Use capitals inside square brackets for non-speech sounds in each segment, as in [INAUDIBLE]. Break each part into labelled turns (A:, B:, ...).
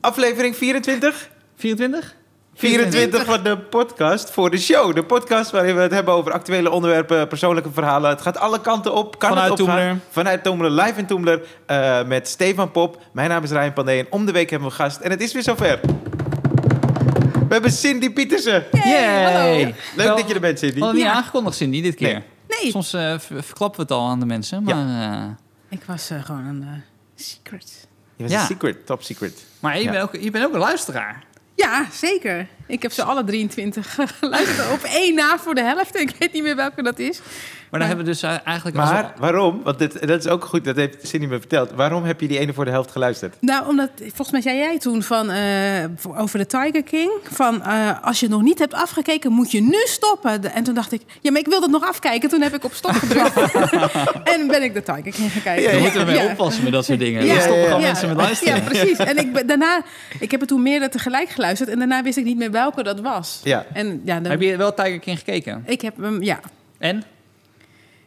A: Aflevering 24?
B: 24?
A: 24 van de podcast voor de show. De podcast waarin we het hebben over actuele onderwerpen, persoonlijke verhalen. Het gaat alle kanten op. Kan
B: Vanuit
A: het opgaan.
B: Toemler.
A: Vanuit Toemler, live in Toemler. eh, met Stefan Pop. Mijn naam is Ryan Pandey. En om de week hebben we een gast. En het is weer zover. We hebben Cindy Pietersen.
B: Yay!
C: hallo.
A: Leuk
B: Wel,
A: dat je er bent, Cindy.
B: We hadden het
C: Ja.
B: niet aangekondigd, Cindy, dit keer.
C: Nee,
B: Soms eh, ver- verklappen we het al aan de mensen, maar... eh,
C: ik was eh, gewoon een eh, secret.
A: Je was
B: Ja.
A: een secret, top secret.
B: maar je,
A: Ja.
B: bent ook, je bent ook een luisteraar.
C: Ja, zeker. Ik heb ze alle [LAUGHS] 23 geluisterd op één na voor de helft. Ik weet niet meer welke dat is.
B: Maar dan hebben we dus eh, eigenlijk... als-
A: Maar waarom? Want dit, dat is ook goed, dat heeft Cindy me verteld. Waarom heb je die ene voor de helft geluisterd?
C: Nou, omdat volgens mij zei jij toen van eh, voor- over de Tiger King van eh, als je het nog niet hebt afgekeken moet je nu stoppen. De- en toen dacht ik, ja, maar ik wil dat nog afkijken. Toen heb ik op stop [LAUGHS] gedrukt en ben ik de Tiger King gaan kijken.
B: dan moeten we mee
C: Ja.
B: oppassen met dat soort dingen.
C: Ja,
B: dan stoppen
A: ja,
B: gewoon
C: ja.
B: mensen met luisteren.
C: Ja, precies. En ik, ben- daarna, ik heb het toen meerdere tegelijk geluisterd en daarna wist ik niet meer welke dat was.
A: Ja.
C: En ja, dan,
B: Heb je wel Tiger King gekeken?
C: ik heb hem, ja,
B: En?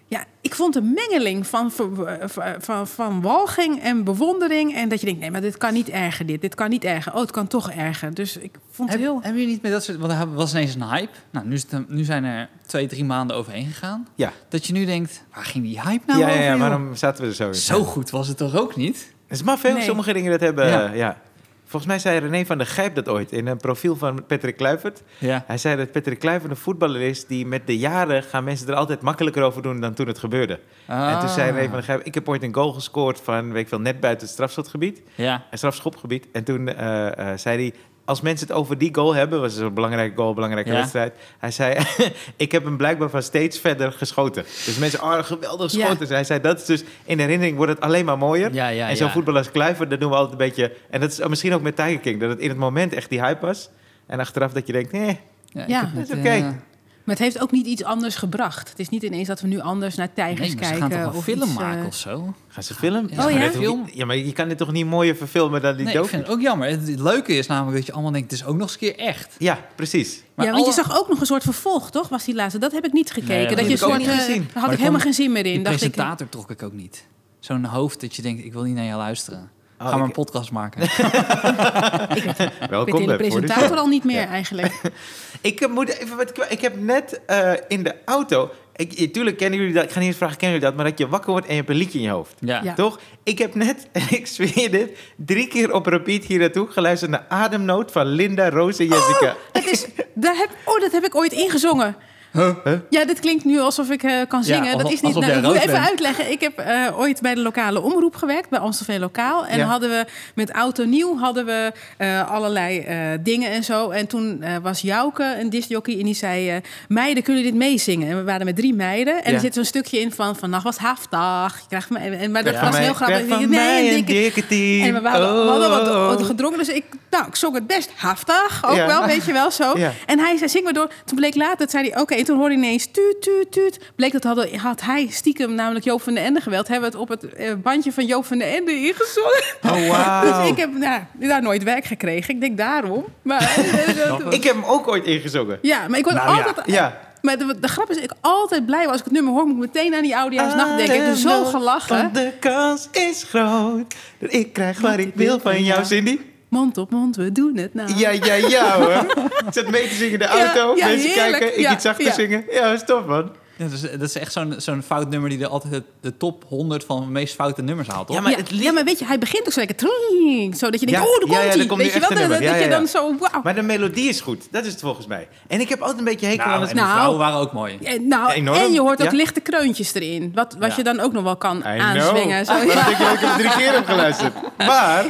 C: Ja, ik vond een mengeling van, ver- van, van, van walging en bewondering. En dat je denkt, nee, maar dit kan niet erger, dit. Dit kan niet erger. Oh, het kan toch erger. Dus ik vond het
B: Heb,
C: heel...
B: hebben jullie niet met dat soort... Want er was ineens een hype. Nou, nu, is het- nu zijn er twee, drie maanden overheen gegaan.
A: Ja.
B: Dat je nu denkt, waar ging die hype nou
A: ja, ja,
B: over?
A: ja,
B: joh?
A: waarom zaten we er zo in?
B: Zo goed was het toch ook niet?
A: Het is maf, hè? hoe
C: Nee.
A: Sommige dingen dat hebben.
B: Ja.
A: eh, ja. Volgens mij zei René van der Gijp dat ooit in een profiel van Patrick Kluivert.
B: Ja.
A: Hij zei dat Patrick Kluivert een voetballer is die met de jaren gaan mensen er altijd makkelijker over doen dan toen het gebeurde. En
B: Ah.
A: toen
C: Ah.
A: zei René van der Gijp, ik heb ooit een goal gescoord van, weet ik veel, net buiten het strafschotgebied,
B: Ja.
A: eh, strafschopgebied. En toen eh, eh, zei hij, als mensen het over die goal hebben, was het een belangrijke goal, belangrijke
B: Ja.
A: wedstrijd. Hij zei, [LAUGHS] ik heb hem blijkbaar van steeds verder geschoten. Dus mensen, oh, geweldig
C: Ja.
A: geschoten. Dus hij zei, dat is dus, in herinnering wordt het alleen maar mooier
B: Ja, ja,
A: en zo'n
B: ja.
A: voetballer als Kluivert, dat doen we altijd een beetje... En dat is misschien ook met Tiger King, dat het in het moment echt die hype was. En achteraf dat je denkt, nee,
B: ik
C: Ja.
B: heb
A: Dat is
B: het,
A: oké.
B: eh,
C: Maar het heeft ook niet iets anders gebracht. Het is niet ineens dat we nu anders naar tijgers
B: nee, maar
C: kijken.
B: ze gaan toch een
C: of
B: film
C: iets, eh,
B: maken of zo?
A: gaan ze film?
B: Ja,
C: maar
A: maar
C: ja?
A: dat hoef je-
B: Film?
A: ja, maar je kan dit toch niet mooier verfilmen dan die
B: Nee, ik
A: docu?
B: vind het ook jammer. Het, het leuke is namelijk dat je allemaal denkt, het is ook nog eens een keer echt.
A: Ja, precies.
C: ja, want je zag ook nog een soort vervolg, toch? Was die laatste. Dat heb ik niet gekeken.
B: Nee,
C: dat,
B: dat
C: je
B: heb ik ook
C: soort,
A: niet
C: eh,
A: gezien.
C: Daar
B: Maar
C: had ik
B: er
C: helemaal
B: kwam
C: geen zin meer
B: Die
C: in. Dacht ik, eh,
B: presentator trok ik ook niet. Zo'n hoofd dat je denkt, ik wil niet naar jou luisteren. Ga
A: Oh,
B: maar een
A: ik-
B: podcast
A: [LAUGHS]
B: maken.
C: ik weet
A: Welkom
C: in de
A: Oh, bij Voor de
C: presentator
A: Show.
C: al niet meer
A: [LAUGHS]
C: eigenlijk.
A: Ik eh, moet even wat... kwa- Ik heb net eh, in de auto... Ik, eh, tuurlijk kennen jullie dat. Ik ga niet eens vragen, kennen jullie dat? Maar dat je wakker wordt en je hebt een liedje in je hoofd.
B: Ja.
C: Ja.
A: Toch? Ik heb net, [LAUGHS] en ik zweer dit, drie keer op repeat hier naartoe geluisterd naar Ademnoot van Linda, Roos en Jessica.
C: Dat is, daar heb, oh, dat heb ik ooit ingezongen. Ja, dit klinkt nu alsof ik eh, kan
B: Ja,
C: zingen. dat
B: alsof-
C: is niet.
B: alsof jij
C: ik moet
B: rood
C: even
B: bent.
C: uitleggen. Ik heb eh, ooit bij de lokale omroep gewerkt, bij Amstelveen Lokaal. En
A: Ja.
C: hadden we met Auto Nieuw hadden we eh, allerlei eh, dingen en zo. En toen eh, was Jouke een discjockey en die zei: eh, Meiden, kunnen jullie dit meezingen? En we waren met drie meiden. En
A: Ja.
C: er zit zo'n stukje in van: Vannacht was haftdag. Je krijgt me, en, maar dat
A: Ja,
C: was
A: maar
C: heel
A: ik krijg
C: grappig.
A: Van
C: Nee,
A: mij
C: een
A: een
C: dikke-
A: dikke team.
C: en we waren, we hadden
A: Oh.
C: wat, wat gedronken, dus ik, nou, ik zong het best haftig. Ook
A: Ja.
C: wel, weet je wel, zo.
A: Ja.
C: En hij zei, zing maar door. Toen bleek later, dat zei hij, oké, en toen hoorde hij ineens tuut, tuut, tuut. Bleek dat hadden, had hij stiekem namelijk Joop van den Ende geweld. Hebben we het op het eh, bandje van Joop van den Ende ingezongen.
A: Oh, wauw.
C: [LAUGHS] Dus ik heb nou, daar nooit werk gekregen. Ik denk daarom.
A: [LAUGHS]
C: Maar, eh,
A: Ik heb hem ook ooit ingezongen.
C: ja, maar ik word
B: Nou ja,
C: altijd...
A: ja.
C: Maar de, de grap is, ik altijd blij als ik het nummer hoor, moet ik meteen aan die oudejaarsnacht denken. Ik heb zo gelachen.
A: Want de kans is groot dat ik krijg wat ik wil van jou, Cindy.
C: Mond op mond, we doen het nou.
A: Ja, ja, ja
C: [LAUGHS]
A: hoor. Ik zat mee te zingen in de auto,
C: ja,
A: mensen
C: heerlijk.
A: kijken, ik
C: Ja,
A: iets zachter
C: ja. Oh.
A: zingen. Ja, dat is tof man.
B: Dat, is, dat is echt zo'n zo'n fout nummer die er altijd de, de top 100 van de meest foute nummers haalt. Toch?
A: Ja, maar
C: ja,
A: het
C: ja, maar weet je, hij begint ook zo lekker... tring, Zo dat je denkt,
A: Ja,
C: oh, daar
A: ja, ja,
C: komt
A: daar
C: hij.
A: komt nu
C: weet je
A: echt
C: wel,
A: een
C: dat,
A: nummer.
C: dat
A: Ja,
C: je
A: ja,
C: dan
A: ja.
C: zo... Wauw.
A: Maar de melodie is goed, dat is het volgens mij. En ik heb altijd een beetje hekel aan
B: nou, en
A: het...
B: die
C: Nou.
B: vrouwen waren ook mooi.
C: Eh, Nou,
A: Enorm.
C: en je hoort ook
A: Ja.
C: lichte kreuntjes erin. Wat, wat
B: Ja.
C: je dan ook nog wel kan
A: know. [LAUGHS]
C: aanzwingen. Zo,
A: Maar
C: ja.
A: dat ik dat ik hem drie keer heb geluisterd. Maar,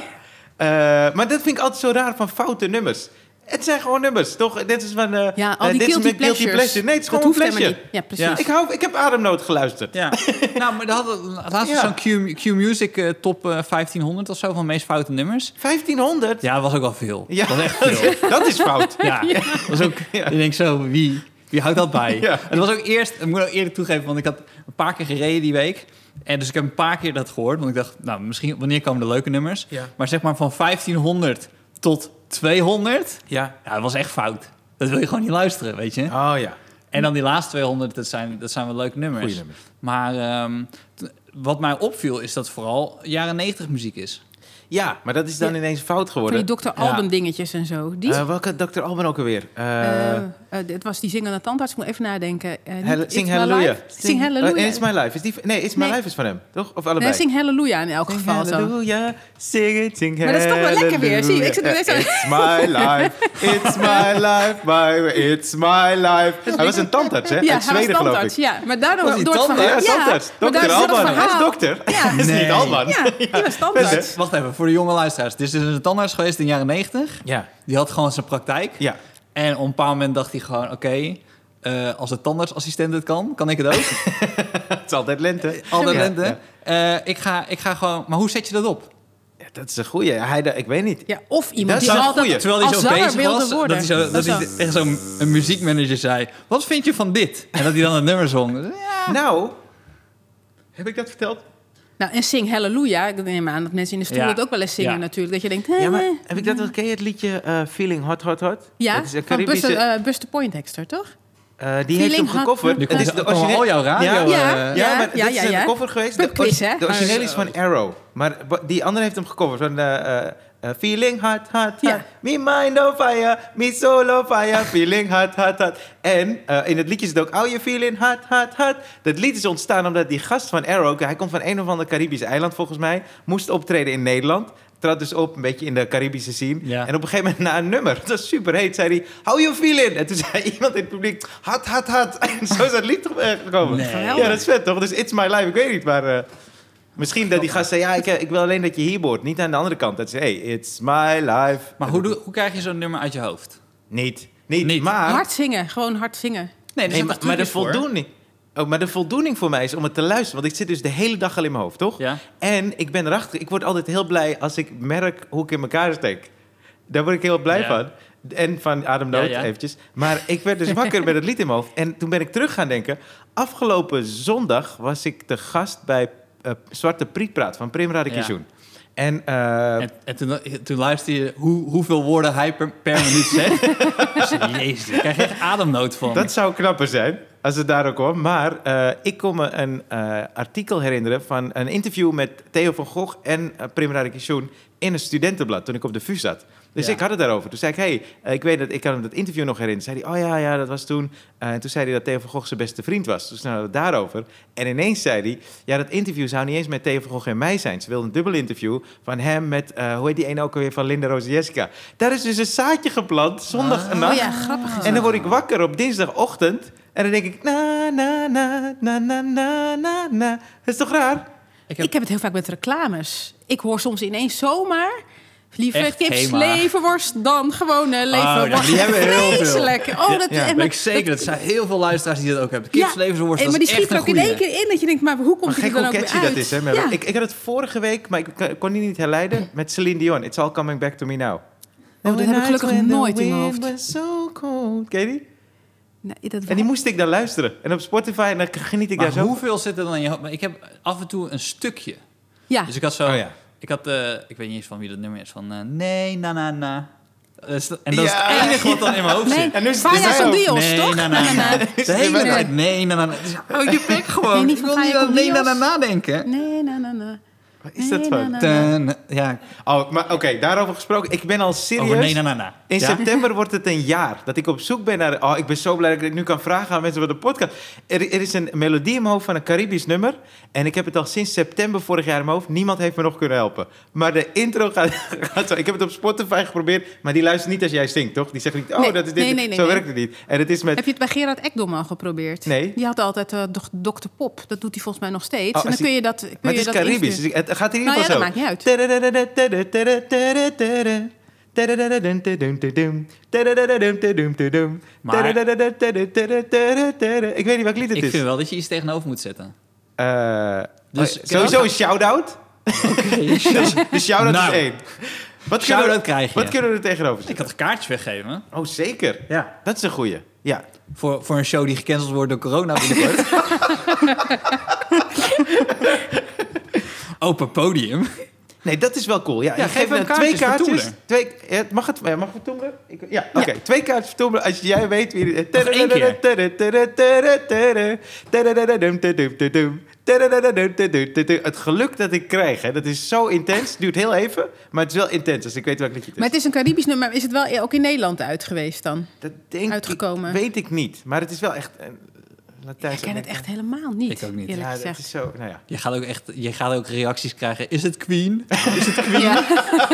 A: eh, maar dat vind ik altijd zo raar van foute nummers. Het zijn gewoon nummers, toch? Dit is van... eh,
C: Ja, al
A: eh,
C: die
A: dit is
C: guilty
A: met guilty
C: pleasures.
A: pleasure. Nee, het is
C: Dat
A: gewoon een
C: hoeft helemaal
A: flesje.
C: niet. Ja, precies.
B: Ja.
A: Ik, hou, ik heb Ademnood geluisterd.
B: Ja. nou, maar daar hadden laatst
A: Ja.
B: zo'n Q, Q-Music eh, top eh, 1500 of zo van de meest foute nummers.
A: 1500?
B: Ja, dat was ook wel veel.
A: Ja.
B: Dat
A: [LAUGHS]
B: was echt veel.
A: Dat is fout.
B: Ja, dat was ook.
A: Ja.
B: Ik denk zo, wie, wie houdt dat
A: [LAUGHS]
B: bij?
A: Ja.
B: Het was ook eerst, ik moet ook eerlijk toegeven, want ik had een paar keer gereden die week. En dus ik heb een paar keer dat gehoord, want ik dacht, nou, misschien wanneer komen de leuke nummers?
A: Ja.
B: Maar zeg maar van 1500 tot 200,
A: Ja.
B: ja, dat was echt fout. Dat wil je gewoon niet luisteren, weet je?
A: Oh ja.
B: En dan die laatste 200, dat zijn, dat zijn wel leuke nummers.
A: Goeie nummers.
B: Maar ehm, t- wat mij opviel is dat het vooral jaren 90 muziek is.
A: Ja, maar dat is dan
C: Ja.
A: ineens fout
C: Van die
A: geworden.
C: Dr. Alban dingetjes en zo. Die,
A: Eh, welke Dr. Alban ook alweer? Eh,
C: eh, eh, het was die zingende tandarts. Ik moet even nadenken. Eh, niet
A: Hall-
C: It's
A: sing
C: My
A: Hallelujah.
C: Life. Sing Hallelujah.
A: Oh, en It's My Life. Is die, nee, It's My
C: Nee.
A: Life is van hem, toch? Of allebei?
C: nee, Sing Hallelujah in elk
A: Sing
C: geval zo.
A: Hallelujah, sing it, sing
C: Maar dat is toch wel lekker weer, zie je? Ik zit er
A: hallelujah.
C: net zo-
A: eh, It's my life, it's
C: [LAUGHS]
A: my life, my, it's my life. Hij was een tandarts, hè?
C: Ja,
A: Uit
C: hij
A: Zweden,
C: was
A: geloof ik.
C: tandarts. Ja, maar daardoor...
B: Was hij
C: door het
B: tandarts?
C: verhaal-
A: Ja, tandarts.
C: maar
A: Dokter
C: daardoor door het
A: Alban. Hij is
C: verhaal-
A: dokter.
C: Ja,
A: Dat is
B: Nee.
A: niet Alban.
C: ja, die
A: [LAUGHS]
C: was tandarts.
B: Wacht even, voor de jonge luisteraars. Dit is dus een tandarts geweest in de jaren 90.
A: Ja,
B: Die had gewoon zijn praktijk.
A: ja.
B: En op een bepaald moment dacht hij gewoon, oké, eh, als de tandartsassistent het kan, kan ik het [LAUGHS] ook.
A: Het is altijd lente.
B: Al dat
A: Ja,
B: lente.
A: ja.
B: Eh, ik, ga, ik ga gewoon... Maar hoe zet je dat op?
A: Ja, dat is een goeie. Hij, da- ik weet niet.
C: Ja, of iemand
A: Dat
C: die
A: is een
C: altijd
A: goeie.
B: Terwijl hij
C: als
B: zo
C: zanger
B: bezig
C: wilde
B: was, dat
C: worden.
B: hij, zo, dat
C: is
B: hij echt zo'n een muziekmanager zei... Wat vind je van dit? En dat hij dan het nummer zong. Ja.
A: Nou, heb ik dat verteld?
C: Nou, en Sing Hallelujah. Ik neem aan dat mensen in de stoel
B: Ja.
C: het ook wel eens zingen
B: Ja.
C: natuurlijk. Dat je denkt...
A: Ja, maar
C: hè,
A: heb ik dat wel? Ken je het liedje eh, Feeling Hot Hot Hot?
C: Ja,
A: dat is een
C: van
A: Caribische.
C: Buster, eh Buster Poindexter, toch?
A: eh, die heeft hem
C: Feeling Hot
A: gecoverd.
C: Hot
B: Nu
A: Het
B: komt
A: is
B: de,
A: de originele-
B: al Oh, jouw radio...
A: Ja.
C: Ja.
B: eh,
A: Ja, maar dit
C: ja,
A: is
C: ja,
A: een
C: ja.
A: cover geweest. De,
C: Pubquiz,
A: ori-
C: hè?
A: de origineel is van Arrow. Maar bo- die andere heeft hem gecoverd. Van, eh, eh, eh, feeling hot, hot, hot.
C: Ja.
A: Me mind on fire, me soul on fire. Feeling hot, hot, hot. En eh, in het liedje zit ook... Oh, you feeling hot, hot, hot. Dat lied is ontstaan omdat die gast van Arrow... Hij komt van een of ander Caribisch eiland, volgens mij. Moest optreden in Nederland. Trad dus op, een beetje in de Caribische scene.
B: Ja.
A: En op een gegeven moment na een nummer, [LAUGHS] dat was superheet, zei hij... How you feeling? En toen [LAUGHS] zei iemand in het publiek... Hot, hot, hot. [LAUGHS] En zo is dat lied toch eh, gekomen.
B: Nee.
A: Ja, dat is vet toch? Dus It's My Life, ik weet niet, maar... eh, misschien dat die gast zei, ja, ik, eh, ik wil alleen dat je hier boort. Niet aan de andere kant. Dat ze, hey, It's My Life.
B: Maar hoe, doe- hoe krijg je zo'n nummer uit je hoofd?
A: Niet. Niet,
B: Niet.
A: maar...
C: Hard zingen, gewoon hard zingen.
B: Nee,
A: Nee, maar, maar de voldoening... Oh, maar de voldoening voor mij is om het te luisteren. Want ik zit dus de hele dag al in mijn hoofd, toch?
B: Ja.
A: En ik ben erachter. Ik word altijd heel blij als ik merk hoe ik in elkaar steek. Daar word ik heel blij
B: Ja.
A: van. En van Adam Noot
B: Ja, ja.
A: eventjes. Maar ik werd dus wakker met het lied in mijn hoofd. En toen ben ik terug gaan denken. Afgelopen zondag was ik te gast bij eh, Zwarte Prietpraat van Prim Radakishun. En, eh,
B: En, en toen, toen luisterde je hoe, hoeveel woorden hij per, per minuut zegt. [LAUGHS] Jezus, daar krijg je echt ademnood van.
A: Dat zou knapper zijn, als het daar ook kwam. Maar eh, ik kon me een eh, artikel herinneren van een interview met Theo van Gogh en eh, Prim Radakishun in een studentenblad toen ik op de VU zat. Dus
B: Ja.
A: ik had het daarover. Toen zei ik, hey, eh, ik weet dat ik kan hem dat interview nog herinneren. Toen zei hij, oh ja, ja, dat was toen. Eh, en toen zei hij dat Theo van Gogh zijn beste vriend was. Dus nou, daarover. En ineens zei hij, ja, dat interview zou niet eens met Theo van Gogh en mij zijn. Ze wilden een dubbel interview van hem met, eh, hoe heet die ene ook alweer, van Linda Rozieska. Daar is dus een zaadje geplant, zondag en
C: Oh
A: nacht.
C: ja, grappig is
A: En
C: dat.
A: dan word ik wakker op dinsdagochtend. En dan denk ik, na, na, na, na, na, na, na, na. Dat is toch raar?
B: Ik
C: Ik
B: heb-
C: heb... het heel vaak met reclames. Ik hoor soms ineens zomaar... Liever
B: Echt
C: tips
B: Hema.
C: levenworst dan gewone levenworst.
B: die hebben heel veel.
C: Vreselijk. Oh, dat
A: Ja,
C: en
B: weet
C: maar-
B: ik zeker. Dat zijn heel veel luisteraars die dat ook hebben.
C: Ja,
B: Kipslevenworst,
C: en-
B: dat
C: Maar
B: is
C: die schiet
B: echt
C: er
B: een
C: ook in één
B: goede.
C: keer in. Dat je denkt, maar hoe
A: Maar
C: komt
A: gek
C: die er dan
A: hoe
C: ook weer
A: catchy
C: uit?
A: dat is, hè? Merel?
C: Ja.
A: Ik, ik had het vorige week, maar ik ik kon die niet herleiden, met Celine Dion. It's all coming back to me now.
C: Oh, dat heb ik gelukkig nooit in mijn hoofd.
A: So cold. Ken je die?
C: Nee, dat
A: En die moest ik dan luisteren. En op Spotify, en dan geniet ik
B: Maar
A: daar zo
B: hoeveel zit er dan in je hoofd? Maar ik heb af en toe een stukje.
C: Ah. ja.
B: Dus ik had zo...
A: Oh ja.
B: Ik had... eh, ik weet niet eens van wie dat nummer is. Van eh, nee, na, na, na. Dat is- En dat is
A: Ja.
B: het enige wat dan in mijn hoofd
C: Nee,
B: zit.
A: En nu is het
C: Vaya
A: dus
C: son
A: mij ook.
C: Dios, toch?
B: na, na, na.
A: is
B: De hele
A: het
B: tijd nee, na, na, na. Oh, je bek gewoon.
C: Nee, niet
B: ik
C: van
B: wil niet
C: Fire
B: aan nee, na,
C: Condios.
B: na, nadenken.
C: Nee, na, na, na.
A: Wat is dat
C: Nee,
A: van?
C: na, na, na.
B: Ten, ja,
A: Oh, maar oké, daarover gesproken. Ik ben al serieus...
B: over nee, na, na, na.
A: In
B: Ja?
A: september wordt het een jaar dat ik op zoek ben naar... Oh, ik ben zo blij dat ik dit nu kan vragen aan mensen van de podcast. Er, er is een melodie in mijn hoofd van een Caribisch nummer. En ik heb het al sinds september vorig jaar in mijn hoofd. Niemand heeft me nog kunnen helpen. Maar de intro gaat, [LAUGHS] gaat zo. Ik heb het op Spotify geprobeerd, maar die luistert niet als jij zingt, toch? Die zegt niet, oh,
C: Nee,
A: dat is dit.
C: nee, nee, nee,
A: zo
C: nee.
A: werkt het niet. En het is met...
C: Heb je het bij Gerard Ekdom al geprobeerd?
A: Nee.
C: Die had altijd eh Dok- Dr. Pop. Dat doet hij volgens mij nog steeds.
A: Oh,
C: en
A: als die-
C: dan kun je dat. Kun
A: maar
C: je
A: het is
C: dat
A: Caribisch,
C: insturen.
A: dus ik- het gaat in ieder
C: Nou ja,
A: geval
C: dat
A: zo.
C: maakt niet uit.
B: Maar-
A: Ik weet niet welk lied het
B: Ik
A: is.
B: vind wel dat je iets tegenover moet [LAUGHS] zetten.
A: Eh,
B: Dus-
A: oh, sowieso een shout-out. Dus de shout-out
B: Nou.
A: is één. Wat kunnen,
B: Shout-out
A: we,
B: krijg je.
A: wat kunnen we er tegenover
B: Ik
A: zetten?
B: had een kaartje weggeven.
A: Oh, zeker.
B: Ja.
A: Dat is een goeie. Ja.
B: Voor, voor een show die gecanceld wordt door corona
C: [LAUGHS]
B: binnenkort. Open podium.
A: Nee, dat is wel cool. Ja, je
B: Ja, geef
A: geeft hem
B: hem
A: twee
B: kaartjes voor
A: kaartjes. Twee, eh, mag het eh, mag voor Toemler? Ik- Ja, oké. Twee kaartjes voor Toemler. Als jij weet wie...
B: één keer.
A: Het geluk dat ik krijg, hè, dat is zo intens. Duurt heel even, maar het is wel intens. Dus ik weet welk liedje het is.
C: Maar het is een Caribisch nummer. maar Is het wel eh, ook in Nederland uit geweest dan?
A: Dat denk
C: uitgekomen.
A: Ik, weet ik niet, maar het is wel echt... eh, Latijns
C: Ik ken het echt helemaal niet.
B: Ik ook niet.
C: Eerlijk
A: Ja, dat
C: gezegd.
A: is zo... Nou ja.
B: Je gaat ook echt je gaat ook reacties krijgen. Is het Queen?
A: [LAUGHS]
C: Ja.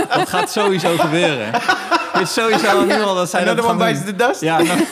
B: Dat gaat sowieso gebeuren. Het is sowieso al nu al dat zij dat
A: Another
B: gaan
A: one
B: doen.
A: bites the dust.
B: Ja, nou,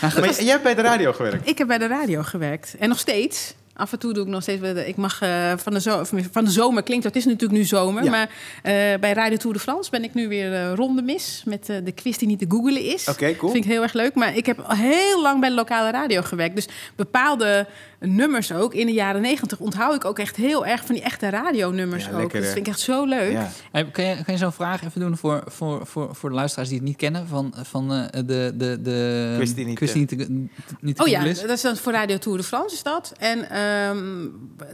A: Maar j- jij hebt bij de radio gewerkt.
C: Ik heb bij de radio gewerkt. En nog steeds. Af en toe doe ik nog steeds. bij de- Ik mag eh, van, de zo, of van de zomer klinkt. dat, Het is natuurlijk nu zomer.
A: Ja.
C: Maar eh, bij Radio Tour de France ben ik nu weer eh ronde mis. Met eh, de quiz die niet te googelen is.
A: Oké, cool.
C: Dat vind ik heel erg leuk. Maar ik heb al heel lang bij de lokale radio gewerkt. Dus bepaalde nummers ook in de jaren negentig onthoud ik ook echt heel erg van die echte radionummers
A: Ja,
C: ook.
A: lekker,
C: dat
A: hè?
C: vind ik echt zo leuk.
A: Ja.
B: [LAUGHS] Hey, Kan je, kan je zo'n vraag even doen voor, voor, voor, voor de luisteraars die het niet kennen? Van, van eh, de, de, de
A: Quiz die niet,
B: quiz die niet, te- niet te
C: Oh ja,
B: googlen is?
C: dat is dan voor Radio Tour de France is dat. En ehm,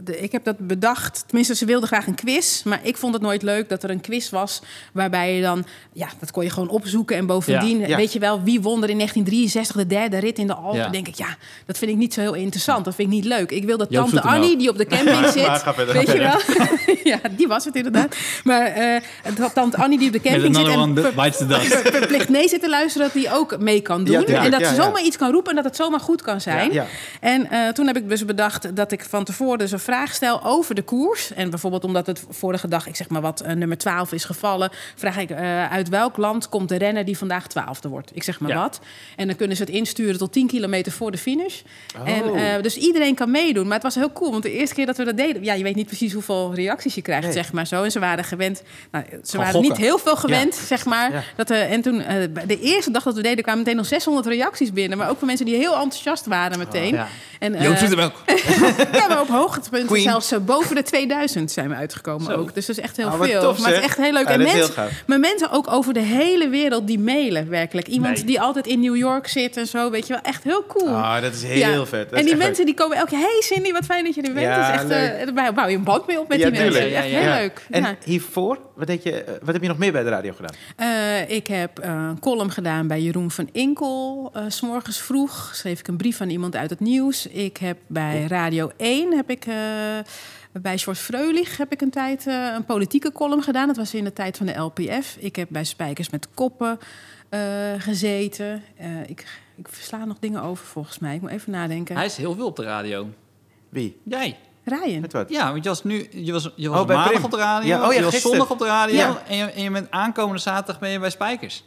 C: de- ik heb dat bedacht. Tenminste, ze wilden graag een quiz. Maar ik vond het nooit leuk dat er een quiz was... waarbij je dan... Ja, dat kon je gewoon opzoeken. En bovendien,
A: Ja, ja.
C: weet je wel... wie won er in 1963 de derde rit in de Alpen?
B: Ja.
C: denk ik, ja, dat vind ik niet zo heel interessant. Dat vind ik niet leuk. Ik wil dat
B: Joop
C: tante
B: zoekt hem
C: Annie,
B: ook.
C: die op de
A: [LAUGHS]
C: camping zit...
A: maar ga verder,
C: weet
A: ga
C: je wel? [LAUGHS] ja, die was het inderdaad. Maar eh, dat tante Annie die op de
B: Met
C: camping zit...
B: another
C: en
B: one
C: ver-
B: bites the dust.
C: ver- verplicht nee zit te luisteren... dat die ook mee kan doen.
A: tuurlijk,
C: en dat
A: ja,
C: ze
A: ja.
C: zomaar iets kan roepen... en dat het zomaar goed kan zijn.
A: Ja.
C: En eh, toen heb ik dus bedacht dat ik van tevoren dus een vraag stel over de koers. En bijvoorbeeld omdat het vorige dag, ik zeg maar wat, eh, nummer 12 is gevallen. Vraag ik eh, uit welk land komt de renner die vandaag 12e wordt? Ik zeg maar
B: Ja.
C: wat. En dan kunnen ze het insturen tot 10 kilometer voor de finish.
A: Oh.
C: En, eh, dus iedereen kan meedoen. Maar het was heel cool, want de eerste keer dat we dat deden... Ja, je weet niet precies hoeveel reacties je krijgt,
A: Nee.
C: zeg maar zo. En ze waren gewend... Nou, ze waren
B: gokken.
C: niet heel veel gewend, zeg maar.
A: Ja.
C: Dat, eh, en toen, eh, bij de eerste dag dat we deden, kwamen meteen nog 600 reacties binnen. Maar ook van mensen die heel enthousiast waren meteen.
A: Oh,
B: Ja.
C: En, eh,
B: Joop zoekt hem ook.
C: [LAUGHS] ja, maar op hoogtepunten
A: Queen.
C: zelfs eh, boven de 2000 zijn we uitgekomen ook. Dus dat is echt heel
A: Oh, wat
C: veel.
A: tof,
C: maar het is
A: zeg.
C: echt heel leuk.
A: Ja,
C: en
A: dat is heel
C: mensen,
A: gaaf.
C: maar mensen ook over de hele wereld die mailen werkelijk. Iemand
B: Nee.
C: die altijd in New York zit en zo, weet je wel. Echt heel cool.
A: Ah, dat is heel
C: Ja.
A: vet. Dat
C: en
A: is
C: die
A: echt
C: mensen die komen elke keer... Hey Cindy, wat fijn dat je er bent.
A: Ja,
C: dat is echt,
A: leuk.
C: eh, daar bouw je een band mee op met
A: Ja,
C: die mensen.
A: tuurlijk.
B: Ja,
C: Echt
B: ja,
C: heel
B: ja.
C: leuk.
A: leuk.
C: Nou,
A: En
C: Ja.
A: hiervoor, wat, deed je, eh, wat heb je nog meer bij de radio gedaan?
C: Eh, ik heb eh, een column gedaan bij Jeroen van Inkel. eh, s S'morgens vroeg schreef ik een brief aan iemand uit het nieuws. Ik heb bij Radio 1, heb ik, eh, bij George Freulich heb ik een tijd eh, een politieke column gedaan. Dat was in de tijd van de LPF. Ik heb bij Spijkers met Koppen eh, gezeten. Eh, ik, ik sla nog dingen over volgens mij. Ik moet even nadenken.
B: Hij is heel veel op de radio.
A: Wie?
B: Jij?
C: Ryan.
A: Met wat?
B: Ja, want je was nu je was, je was
A: Oh, bij
B: maandag
A: Prim.
B: op de radio,
A: Ja, oh ja,
B: je was
A: gisteren.
B: zondag op de radio
A: Ja.
B: en, je, en je bent aankomende zaterdag ben je bij Spijkers.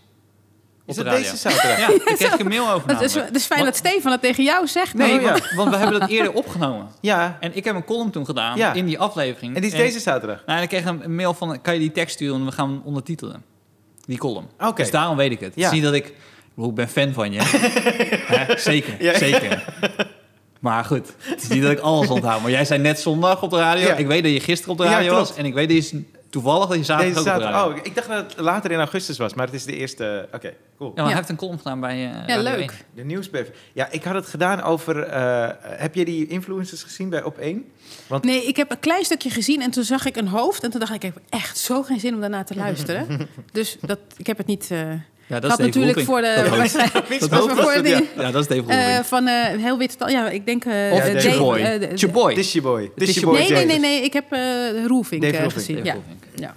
B: Op
A: Is
B: de
A: dat
B: radio.
A: deze zaterdag?
B: [LAUGHS] Ja, ik kreeg een mail over
C: Het is,
B: namelijk.
C: het is fijn [LAUGHS] dat Stefan dat tegen jou zegt.
B: Nee,
A: Oh, ja.
B: want, want we hebben dat eerder opgenomen.
A: Ja,
B: En ik heb een column toen gedaan
A: Ja.
B: in die aflevering.
A: en die is deze zaterdag.
B: Nou, en ik kreeg een mail van, kan je die tekst sturen en we gaan hem ondertitelen. Die column.
A: Oké.
B: Dus daarom weet ik het.
A: Ja.
B: Het is niet dat ik... ik bedoel, Ik ben fan van je.
A: [LAUGHS]
B: Hè, zeker,
A: Ja.
B: zeker. Maar goed, het is niet dat ik alles onthoud. Maar jij zei net zondag op de radio.
A: Ja.
B: Ik weet dat je gisteren op de
A: Ja,
B: radio
A: klopt.
B: was. En ik weet dat je toevallig dat je zaterdag
A: Deze
B: ook op de radio
A: zaterdag.
B: was.
A: Oh, ik dacht dat het later in augustus was, maar het is de eerste. eh, Oké, cool.
B: Ja, maar
C: Ja.
B: hij heeft een column gedaan bij eh,
C: Ja,
B: Radio
C: leuk.
B: 1.
A: De nieuwsbrief. Ja, ik had het gedaan over. eh, heb jij die influencers gezien bij Op 1?
C: Nee, ik heb een klein stukje gezien en toen zag ik een hoofd. En toen dacht ik, ik heb echt zo geen zin om daarna te luisteren. dus dat, ik heb het niet... eh
B: Ja, dat
C: ik
B: is
C: had
B: Dave
C: natuurlijk
B: Roelvink.
C: voor de... [LAUGHS]
B: Dat hoofd.
C: waarschijnlijk-
A: Wie
B: dat
C: was
A: was
C: me
A: dat?
C: voor
A: Ja.
C: de...
B: Ja, dat is Dave
C: eh,
B: Roelvink.
C: van eh, heel wit tal. Ja, ik denk... eh,
B: of
A: ja,
C: de-
A: Dave-
C: Dave-
B: Chaboy.
C: eh, de- de-
B: Chaboy.
A: This your boy. This
B: This
A: your boy.
C: Nee, nee,
A: James.
C: nee, nee. Ik heb eh Roelvink
A: Dave
C: eh,
A: Roelvink,
C: gezien.
B: Dave
C: Ja.
B: Roelvink.
C: Ja.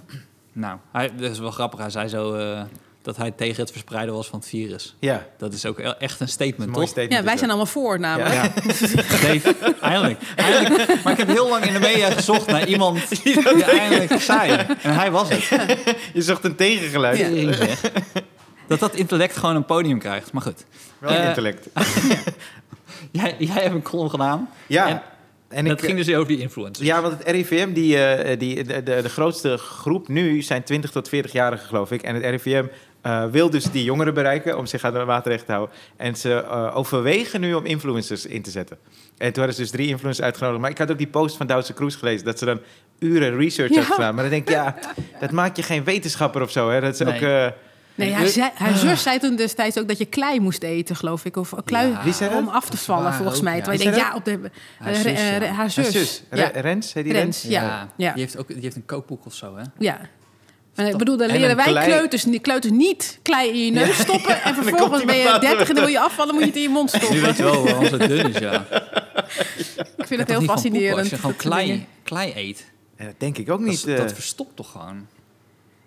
B: Nou, hij, dat is wel grappig. Hij zei zo eh, dat hij tegen het verspreiden was van het virus.
A: Ja,
B: Dat is ook e- echt een
A: een
B: statement,
A: mooi
B: toch?
A: statement.
C: ja, wij
A: is
C: zijn
A: dat.
C: allemaal voor namelijk.
A: Ja.
B: Dave, eindelijk, eindelijk. Maar ik heb heel lang in de media gezocht naar
A: [LAUGHS]
B: iemand die eindelijk zei. En hij was het.
A: [LAUGHS] Je zocht een tegengeluid.
C: Ja.
B: Tering zeg. Dat dat intellect gewoon een podium krijgt. Maar goed,
A: Wel
B: Eh,
A: intellect.
B: jij, jij hebt een column gedaan.
A: Ja.
B: en-
A: en
B: dat
A: ik- eh,
B: ging dus over die influencers.
A: Ja, want het RIVM, die, eh, die, de, de, de grootste groep nu zijn 20 tot 40-jarigen, geloof ik. En het RIVM eh, wil dus die jongeren bereiken om zich aan de waterrecht te houden. En ze eh, overwegen nu om influencers in te zetten. En toen hadden ze dus drie influencers uitgenodigd. Maar ik had ook die post van Duitse Kroes gelezen, dat ze dan uren research
C: Ja.
A: had gedaan. Maar dan denk ik, ja, dat maakt je geen wetenschapper of zo. Hè? Dat is
B: Nee.
A: ook, eh,
C: Nee, haar, zei, haar zus zei toen destijds ook dat je klei moest eten, geloof ik. Of klui
B: Ja.
A: Wie zei dat?
C: om af te vallen,
B: Waar
C: volgens
B: ook,
C: mij.
B: ja.
C: Terwijl je
A: Wie
C: denkt, ja, op de...
B: Haar
C: eh,
B: zus,
C: eh,
B: ja.
C: haar
A: haar
C: zus.
A: zus, Re-
C: Ja.
A: Rens, heet die
C: Rens,
A: Rens?
C: ja. ja.
B: Die, heeft ook, die heeft een kookboek of zo, hè?
C: Ja. Maar ik bedoel, dan
B: En een
C: leren wij
A: klei-
C: kleuters, die kleuters niet klei in je neus
B: [LAUGHS]
C: stoppen. En
A: komt
C: vervolgens
A: iemand
C: ben je
A: later
C: dertig en dan
A: met-
C: wil je afvallen, moet je het in je mond
B: Nu
C: stoppen. [LAUGHS]
B: weet je wel waarom ze dun is, ja.
C: Ik vind het
B: Toch
C: heel
B: niet van poepen
C: fascinerend.
B: Als je gewoon
C: dat soort
B: klei,
C: dingen.
B: klei eet,
A: En dat denk ik ook
B: dat,
A: niet.
B: is-
A: eh.
B: dat verstopt toch gewoon?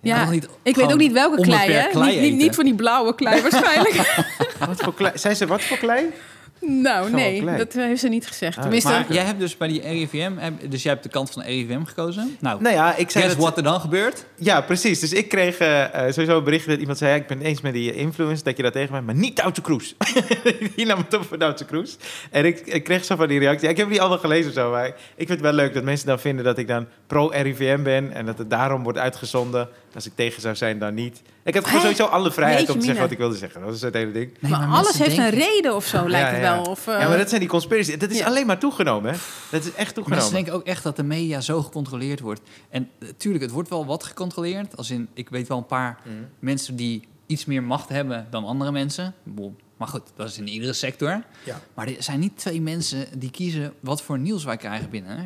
B: Je
C: Ja,
B: kan niet
C: ik weet
B: gewoon
C: ook niet welke klei, hè?
B: onbeperkt klei
C: niet, niet,
B: eten.
C: niet van die
B: [LAUGHS]
C: blauwe klei waarschijnlijk.
A: wat voor klei? Zijn ze wat voor klei?
C: nou, nee,
A: klei.
C: dat eh, heeft ze niet gezegd.
A: Ah,
C: Tenminste,
B: Maar jij hebt dus bij die RIVM, heb- dus jij hebt de kant van de RIVM gekozen. Nou,
A: Nou ja, ik zei
B: guess
A: dat-
B: wat er dan gebeurt?
A: Ja, precies. Dus ik kreeg eh, eh, sowieso een bericht dat iemand zei... ja, ik ben het eens met die eh, influencer, dat je dat tegen mij... maar niet Doutzen Kroes. [LAUGHS] die nam het op voor Doutzen Kroes. En ik, ik kreeg zo van die reactie... ja, ik heb die allemaal gelezen of zo, maar ik vind het wel leuk... dat mensen dan vinden dat ik dan pro-RIVM ben... en dat het daarom wordt uitgezonden. Als ik tegen zou zijn, dan niet. Ik had gewoon
C: Hè?
A: sowieso alle vrijheid
C: Jeetje
A: om te zeggen
C: mina.
A: wat ik wilde zeggen. Dat is het hele ding.
B: Nee,
C: maar
B: maar
C: alles
B: mensen
C: heeft een
B: denken-
C: reden of zo, lijkt het
A: ja, ja.
C: wel. Of, eh,
A: Ja, maar dat zijn die conspiracy. Dat is
C: Ja.
A: alleen maar toegenomen, hè? Dat is echt toegenomen.
B: Mensen denken ook echt dat de media zo gecontroleerd wordt. En natuurlijk, het wordt wel wat gecontroleerd. Als in, ik weet wel een paar
A: Mhm.
B: mensen die iets meer macht hebben dan andere mensen. Boel. Maar goed, dat is in iedere sector.
A: Ja.
B: Maar er zijn niet twee mensen die kiezen wat voor nieuws wij krijgen binnen. Hè?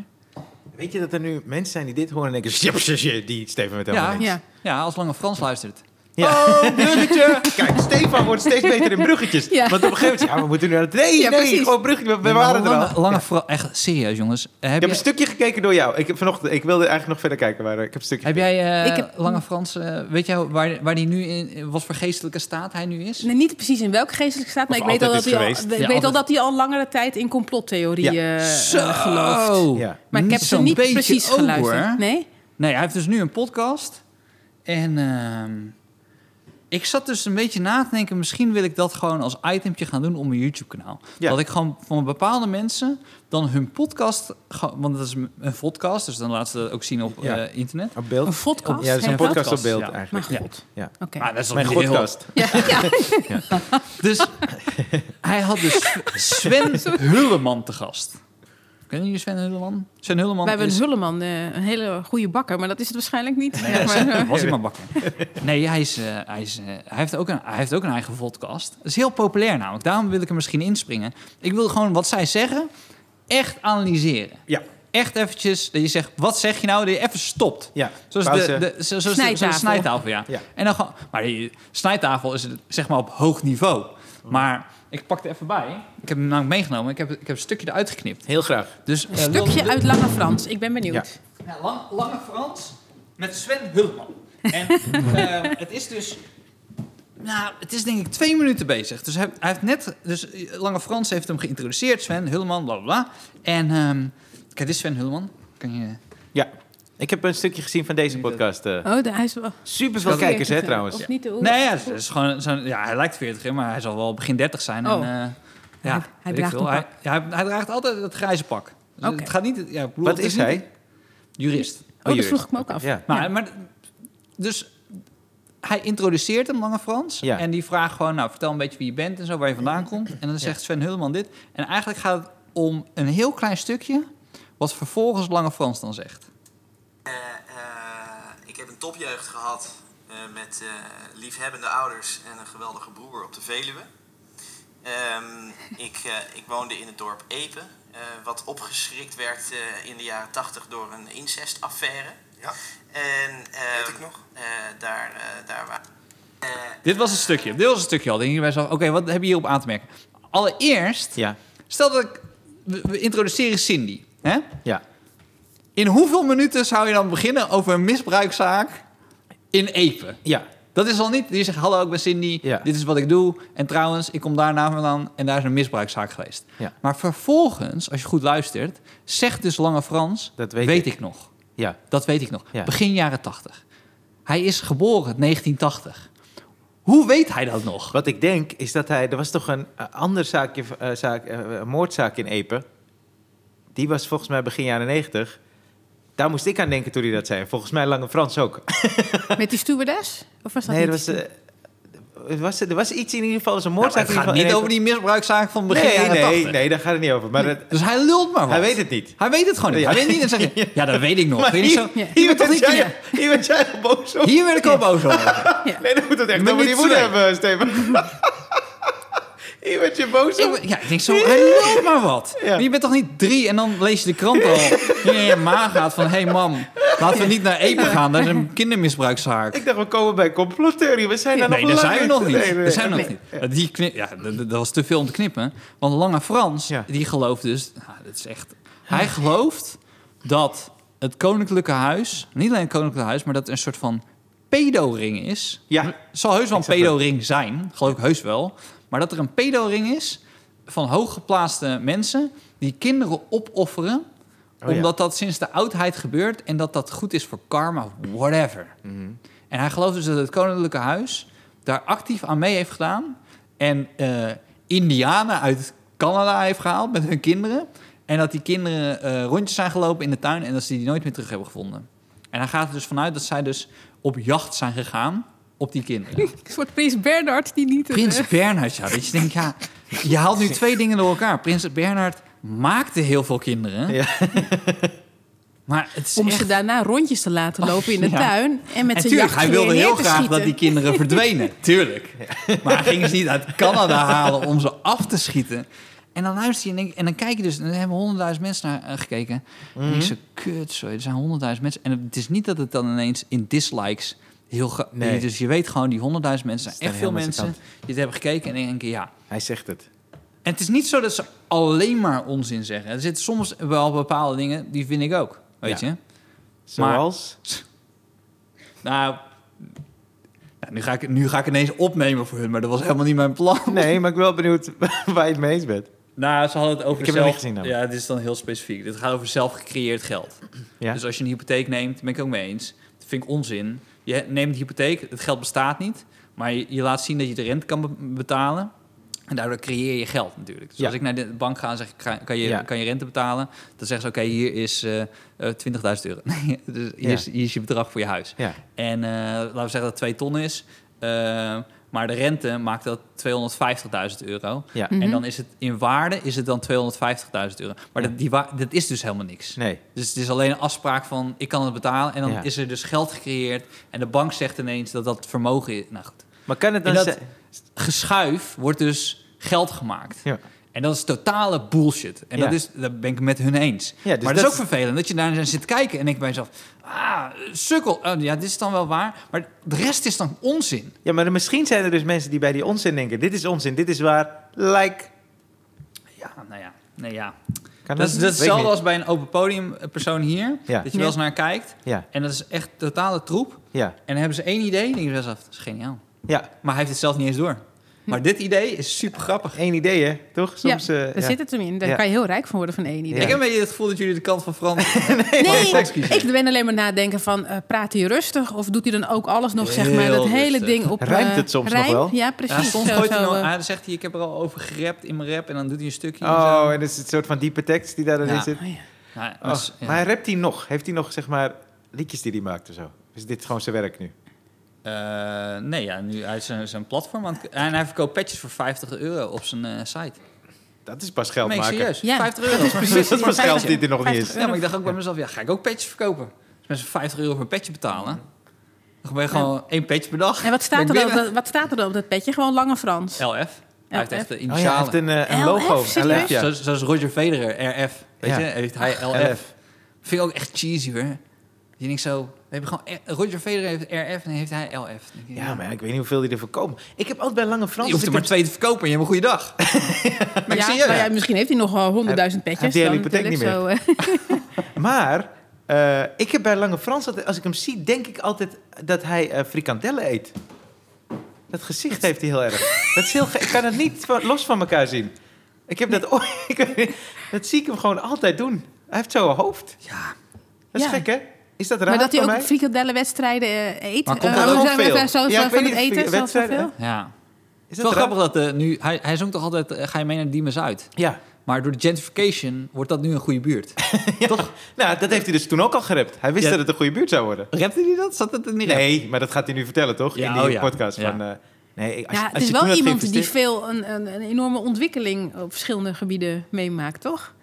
A: Weet je dat er nu mensen zijn die dit horen en denken... "Sjep, sjep, sjep, die Steven met helemaal
B: Ja.
A: niks."
C: ja.
B: Ja, als Lange Frans luistert.
A: Ja.
B: [LAUGHS] Oh, bruggetje!
A: Kijk, Stefan wordt steeds beter in bruggetjes.
C: Ja.
A: Want op een gegeven moment, ja, we moeten nu naar het... Nee,
C: Ja,
A: nee,
C: precies.
A: gewoon bruggetjes, we, we waren er al.
B: Lange, Lange Frans, echt serieus jongens. Heb,
A: Ik heb
B: je-
A: een stukje gekeken door jou. Ik, heb vanochtend, ik wilde eigenlijk nog verder kijken, maar eh, ik heb een stukje
B: heb jij eh,
C: Ik heb-
B: Lange Frans, eh, weet jij waar, waar die nu in, wat voor geestelijke staat hij nu is?
C: Nee, niet precies in welke geestelijke staat, maar
A: Of
C: ik weet, al dat
A: altijd
C: hij al,
A: is
C: ik
B: Ja,
C: weet al
B: altijd.
C: dat hij al langere tijd in complottheorieën eh, gelooft.
B: Zo.
A: Ja.
C: Maar ik heb
B: Niet
C: ze
B: zo'n
C: niet
B: beetje
C: precies
B: ook,
C: geluisterd.
B: hoor.
C: Nee?
B: Nee, hij heeft dus nu een podcast. En ehm, ik zat dus een beetje na te denken... misschien wil ik dat gewoon als itempje gaan doen op mijn YouTube-kanaal.
A: Ja.
B: Dat ik gewoon van bepaalde mensen dan hun podcast... ge- Want dat is een een podcast, dus dan laten ze dat ook zien op
A: Ja.
B: eh, internet.
A: op beeld.
C: Een podcast?
A: Ja, dat is een
B: Ja,
A: podcast op
B: podcast,
A: beeld
B: ja.
A: eigenlijk.
B: Ja.
C: Oké.
B: Maar dat is
A: Mijn
B: toch niet heel-
A: podcast.
C: Ja. [LAUGHS] Ja.
B: Dus hij had dus Sven Hulleman te gast. Kennen jullie Sven Hulleman? Sven Hulleman
C: We hebben
B: is...
C: een Hulleman, eh, een hele goede bakker, maar dat is het waarschijnlijk niet.
B: dus- Nee,
C: Ja, maar, eh,
B: was hij maar bakker. Nee, hij, is, eh, hij, is, eh, hij, heeft ook een, hij heeft ook een eigen podcast. Dat is heel populair namelijk. Daarom wil ik er misschien inspringen. Ik wil gewoon wat zij zeggen echt analyseren.
A: Ja.
B: Echt eventjes dat je zegt, wat zeg je nou? Dat je even stopt.
A: Ja,
B: Zoals
A: pauze.
B: de, de, zo- zoals de-
C: Snijtafel.
B: zo'n snijtafel, ja.
A: Ja.
B: En dan gewoon, maar die snijtafel is het, zeg maar op hoog niveau. Maar ik pak er even bij. Ik heb hem namelijk meegenomen. Ik heb, ik heb een stukje eruit geknipt.
A: Heel graag.
B: Dus, eh,
C: Stukje uit Lange Frans, ik ben benieuwd.
B: ja, lang, Lange Frans met Sven Hulman. [LAUGHS] En eh, het is dus... Nou, het is denk ik twee minuten bezig. Dus hij, hij heeft net... Dus eh, Lange Frans heeft hem geïntroduceerd. Sven Hulman, bla bla bla. En ehm, kijk, dit is Sven Hulman. Kan je...
A: Ja. Ik heb een stukje gezien van deze
B: Niet dat-
A: podcast. eh.
C: Oh, daar hij is wel... eh,
A: Super veel kijkers, hè, trouwens.
C: Of niet de Oh,
B: Nee, ja, oh, het is gewoon zo'n- ja, hij lijkt 40, hè, maar hij zal wel begin 30 zijn. En,
C: Oh.
B: eh,
C: Hij-
B: ja,
C: hij
B: weet ik
C: draagt
B: veel.
C: een
B: Hij, ja, hij- hij draagt altijd het grijze pak. Dus
C: Oké.
B: Het gaat niet... Ja, ik bedoel,
A: Wat
B: het
A: is
B: niet-
A: hij?
B: Jurist.
C: Oh, dat
A: jurist.
C: vroeg ik me ook af.
A: Ja.
B: Maar, maar dus hij introduceert hem, Lange Frans.
A: Ja.
B: En die vraagt gewoon, nou, vertel een beetje wie je bent en zo, waar je vandaan komt. En dan zegt Sven Hulman dit. En eigenlijk gaat het om een heel klein stukje, wat vervolgens Lange Frans dan zegt.
D: Eh, eh, ik heb een topjeugd gehad eh, met eh, liefhebbende ouders en een geweldige broer op de Veluwe. Ehm, [LAUGHS] ik, eh, ik woonde in het dorp Epen, eh, wat opgeschrikt werd eh, in de jaren tachtig door een incestaffaire.
E: Ja.
D: En, ehm,
E: Weet ik nog.
D: eh, daar, eh daar waren...
B: Dit was een stukje, dit was een stukje al. Denk je bij jezelf, oké, wat heb je hierop aan te merken? Allereerst,
A: Ja.
B: stel dat ik, we, we introduceren Cindy. Hè?
A: Ja.
B: In hoeveel minuten zou je dan beginnen over een misbruikzaak in Epen?
A: Ja.
B: Dat is al niet. Die zegt: Hallo, ik ben Cindy.
A: Ja.
B: Dit is wat ik doe. En trouwens, ik kom daarna vandaan. En daar is een misbruikzaak geweest.
A: Ja.
B: Maar vervolgens, als je goed luistert, zegt dus Lange Frans:
A: Dat weet ik.
B: ik. nog.
A: Ja.
B: Dat weet ik nog.
A: Ja.
B: Begin jaren 80. Hij is geboren in 1980. Hoe weet hij dat nog?
A: Wat ik denk is dat hij. Er was toch een eh, ander zaakje, eh, zaak, eh, een moordzaak in Epen. Die was volgens mij begin jaren 90. Daar moest ik aan denken toen hij dat zei. Volgens mij Lange Frans ook.
C: Met die stewardess? Of was dat
A: nee, er
C: niet
A: was,
C: die
A: eh, er was, er was iets in ieder geval. Er was een
B: Nou,
A: moordzaak.
B: het gaat niet over die misbruikzaak van begin
A: Nee,
B: jaren
A: nee,
B: 80.
A: nee, daar gaat het niet over. Maar dat-
B: Dus hij lult maar wat.
A: hij weet het niet.
B: Hij weet het gewoon niet.
A: [LAUGHS] Ja.
B: Hij weet niet en zegt... Ja, dat weet ik nog.
A: Maar
B: Weet Oh, je
A: hier,
B: zo-
A: hier,
B: hier, werd
A: werd
B: toch niet-
A: jij, hier werd jij al boos op.
B: [LAUGHS] hier werd ik al boos over.
A: Nee, dan moet het echt
B: Minuut
A: over die moeder
B: twee.
A: hebben, Steven. [LAUGHS] hier werd je boos op.
B: Ik- Ja, ik denk zo, hij loopt maar wat.
A: Ja. [LAUGHS]
B: Je bent toch niet drie en dan lees je de krant al. Die in je ma gaat van, hé hey, mam, Laten we niet naar Epe gaan, dat is een kindermisbruikszaak.
A: Ik dacht, we komen bij complottheorie. We zijn daar
B: nee,
A: nog
B: daar
A: lang
B: zijn we nog niet.
A: Nee, nee,
B: Daar zijn we nog
A: nee.
B: niet. Die knip, ja, dat, dat was te veel om te knippen. Want Lange Frans,
A: Ja.
B: die gelooft dus... Nou, dat is echt, hij gelooft dat het Koninklijke Huis... Niet alleen het Koninklijke Huis, maar dat er een soort van pedo-ring is.
A: Ja.
B: Het zal heus wel een
A: Ik zag dat.
B: pedo-ring zijn, geloof ik heus wel. Maar dat er een pedo-ring is van hooggeplaatste mensen... die kinderen opofferen...
A: Oh, ja.
B: omdat dat sinds de oudheid gebeurt... en dat dat goed is voor karma, whatever.
A: Mhm.
B: En hij gelooft dus dat het Koninklijke Huis daar actief aan mee heeft gedaan. En eh, Indianen uit Canada heeft gehaald met hun kinderen. En dat die kinderen eh, rondjes zijn gelopen in de tuin en dat ze die nooit meer terug hebben gevonden. En hij gaat er dus vanuit dat zij dus op jacht zijn gegaan op die kinderen.
C: Een soort prins Bernard die
B: [LAUGHS]
C: niet... eh,
B: Prins Bernhard, ja. Dat je denkt, ja, je haalt nu twee dingen door elkaar. Prins Bernhard maakte heel veel kinderen.
A: Ja.
B: Maar het is
C: om
B: echt...
C: ze daarna rondjes te laten lopen in de
B: ja.
C: tuin. En met
B: En
C: zijn
B: tuurlijk,
C: jacht
B: hij wilde heel
C: te
B: graag
C: schieten.
B: dat die
C: [LAUGHS]
B: kinderen verdwenen. Tuurlijk. Maar hij ging ze niet uit Canada halen om ze af te schieten. En dan luister je en, denk, en dan kijk je dus... En er hebben honderdduizend mensen naar eh, gekeken. En ik zo,
A: Mhm.
B: kut, sorry, er zijn honderdduizend mensen. En het is niet dat het dan ineens in dislikes heel... ge-
A: Nee.
B: Dus je weet gewoon, die honderdduizend mensen zijn
A: Staan
B: echt veel
A: helemaal aan zijn
B: mensen... die het hebben gekeken en denken, ja...
A: Hij zegt het.
B: En het is niet zo dat ze alleen maar onzin zeggen. Er zitten soms wel bepaalde dingen, die vind ik ook, weet
A: Ja.
B: je.
A: Zoals?
B: Nou, nou, nu, ga ik, nu ga ik ineens opnemen voor hun, maar dat was helemaal niet mijn plan.
A: Nee, maar ik ben wel benieuwd [LAUGHS] waar je het mee eens bent.
B: Nou, ze hadden het over
A: Ik heb het
B: zelf...
A: nog niet gezien, namelijk.
B: Ja, dit is dan heel specifiek. Dit gaat over zelfgecreëerd geld.
A: Ja.
B: Dus als je een hypotheek neemt, ben ik ook mee eens. Dat vind ik onzin. Je neemt de hypotheek, het geld bestaat niet. Maar je, je laat zien dat je de rente kan be- betalen. En daardoor creëer je geld natuurlijk. Dus
A: Ja.
B: als ik naar de bank ga en zeg, ik ga- kan je,
A: Ja.
B: kan je rente betalen? Dan zeggen ze, oké, hier is eh, eh, 20.000 euro. [LAUGHS] Nee, dus hier,
A: Ja.
B: is, hier is je bedrag voor je huis.
A: Ja.
B: En eh, laten we zeggen dat het 2 ton is. Eh, maar de rente maakt dat 250.000 euro.
A: Ja.
B: En dan is het in waarde is het dan 250.000 euro. Maar dat, die wa- dat is dus helemaal niks.
A: Nee.
B: Dus het is alleen een afspraak van ik kan het betalen. En dan
A: Ja.
B: is er dus geld gecreëerd. En de bank zegt ineens dat dat vermogen is. Nou goed.
A: Maar kan het dan...
B: En dat-
A: zijn-
B: Geschuif wordt dus geld gemaakt.
A: Ja.
B: En dat is totale bullshit. En
A: Ja.
B: dat, is, dat ben ik met hun eens.
A: Ja, dus
B: maar dat is
A: dat
B: ook vervelend dat je daar zit kijken en ik bij jezelf... Ah, sukkel. Oh, ja, dit is dan wel waar. Maar de rest is dan onzin.
A: Ja, maar misschien zijn er dus mensen die bij die onzin denken. Dit is onzin, dit is waar. Like.
B: Ja, nou ja. Nee, ja.
A: Kan
B: Dat is, dat is
A: Weet ik
B: hetzelfde
A: niet.
B: als bij een open podium eh, persoon hier.
A: Ja.
B: Dat je wel eens naar kijkt.
A: Ja,
B: En dat is echt totale troep.
A: ja,
B: En dan hebben ze één idee. En denk je bij jezelf, dat is geniaal.
A: ja.
B: Maar hij heeft het zelf niet eens door. Maar dit idee is super grappig.
A: Eén idee, hè? Toch? Soms,
C: ja,
A: eh,
C: daar
A: ja.
C: zit het hem in. Daar
A: Ja.
C: kan je heel rijk van worden van één idee.
A: Ja.
B: Ik heb een beetje het gevoel dat jullie de kant van Frans...
C: [LAUGHS] Nee,
B: Mag ik kiezen?
C: ik ben alleen maar nadenken van, eh, praat hij rustig? Of doet hij dan ook alles nog, zeg maar,
B: Heel
C: dat hele
B: rustig.
C: ding op... eh,
A: Rijmt het soms nog
C: rijm?
A: wel?
C: Ja, precies.
B: Ja, soms
C: Zo-
B: gooit hij
C: zo,
B: nog...
C: eh,
B: ah, dan zegt hij, ik heb er al over gerept in mijn rap. En dan doet hij een stukje. en zo.
A: Oh, en dat is het soort van diepe tekst die daarin
B: Ja.
A: zit.
C: oh ja.
B: Nou,
A: Oh,
B: dat is- ja.
A: Maar rapt hij nog? Heeft hij nog, zeg maar, liedjes die hij maakt of zo? Is dit gewoon zijn werk nu?
B: Eh, nee, ja, nu hij is zijn, zijn platform aan het- En hij verkoopt patches voor 50 euro op zijn eh, site.
A: Dat is pas geld
B: Nee,
A: maken.
B: serieus.
C: [LAUGHS] Ja.
B: 50 euro. voor een
A: Dus dat
B: patch.
A: was geld die er nog niet is.
B: Ja, maar ik dacht ook bij mezelf, ja, ga ik ook patches verkopen? Als mensen 50 euro voor een patch betalen... dan ben je gewoon één patch per dag.
C: En wat staat, er
B: Ben ik
C: dan, op
B: binnen.
C: dat- wat staat er dan op dat petje? Gewoon Lange Frans.
B: LF. Hij heeft echt de
A: Oh ja, hij
B: initialen.
A: heeft een, eh, een
C: LF,
A: logo.
C: serieus?
A: LF, ja.
B: Zoals, zoals Roger Federer, RF. Weet
A: Ja.
B: je, heeft hij LF.
A: LF.
B: Vind ik ook echt cheesy hoor. Je denkt zo, we hebben gewoon R- Roger Federer heeft RF en heeft hij LF. Dan denk je,
A: Ja, maar ik weet niet hoeveel die er verkopen. Ik heb altijd bij Lange Frans...
B: je hoeft er maar twee te verkopen en je hebt een goede dag. Maar ik
C: ja,
B: zie je.
C: nou ja, misschien heeft hij nog wel honderdduizend
A: Hij-
C: petjes.
A: hij
C: dan
A: heeft die hele hypotheek
C: natuurlijk zo, eh.
A: Maar eh, ik heb bij Lange Frans altijd, als ik hem zie, denk ik altijd dat hij eh, frikandellen eet. Dat gezicht heeft hij heel erg. Dat is heel ge- ik kan het niet van- los van elkaar zien. Ik heb dat ooit. [LAUGHS] ik weet niet, dat zie ik hem gewoon altijd doen. Hij heeft zo'n hoofd.
B: Ja.
A: Dat is
C: Ja.
A: gek, hè? Is dat
C: eh,
A: raar
C: maar dat hij
A: voor
C: ook
A: mij?
C: frikandellenwedstrijden eh, eet.
B: Maar komt
C: Eh,
B: dat
C: hoe
A: ook
C: zijn we
A: veel?
C: daar zo
A: Ja,
C: zo
A: ik
C: van
A: weet
C: het
A: niet,
C: eten? Zo
A: wedstrijden?
C: veel?
B: ja.
A: Is
B: Het is wel
A: raar?
B: grappig dat eh, nu, hij, hij zong toch altijd, eh, ga je mee naar Diemen Zuid?
A: Ja.
B: Maar door de gentrification wordt dat nu een goede buurt. Toch?
A: Nou, dat heeft hij dus toen ook al gerept. Hij wist
B: Ja.
A: dat het een goede buurt zou worden.
B: Repte hij dat? Zat dat er niet
A: Nee, maar dat gaat hij nu vertellen, toch?
B: Ja,
A: In die
B: oh ja.
A: podcast.
B: Ja.
A: Van, eh, nee, als,
C: Ja,
A: je-
C: het
A: als
C: is
A: je toen
C: wel
A: had
C: iemand die
A: geïnvesteerd-
C: veel een, een, een enorme ontwikkeling op verschillende gebieden meemaakt, toch?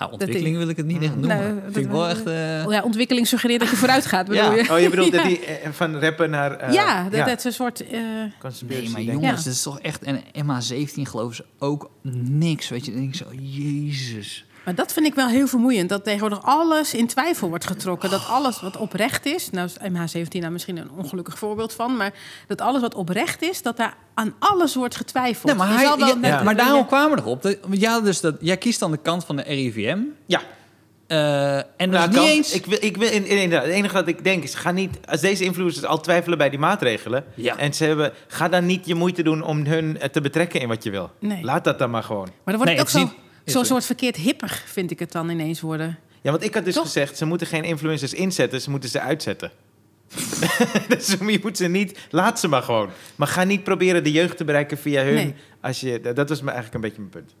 B: Ja, ontwikkeling wil ik het niet echt noemen.
C: Nou,
B: Vind
C: dat-
B: ik wel echt... eh,
C: Oh Ja, ontwikkeling suggereert dat je vooruit gaat, bedoel
B: Ja.
C: je?
A: Oh, je
C: [LAUGHS]
A: bedoelt dat
C: Ja.
A: hij eh, van rappen naar... eh,
C: ja, dat, dat is een soort... eh,
A: Conspiracy,
B: Nee, maar
A: denk ik.
B: jongens,
C: Ja.
B: het is toch echt... En MH17 geloven ze ook niks, weet je. Dan denk ik zo, jezus.
C: Maar dat vind ik wel heel vermoeiend. Dat tegenwoordig alles in twijfel wordt getrokken.
B: Oh.
C: Dat alles wat oprecht is. Nou is MH17 daar misschien een ongelukkig voorbeeld van. Maar dat alles wat oprecht is, dat daar aan alles wordt getwijfeld.
B: Nee, maar,
C: Je
B: hij,
C: zal wel
B: ja,
C: met-
B: ja, maar daarom kwamen we erop. Dat- want Ja, dus dat, jij kiest dan de kant van de RIVM.
A: Ja,
B: eh, en dat
A: nou,
B: is
C: dus
B: niet
A: kan.
B: eens...
A: Ik wil, ik wil, in, in- inderdaad, het enige wat ik denk is, ga niet, als deze influencers al twijfelen bij die maatregelen,
B: Ja.
A: en ze hebben, ga dan niet je moeite doen om hun eh, te betrekken in wat je wil.
C: Nee.
A: Laat dat dan maar gewoon.
C: Maar dan wordt
B: Nee,
C: het ook
B: het
C: zo'n
B: is niet-
C: zo zo'n soort verkeerd hipper, vind ik het dan ineens worden.
A: Ja, want ik had dus
C: Toch?
A: gezegd, ze moeten geen influencers inzetten, ze moeten ze uitzetten. [LAUGHS] dus je moet ze niet, laat ze maar gewoon. Maar ga niet proberen de jeugd te bereiken via hun.
C: Nee.
A: Als je, dat dat was me eigenlijk een beetje mijn punt.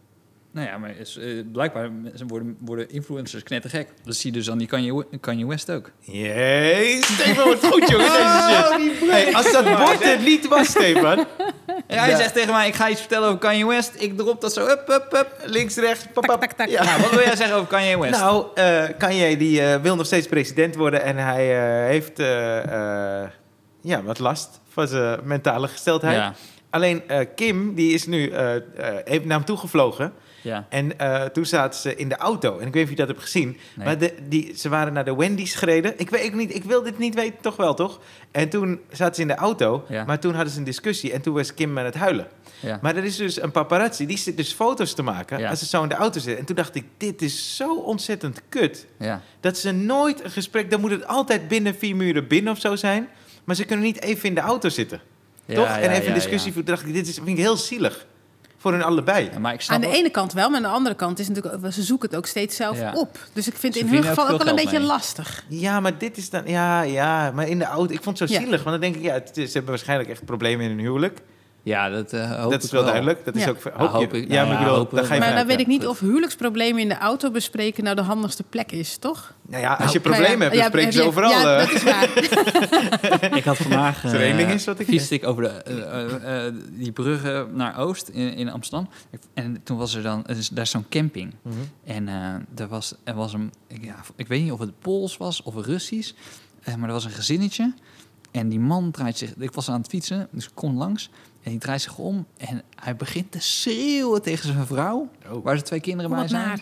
B: Nou ja, maar is, eh, blijkbaar mensen worden, worden influencers knettergek. Dat zie je dus aan die Kanye, Kanye West ook.
A: Jee, [LAUGHS] Stefan wordt goed, jongen, deze shit. Hey, als dat bord het niet was, Stefan.
B: Ja, hij zegt tegen mij, ik ga iets vertellen over Kanye West. Ik drop dat zo, up, up, up.
A: Links, rechts, pap, pap.
C: Tak, tak, tak.
A: Ja.
B: Nou, wat wil jij zeggen over Kanye West?
A: Nou, eh Kanye die, eh, wil nog steeds president worden en hij eh, heeft eh, eh, ja, wat last van zijn mentale gesteldheid.
B: ja,
A: Alleen eh, Kim die is nu eh, eh, even naar hem toe gevlogen.
B: ja.
A: En eh, toen zaten ze in de auto. En ik weet niet of je dat hebt gezien.
B: Nee.
A: Maar de, die, ze waren naar de Wendy's gereden. Ik, weet, ik, niet, ik wil dit niet weten, toch wel, toch? En toen zaten ze in de auto.
B: Ja.
A: Maar toen hadden ze een discussie. En toen was Kim aan het huilen.
B: ja.
A: Maar er is dus een paparazzi. Die zit dus foto's te maken
B: Ja.
A: als ze zo in de auto zitten. En toen dacht ik, dit is zo ontzettend kut.
B: ja.
A: Dat ze nooit een gesprek... Dan moet het altijd binnen vier muren binnen of zo zijn. Maar ze kunnen niet even in de auto zitten.
B: Ja,
A: toch?
B: ja,
A: en even
B: ja,
A: een discussie
B: ja.
A: voeren. Toen dacht ik, dit is, vind ik heel zielig. Voor hun allebei.
B: Ja, maar ik snap
C: Aan de
B: ook-
C: ene kant wel, maar aan de andere kant is natuurlijk, ze zoeken het ook steeds zelf
B: Ja.
C: op. Dus ik vind
B: Ze
C: het in hun
B: verdienen ook
C: geval ook
B: veel
C: wel een
B: geld
C: beetje
B: mee.
C: lastig.
A: Ja, maar dit is dan... Ja, ja, maar in de auto... Ik vond het zo
C: Ja.
A: zielig, want dan denk ik... Ja, het is- ze hebben waarschijnlijk echt problemen in hun huwelijk.
B: Ja, dat eh, hoop
A: dat is
B: ik
A: wel duidelijk. Dat is
C: Ja.
A: ook... Hoop,
B: Nou,
A: je-
B: hoop
A: ja,
B: ik- nou
A: maar ik
B: ja,
A: bedoel,
B: hopen
A: dan
B: we
A: ga je
B: maar.
C: Maar dan
A: vanuit,
C: weet
A: ja.
C: ik niet
B: goed.
C: of huwelijksproblemen in de auto bespreken nou de handigste plek is, toch?
A: Nou ja, als je
C: Nou,
A: problemen
C: ja,
A: hebt, dan
C: ja,
A: spreek je
C: heb
A: ze overal.
C: Ja,
A: eh.
C: dat is
A: [LAUGHS]
C: waar.
B: Ik had vandaag.
A: Als er één
B: eh,
A: ding is wat ik-
B: fietste ik over de, eh, eh, eh, die bruggen naar Oost in, in Amsterdam. Ik- En toen was er dan. er is- daar is zo'n camping.
A: Mhm.
B: En eh er was, er was een. Ik, ja, ik weet niet of het Pools was of Russisch. eh, maar er was een gezinnetje. En die man draait zich. Ik was aan het fietsen, dus ik kon langs. En die draait zich om. En hij begint te schreeuwen tegen zijn vrouw.
A: Oh.
B: Waar ze twee kinderen
C: Kom
B: bij
C: wat
B: zijn.
C: naar.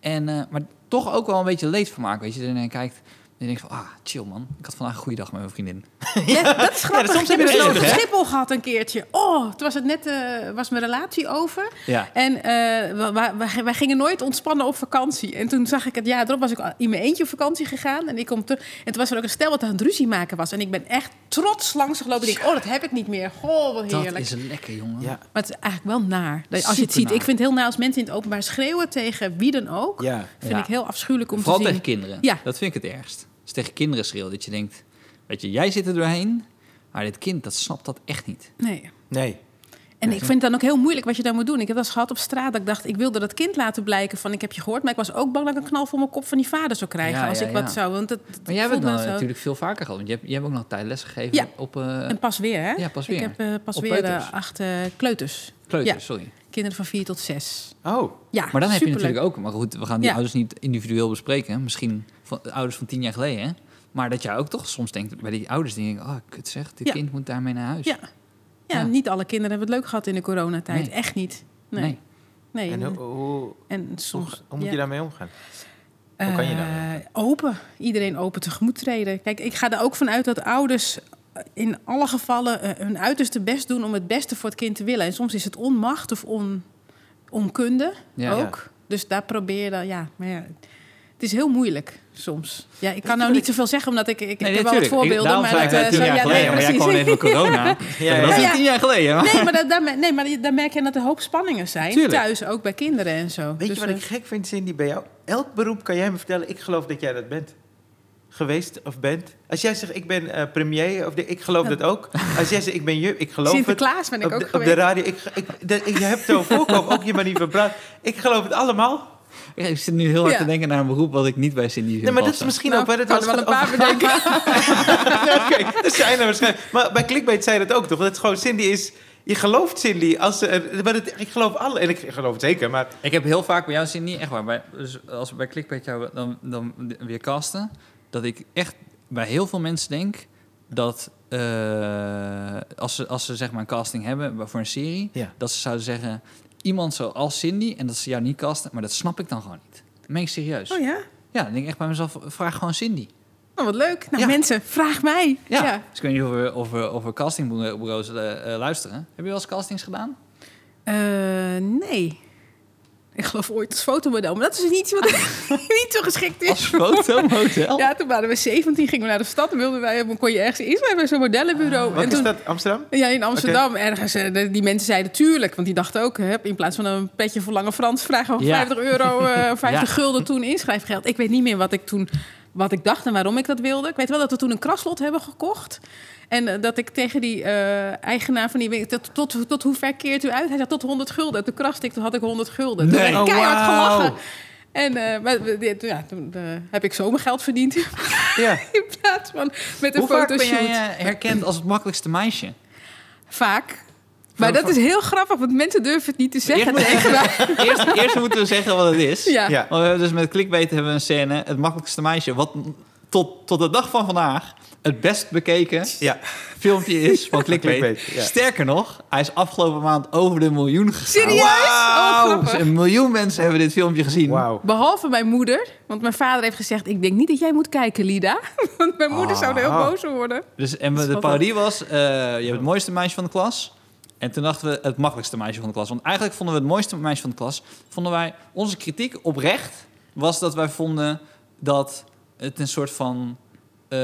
B: En, eh, maar toch ook wel een beetje leedvermaak, weet je. En je kijkt en je denkt van, ah, chill man. Ik had vandaag een goede dag met mijn vriendin.
C: Ja, dat is grappig.
A: soms
C: ik
A: heb
C: heb
A: je dat
C: het over
A: nodig, hè?
C: Schiphol gehad een keertje. Oh, toen was het net eh, was mijn relatie over.
B: Ja.
C: En eh, wa- wa- wa- wij gingen nooit ontspannen op vakantie. En toen zag ik het, ja, erop was ik al in mijn eentje op vakantie gegaan. En ik kom terug. En toen was er ook een stel wat aan het ruzie maken was. En ik ben echt trots langs gelopen. Ik denk, oh, dat heb ik niet meer. Goh, wat
B: Dat
C: heerlijk.
B: is lekker, jongen.
A: Ja,
C: Maar het is eigenlijk wel naar. Dat je- Als je het
B: Super
C: ziet,
B: naar.
C: ik vind het heel naar als mensen in het openbaar schreeuwen tegen wie dan ook.
A: ja.
C: Vind
B: Ja.
C: ik heel afschuwelijk om
B: Vooral
C: te zien.
B: tegen kinderen.
C: Ja.
B: Dat vind ik het ergst. Als tegen kinderen schreeuw dat je denkt, weet je, jij zit er doorheen, maar dit kind, dat snapt dat echt niet.
C: Nee.
A: Nee.
C: En ik vind het dan ook heel moeilijk wat je dan moet doen. Ik heb dat eens gehad op straat. Dat ik dacht, ik wilde dat kind laten blijken van ik heb je gehoord. Maar ik was ook bang dat ik een knal voor mijn kop van die vader zou krijgen.
B: Ja,
C: als
B: ja,
C: ik wat
B: ja.
C: zou. Want dat, dat
B: Maar jij
C: voelt
B: hebt het
C: me
B: dan
C: zo.
B: natuurlijk veel vaker gehad, want je hebt, je hebt ook nog tijdles gegeven
C: nou Ja.
B: op eh,
C: En pas weer, hè?
B: ja, pas
C: Ik
B: weer.
C: heb eh, pas
B: Op
C: weer
B: peuters.
C: eh, acht eh, kleuters.
B: kleuters,
C: ja.
B: sorry.
C: Kinderen van vier tot zes.
A: Oh.
C: Ja,
B: Maar dan heb je
C: superleuk.
B: natuurlijk ook, maar goed, we gaan die
C: Ja.
B: ouders niet individueel bespreken. Misschien van de ouders van tien jaar geleden, hè? Maar dat jij ook toch soms denkt bij die ouders, die denken, oh, kut zeg, dit
C: Ja.
B: kind moet daarmee naar huis.
C: Ja. Ja,
B: Ja.
C: niet alle kinderen hebben het leuk gehad in de coronatijd.
B: Nee.
C: Echt niet. Nee.
B: Nee.
C: Nee.
A: En hoe, hoe,
C: En
A: hoe,
C: soms...
A: hoe moet
C: ja.
A: je daarmee omgaan? Hoe kan je daarmee?
C: Eh, open. Iedereen open tegemoet treden. Kijk, ik ga er ook vanuit dat ouders eh, in alle gevallen eh, hun uiterste best doen om het beste voor het kind te willen. En soms is het onmacht of on, onkunde
B: Ja.
C: ook. Dus daar probeer je dan, ja, maar ja, het is heel moeilijk soms. Ja, ik kan nou niet zoveel zeggen, omdat ik, ik, ik
B: Nee,
C: heb wel wat
B: natuurlijk. Ik-
C: voorbeelden.
B: daarom
C: Maar
B: zei ik
C: dat,
B: net
C: eh,
B: tien
C: zo-
B: jaar
C: ja, nee,
B: geleden, maar jij
C: precies.
B: kwam even met corona.
A: Ja,
B: Dat
A: ja.
B: is
C: Ja, ja.
B: tien jaar geleden, hè?
C: [LAUGHS] Nee, maar, dat, daar, nee, maar daar merk je dat er hoop spanningen zijn.
B: Tuurlijk.
C: Thuis ook bij kinderen en zo.
A: Weet
C: Dus,
A: je wat
C: eh,
A: ik gek vind, Cindy, bij jou? Elk beroep kan jij me vertellen, ik geloof dat jij dat bent. Geweest of bent. Als jij zegt, ik ben eh, premier, of de- ik geloof dat ook. Als jij zegt, ik ben je, ik geloof het.
C: Sinterklaas ben ik
A: op,
C: ook
A: de, op de
C: geweest.
A: radio, ik, ik, dat- ik- je hebt zo voorkomen, ook je manier van praten. Ik geloof het allemaal.
B: Ja, ik zit nu heel hard
C: Ja.
B: te denken naar een beroep wat ik niet bij Cindy vind
A: Nee, maar dat is
B: passen.
A: misschien
C: Nou,
A: ook... waar het
C: ik kan er
A: alles
C: wel een
A: gaat
C: paar bedenken.
A: [LAUGHS] Nee, [LAUGHS] Oké, dat zijn er waarschijnlijk. Maar bij Clickbait zei dat ook toch? Dat het gewoon Cindy is. Je gelooft Cindy als ze. er- Maar het, ik geloof alle. En ik geloof het zeker. Maar
B: Ik heb heel vaak bij jou, Cindy, echt waar, bij, dus als we bij Clickbait jou dan, dan weer casten, dat ik echt bij heel veel mensen denk dat eh, als, ze, als ze zeg maar een casting hebben voor een serie,
A: Ja.
B: dat ze zouden zeggen, iemand zoals Cindy, en dat ze jou niet casten, maar dat snap ik dan gewoon niet. Meen ik serieus.
C: Oh ja?
B: Ja, dan denk ik echt bij mezelf, vraag gewoon Cindy.
C: Oh, wat leuk. Nou,
B: Ja.
C: mensen, vraag mij.
B: Ja. Dus ik weet niet of we, of we, of we castingbureaus eh, eh, luisteren. Heb je wel eens castings gedaan?
C: Eh, nee. Ik geloof ooit als fotomodel. Maar dat is niet iets wat [LAUGHS] niet zo geschikt is.
B: Als fotomodel?
C: Ja, toen waren we 17, gingen we naar de stad. En wilden wij, kon je ergens inschrijven bij zo'n modellenbureau.
A: Ah. Wat
C: en
A: is
C: toen,
A: dat, Amsterdam?
C: Ja, in Amsterdam ergens. eh, de- die mensen zeiden tuurlijk. Want die dachten ook, hè, in plaats van een petje voor Lange Frans... vragen we
B: Ja.
C: 50 euro,
B: [LAUGHS]
C: eh, of 50 gulden toen inschrijfgeld. Ik weet niet meer wat ik toen wat ik dacht en waarom ik dat wilde. Ik weet wel dat we toen een kraslot hebben gekocht. En eh, dat ik tegen die eh, eigenaar van die winkel... Tot, tot, tot hoe ver keert u uit? Hij zei tot 100 gulden. Toen kraste ik, toen had ik 100 gulden. Toen
B: Nee.
C: werd ik
B: Oh,
C: keihard
A: wauw.
C: gelachen. En eh, maar, we- dit- ja, toen eh, heb ik zo mijn geld verdiend. [LAUGHS]
A: Ja.
C: in plaats van met een
B: Hoe vaak ben
C: fotoshoot.
B: jij eh, herkend als het makkelijkste meisje?
C: Vaak. Maar dat is heel grappig, want mensen durven het niet te zeggen
B: Eerst-
C: tegen
B: [LAUGHS]
C: mij.
B: Eerst, [LAUGHS] eerst moeten we zeggen wat het is.
C: Ja.
A: Ja.
B: Want we hebben dus met clickbait hebben we een scène, het makkelijkste meisje, wat tot, tot de dag van vandaag het best bekeken
A: Ja.
B: filmpje is van clickbait.
A: Clickbait, ja.
B: Sterker nog, hij is afgelopen maand over de miljoen gegaan.
C: Serieus? Oh,
B: Wauw!
C: grappig.
B: een miljoen mensen hebben dit filmpje gezien.
A: Wauw.
C: Behalve mijn moeder, want mijn vader heeft gezegd... ik denk niet dat jij moet kijken, Lida. [LAUGHS] Want mijn moeder zou er heel
A: Ah.
C: boos om worden.
B: Dus, en we- de
C: Schattig.
B: parodie was, eh, je hebt het mooiste meisje van de klas. En toen dachten we, het makkelijkste meisje van de klas. Want eigenlijk vonden we het mooiste meisje van de klas... vonden wij, onze kritiek oprecht was dat wij vonden dat het een soort van... eh,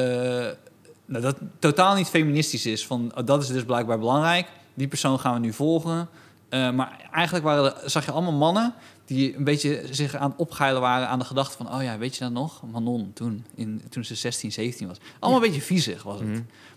B: nou, dat totaal niet feministisch is. Van, oh, dat is dus blijkbaar belangrijk. Die persoon gaan we nu volgen. Eh, maar eigenlijk waren, er- zag je allemaal mannen die een beetje zich aan het opgeilen waren aan de gedachte van... oh ja, weet je dat nog? Manon toen, in, toen ze 16, 17 was. Allemaal een beetje viezig was het.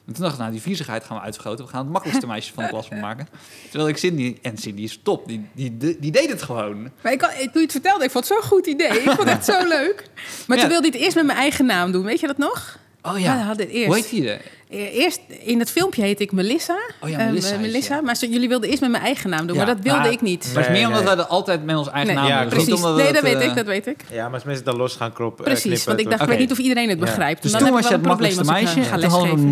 B: En toen dacht ik, nou, die viezigheid gaan we uitvergroten. We gaan het makkelijkste meisje van de klas van maken. Terwijl ik Cindy... En Cindy is top. Die, die, die, deed het gewoon.
C: Maar ik, had- toen je het vertelde, ik vond het zo'n goed idee. Ik vond het echt
B: [LAUGHS]
C: zo leuk. Maar
B: Ja.
C: toen wilde hij het eerst met mijn eigen naam doen. Weet je dat nog?
B: Oh
C: Ja, dat
B: ja.
C: had het
B: Hoe
C: eerst.
B: heet die? er?
C: Eh, Eerst in het filmpje heet ik Melissa.
B: Oh ja,
C: Eh,
B: Melissa
C: eh,
B: heet ze, ja.
C: Maar ze- jullie wilden eerst met mijn eigen naam doen,
B: Ja.
C: maar dat wilde
B: Maar-
C: ik niet.
B: Maar het is meer
A: Nee,
B: omdat
A: nee.
B: wij dat altijd met ons eigen
C: Nee,
B: naam
A: ja,
B: doen.
A: precies.
B: Niet
C: Precies.
B: omdat
C: Nee, dat
B: eh,
C: weet ik, dat weet ik.
A: Ja, maar als mensen het dan los gaan kroppen, eh,
C: Precies,
A: knippen,
C: want ik dacht,
A: dan-
C: ik weet niet of iedereen het
A: Ja.
C: begrijpt.
B: Dus
C: Dan
B: toen
C: heb ik
B: was je
C: wel
B: het
C: een probleem
B: makkelijkste
C: als ik
B: meisje.
C: ga
B: en toen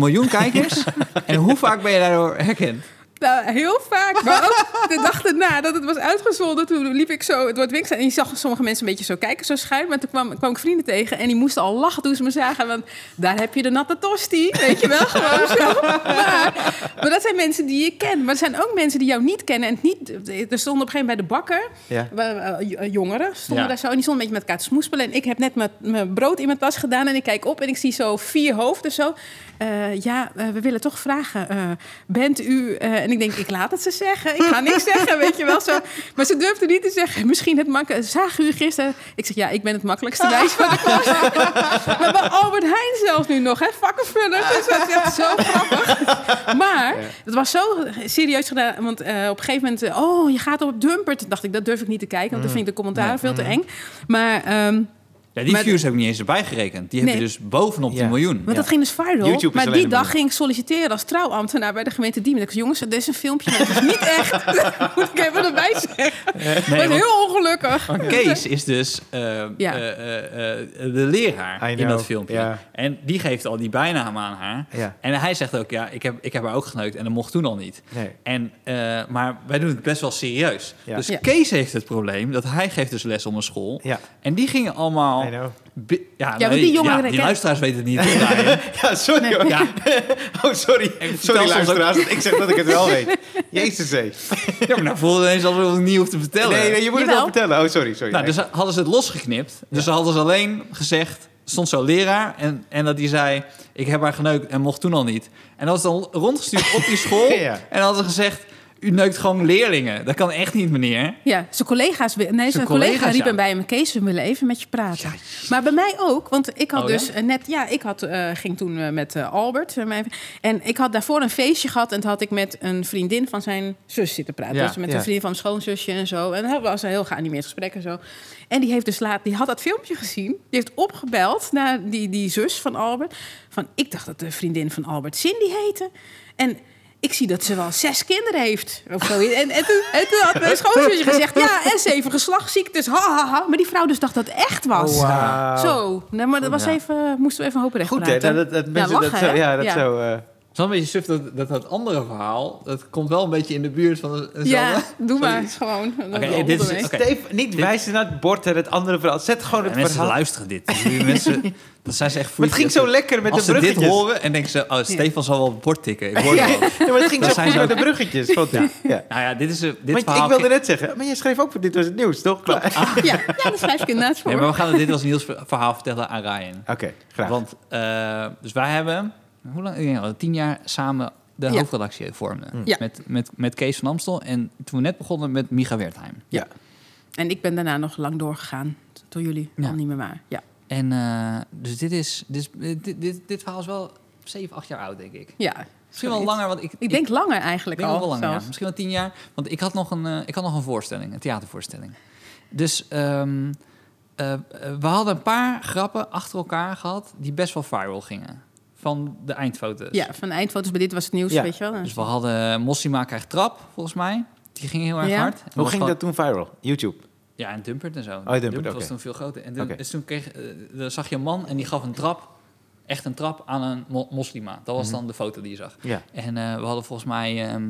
B: hadden we een
C: lesgeven.
B: miljoen kijkers.
C: [LAUGHS]
B: en hoe vaak ben je daardoor herkend?
C: Nou, heel vaak. Maar ook de dag erna dat het was uitgezonden, toen liep ik zo het wordt winkel en je zag sommige mensen een beetje zo kijken, zo schuin. Maar toen kwam, kwam ik vrienden tegen en die moesten al lachen toen ze me zagen. Want daar heb je de natte tosti, weet je wel, gewoon
B: [LAUGHS]
C: zo. Maar, maar dat zijn mensen die je kent. Maar er zijn ook mensen die jou niet kennen. En het niet, er stonden op een gegeven moment bij de bakker
A: Ja.
C: we- eh, j- eh, jongeren stonden
B: Ja.
C: daar zo. En die stonden een beetje met elkaar te smoespelen. En ik heb net mijn- mijn brood in mijn tas gedaan. En ik kijk op en ik zie zo vier hoofden zo. Eh, ja, eh, we willen toch vragen. eh, bent u... eh, en ik denk, ik laat het ze zeggen. Ik ga niks zeggen, weet je wel. Zo. Maar ze durfde niet te zeggen. Misschien het makkelijk. Zagen u gisteren? Ik zeg, ja, ik ben het makkelijkste wijs van de [LAUGHS] klas. maar bij Albert Heijn zelfs nu nog, hè. Vakkenvullers. Dus dat is echt zo grappig. Maar het was zo serieus gedaan. Want eh, op een gegeven moment, eh, oh, je gaat op Dumper. Toen dacht ik, dat durf ik niet te kijken.
A: Mm.
C: Want dan vind ik de commentaar veel te eng. Maar, ehm,
B: Ja, die
C: Maar-
B: views heb ik niet eens erbij gerekend. Die heb
C: Nee.
B: je dus bovenop
A: Ja.
B: die miljoen.
C: want dat ging dus viral.
A: YouTube is
C: maar
A: alleen
C: die
A: de
C: dag
A: moeder.
C: ging ik solliciteren als trouwambtenaar bij de gemeente Diemen. Ik dacht, jongens, dat is een filmpje, maar dat is niet echt. [LAUGHS] Dat moet ik even erbij zeggen.
B: Nee,
C: dat was
B: want
C: heel ongelukkig.
B: Kees is dus eh,
C: Ja.
B: eh, eh, eh, de leraar
A: I
B: in
A: know,
B: dat filmpje.
A: ja.
B: En die geeft al die bijnaam aan haar.
A: Ja.
B: En hij zegt ook, ja, ik heb, ik heb haar ook geneukt en dat mocht toen al niet.
A: Nee.
B: En, eh, maar wij doen het best wel serieus.
A: Ja.
B: Dus
C: Ja.
B: Kees heeft het probleem dat hij geeft dus les op een school.
A: Ja.
B: En die gingen allemaal...
A: I know.
B: bi- Ja,
C: want
B: nee,
C: die jongeren
B: ja, die
C: kennen-
B: luisteraars weten het niet. Brian.
A: [LAUGHS] Ja, [LAUGHS] sorry hoor.
B: ja,
A: Oh, sorry.
B: vertel
A: Sorry
B: soms
A: luisteraars, dat ik zeg dat ik het wel
B: [LAUGHS]
A: weet. Jezus, hé.
B: Ja, maar nou voelde ineens alsof ik het niet hoef te vertellen.
A: Nee, nee, je moet het wel
C: Jawel.
A: vertellen. Oh, sorry, sorry.
B: eh. Nou, dus hadden ze het losgeknipt. Dus ze hadden ze alleen gezegd, stond zo'n leraar en, en dat die zei, ik heb haar geneukt en mocht toen al niet. En dat was dan rondgestuurd [LAUGHS] op die school
A: Ja.
B: en dan hadden ze gezegd, u neukt gewoon leerlingen. Dat kan echt niet, meneer.
C: Ja, zijn collega's. Nee, zijn, collega
B: collega's,
C: riep
B: ja.
C: hem bij hem: Kees, we willen even met je praten. Maar bij mij ook, want ik had
B: Oh, ja?
C: dus eh, net. Ja, ik had, eh, ging toen eh, met eh, Albert. eh, mijn- en ik had daarvoor een feestje gehad. En toen had ik met een vriendin van zijn zus zitten praten.
A: Ja,
C: dus met
A: ja.
C: een vriendin van mijn schoonzusje en zo. En dat was een heel geanimeerd gesprek en zo. En die heeft dus laat, die had dat filmpje gezien. Die heeft opgebeld naar die, die zus van Albert. Van, ik dacht dat de vriendin van Albert Cindy heette. En ik zie dat ze wel zes kinderen heeft. Of zo. En, en, toen, en toen had mijn schoonzusje gezegd, ja, en zeven geslachtsziektes. Ha, ha, ha. Maar die vrouw dus dacht dat het echt was.
A: Oh, Wauw.
C: Zo, nee, maar dat was
B: Ja.
C: even, moesten we even hopen recht
A: Goed, hè?
C: praten.
A: Dat, dat, dat mensen dat
C: lachen,
A: zo...
C: hè?
A: Ja, dat
C: Ja.
A: zo... eh,
B: Het is wel een beetje suf dat, dat dat andere verhaal... dat komt wel een beetje in de buurt van... een- een
C: Ja,
B: zelfde-
C: doe maar
B: Sorry.
C: gewoon. Dan
B: Oké,
C: rommel
B: dit is- [LAUGHS]
C: ermee.
B: oké.
A: Steef, niet wijzen naar het bord en het andere verhaal. Zet gewoon
B: Ja,
A: het
B: mensen
A: verhaal.
B: luisteren dit. Dus die [LAUGHS] mensen, dat zijn ze echt
A: Maar het ging zo lekker met
B: Als
A: de
B: ze dit
A: bruggetjes.
B: horen en denken ze... Oh, Stefan zal wel op het bord tikken. Ik hoor het wel.
A: Ja, maar het ging
B: Dat
A: zo
B: zijn
A: goed
B: ze
A: met de
B: ook.
A: bruggetjes. Vond ik. Ja.
B: Nou ja, dit is... eh, Dit
A: Want
B: verhaal
A: ik wilde net zeggen, maar jij schreef ook voor dit was het nieuws, toch? Klaar.
C: Ja, ja, daar schrijf ik inderdaad voor.
B: Nee, maar we gaan het dit als Niels ver- verhaal vertellen aan Ryan.
A: [LAUGHS] Oké, graag.
B: Want, eh, dus wij hebben, hoe lang? Ik denk al tien jaar samen de
C: Ja.
B: hoofdredactie vormden.
C: Ja.
B: Met, met, met Kees van Amstel en toen we net begonnen met Micha Wertheim.
A: ja.
C: En ik ben daarna nog lang doorgegaan. Door jullie
B: Ja.
C: al niet meer waar. Ja.
B: En eh, dus dit is, dit, is- dit, dit, dit verhaal is wel zeven, acht jaar oud, denk ik.
C: ja.
B: Misschien wel
C: Zoiets.
B: langer, want ik,
C: Ik denk langer eigenlijk
B: denk
C: al.
B: ook wel langer. ja.
C: zelfs.
B: Misschien wel tien jaar, want ik had nog een, eh, ik had nog een voorstelling, een theatervoorstelling. Dus ehm, eh, eh, we hadden een paar grappen achter elkaar gehad die best wel viral gingen. Van de eindfoto's.
C: Ja, van eindfoto's, bij dit was het nieuws,
A: Ja.
C: weet je wel.
B: Dus we hadden Mossima krijgt trap, volgens mij. Die ging heel erg
C: Ja.
B: hard. En
A: Hoe
B: was
A: ging
B: gewoon-
A: dat toen viral? YouTube.
B: Ja, en Dumpert en zo. Oh,
A: Dumpert, oké.
B: was toen veel groter. En toen,
A: Oké.
B: dus toen kreeg, eh, dan zag je een man en die gaf een trap, echt een trap, aan een mo- moslima. Dat was
A: Mhm.
B: dan de foto die je zag.
A: Ja.
B: En eh, we hadden volgens mij ehm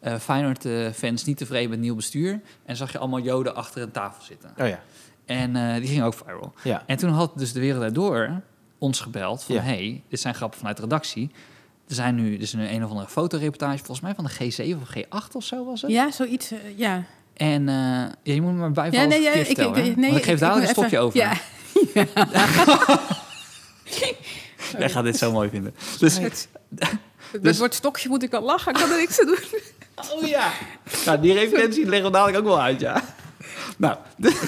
B: eh, Feyenoord-fans niet tevreden met het nieuw bestuur. En zag je allemaal joden achter een tafel zitten.
A: Oh ja.
B: En eh, die ging ook viral.
A: Ja.
B: En toen had dus de wereld daardoor ons gebeld van...
A: Ja.
B: hey, dit zijn grappen vanuit de redactie. Er zijn nu dus een, een of andere fotoreportage... volgens mij van de G7 of G8 of zo was het.
C: Ja, zoiets, eh, ja.
B: En eh, ja, je moet me maar bijvallen
C: ja,
B: ja,
C: ja,
B: ik, vertellen. hè? Want ik geef
C: moet
B: dadelijk een
C: even-
B: stokje over. [LAUGHS]
C: Ja.
B: Jij gaat dit zo mooi vinden. Dus,
C: Met woord stokje moet ik al lachen, ik kan er niks aan doen.
B: oh ja. Nou, die referentie leggen we dadelijk ook wel uit, ja. Nou, [LAUGHS]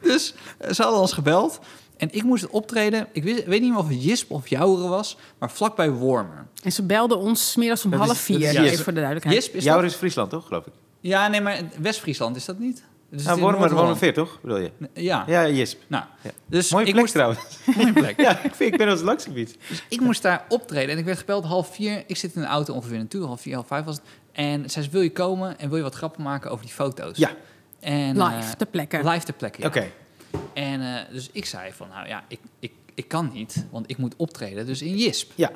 B: dus eh, ze hadden ons gebeld. En ik moest optreden. Ik wist, weet niet meer of het Jisp of Jouweren was, maar vlakbij Wormer.
C: En ze belden ons 's middags om
A: Dat is-
C: half vier,
A: dat is-
C: even
A: yes.
C: voor de duidelijkheid.
B: Jisp is
A: Jouw
B: dat?
A: is Friesland, toch? Geloof ik.
B: Ja, nee, maar West-Friesland is dat niet? Dus
A: Nou, Wormer, Wormer Veer, toch? Bedoel je?
B: Ja. ja.
A: Ja, Jisp.
B: Nou,
A: Ja.
B: dus
A: Mooie
B: ik
A: plek
B: moest,
A: trouwens. [LAUGHS]
B: [LAUGHS] mooie plek.
A: Ja, ik, vind, ik ben ons landsgebied.
B: Dus ik moest daar optreden en ik werd gebeld half vier. Ik zit in de auto ongeveer naartoe, half vier, half vijf was het. En zij zei, wil je komen en wil je wat grappen maken over die foto's?
A: Ja.
B: En, eh,
C: Live, ter plekke.
B: live ter plekke, ja.
A: Oké.
B: En eh, dus ik zei van, nou ja, ik, ik, ik kan niet, want ik moet optreden, dus in JISP.
A: Ja.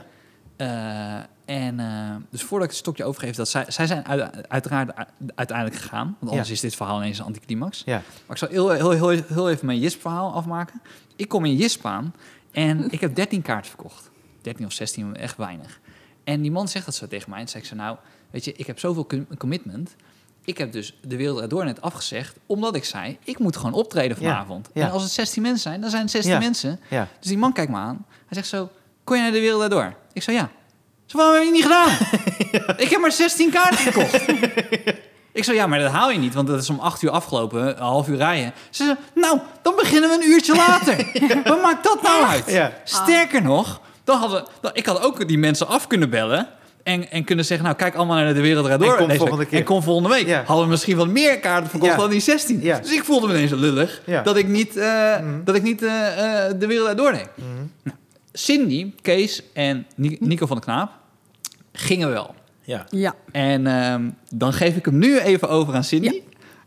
B: Eh, en eh, dus voordat ik het stokje overgeef, dat zij, zij zijn uit- uiteraard u- uiteindelijk gegaan. Want anders
A: Ja.
B: is dit verhaal ineens een anticlimax.
A: Ja.
B: Maar ik zal heel, heel, heel, heel even mijn JISP-verhaal afmaken. Ik kom in JISP aan
A: [LAUGHS]
B: en ik heb 13 kaarten verkocht. 13 of 16, echt weinig. En die man zegt dat zo tegen mij. En zei ik zo, nou, weet je, ik heb zoveel com- commitment. Ik heb dus de wereld erdoor net afgezegd, omdat ik zei, ik moet gewoon optreden
A: Ja,
B: vanavond.
A: ja.
B: En als het 16 mensen zijn, dan zijn het 16
A: Ja.
B: mensen.
A: Ja.
B: Dus die man kijkt me aan. Hij zegt zo, kon je naar de wereld daardoor? Ik zei, ja. Zo, waarom heb je het niet gedaan?
A: [LAUGHS]
B: Ik heb maar 16 kaarten gekocht. [LAUGHS] Ik zei, ja, maar dat haal je niet, want dat is om 8 uur afgelopen, een half uur rijden. Ze zei, nou, dan beginnen we een uurtje
A: [LAUGHS]
B: later. Wat maakt dat nou uit?
A: Ja.
B: Sterker nog, dan hadden, dan, ik had ook die mensen af kunnen bellen. En, en kunnen zeggen, nou, kijk allemaal naar de wereld Draait
A: En
B: Door
A: kom
B: deze
A: volgende
B: week.
A: keer.
B: En kom volgende week.
A: Ja.
B: Hadden we misschien wat meer kaarten verkocht
A: Ja.
B: dan die 16.
A: Ja.
B: Dus ik voelde me ineens lullig
A: Ja. Mhm.
B: dat ik niet, eh, dat ik niet eh, eh, de wereld Draait Door deed. Nou, Cindy, Kees en Ni-
A: Hm.
B: Nico van de Knaap gingen wel.
A: Ja.
C: Ja,
B: En ehm, dan geef ik hem nu even over aan Cindy.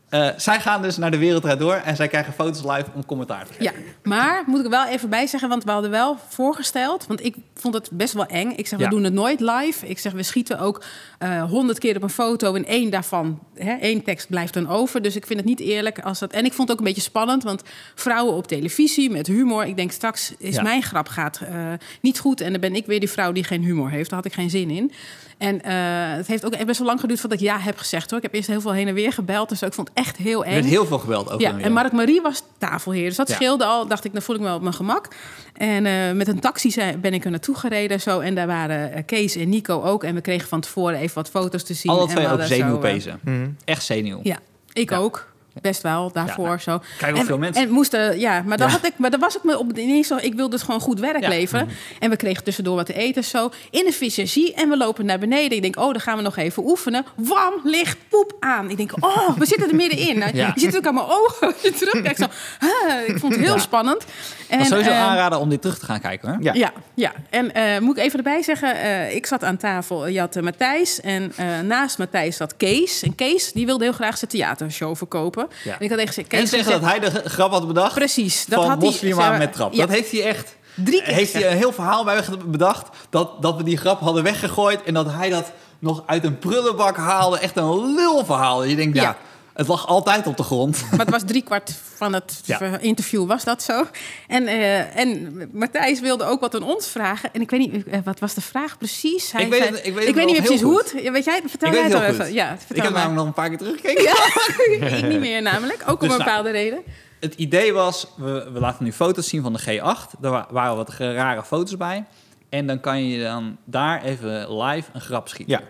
B: Eh, zij gaan dus naar de wereld Draait door en zij krijgen foto's live om commentaar te geven.
C: ja. Maar moet ik er wel even bij zeggen, want we hadden wel voorgesteld. Want ik vond het best wel eng. Ik zeg, we
B: Ja.
C: doen het nooit live. Ik zeg, we schieten ook eh, honderd keer op een foto. En één daarvan, hè, één tekst blijft dan over. Dus ik vind het niet eerlijk als dat. En ik vond het ook een beetje spannend. Want vrouwen op televisie met humor. Ik denk, straks is
B: Ja.
C: mijn grap gaat eh, niet goed. En dan ben ik weer die vrouw die geen humor heeft. Daar had ik geen zin in. En eh, het heeft ook best wel lang geduurd voordat ik ja heb gezegd hoor. Ik heb eerst heel veel heen en weer gebeld. Dus ik vond het echt heel
B: Er
C: eng.
B: werd heel veel geweld over.
C: Ja,
B: hem,
C: en Mark Marie was tafelheer. Dus dat
B: Ja.
C: scheelde al. Dacht ik, dan voel ik me wel op mijn gemak. En eh, met een taxi zijn- ben ik er naartoe gereden. Zo, en daar waren eh, Kees en Nico ook. En we kregen van tevoren even wat foto's te zien.
B: Alle
C: en
B: twee
C: we
B: ook
C: hadden zo,
B: zenuwpezen.
A: Mhm.
B: Echt zenuw.
C: eh, ja, ik
B: Ja.
C: ook. Best wel, daarvoor
B: Ja, nou,
C: zo.
B: kijk
C: en,
B: hoeveel mensen.
C: En moesten, ja, maar, dat
B: Ja.
C: Had ik, maar daar was ik me op ineens zo. Ik wilde dus gewoon goed werk
B: Ja. Mhm.
C: leveren. En we kregen tussendoor wat te eten zo. In een visagie en we lopen naar beneden. Ik denk, oh, dan gaan we nog even oefenen. Wam, ligt poep aan. Ik denk, oh, we zitten er middenin.
B: [LAUGHS]
C: Nou,
B: Ja.
C: Je ziet het ook aan mijn ogen. [LAUGHS] Als je terugkijkt zo. huh, ik vond het heel
B: Ja.
C: spannend. En,
B: Maar sowieso
C: eh,
B: aanraden om dit terug te gaan kijken hoor.
A: Ja.
C: ja, ja. En eh, moet ik even erbij zeggen, eh, ik zat aan tafel, je had eh, Matthijs en eh, naast Matthijs zat Kees. En Kees, die wilde heel graag zijn theatershow verkopen.
B: Ja.
C: En ik had tegen ze- Kees
B: En zeggen
C: gezegd-
B: dat hij de grap had bedacht
C: Precies. Dat
B: van
C: had hij-
B: moslima
C: zeg maar,
B: met trap.
C: ja.
B: Dat heeft hij echt.
C: Drie keer.
B: heeft hij een heel verhaal bij me bedacht dat, dat we die grap hadden weggegooid en dat hij dat nog uit een prullenbak haalde. Echt een lulverhaal. Je denkt, ja,
C: Ja.
B: het lag altijd op de grond.
C: Maar het was driekwart van het
B: Ja.
C: ver- interview, was dat zo. En, eh, en Matthijs wilde ook wat aan ons vragen. En ik weet niet, eh, wat was de vraag precies?
B: Ik weet
C: zei-
B: het- ik weet het nog
C: niet meer
B: heel
C: precies
B: goed.
C: hoe het... Ja, Weet jij, vertel
B: Ik
C: jij
B: weet het
C: het wel
B: heel goed.
C: even. Ja,
B: Ik
C: vertel
B: heb
C: maar. [LAUGHS]
B: namelijk nog een paar keer teruggekeken.
C: ik niet meer namelijk,
B: [LAUGHS]
C: ook om
B: Dus
C: een
B: nou-
C: bepaalde reden.
B: Het idee was, we, we laten nu foto's zien van de G8. Daar wa- waren wat rare foto's bij. En dan kan je dan daar even live een grap schieten.
A: Ja.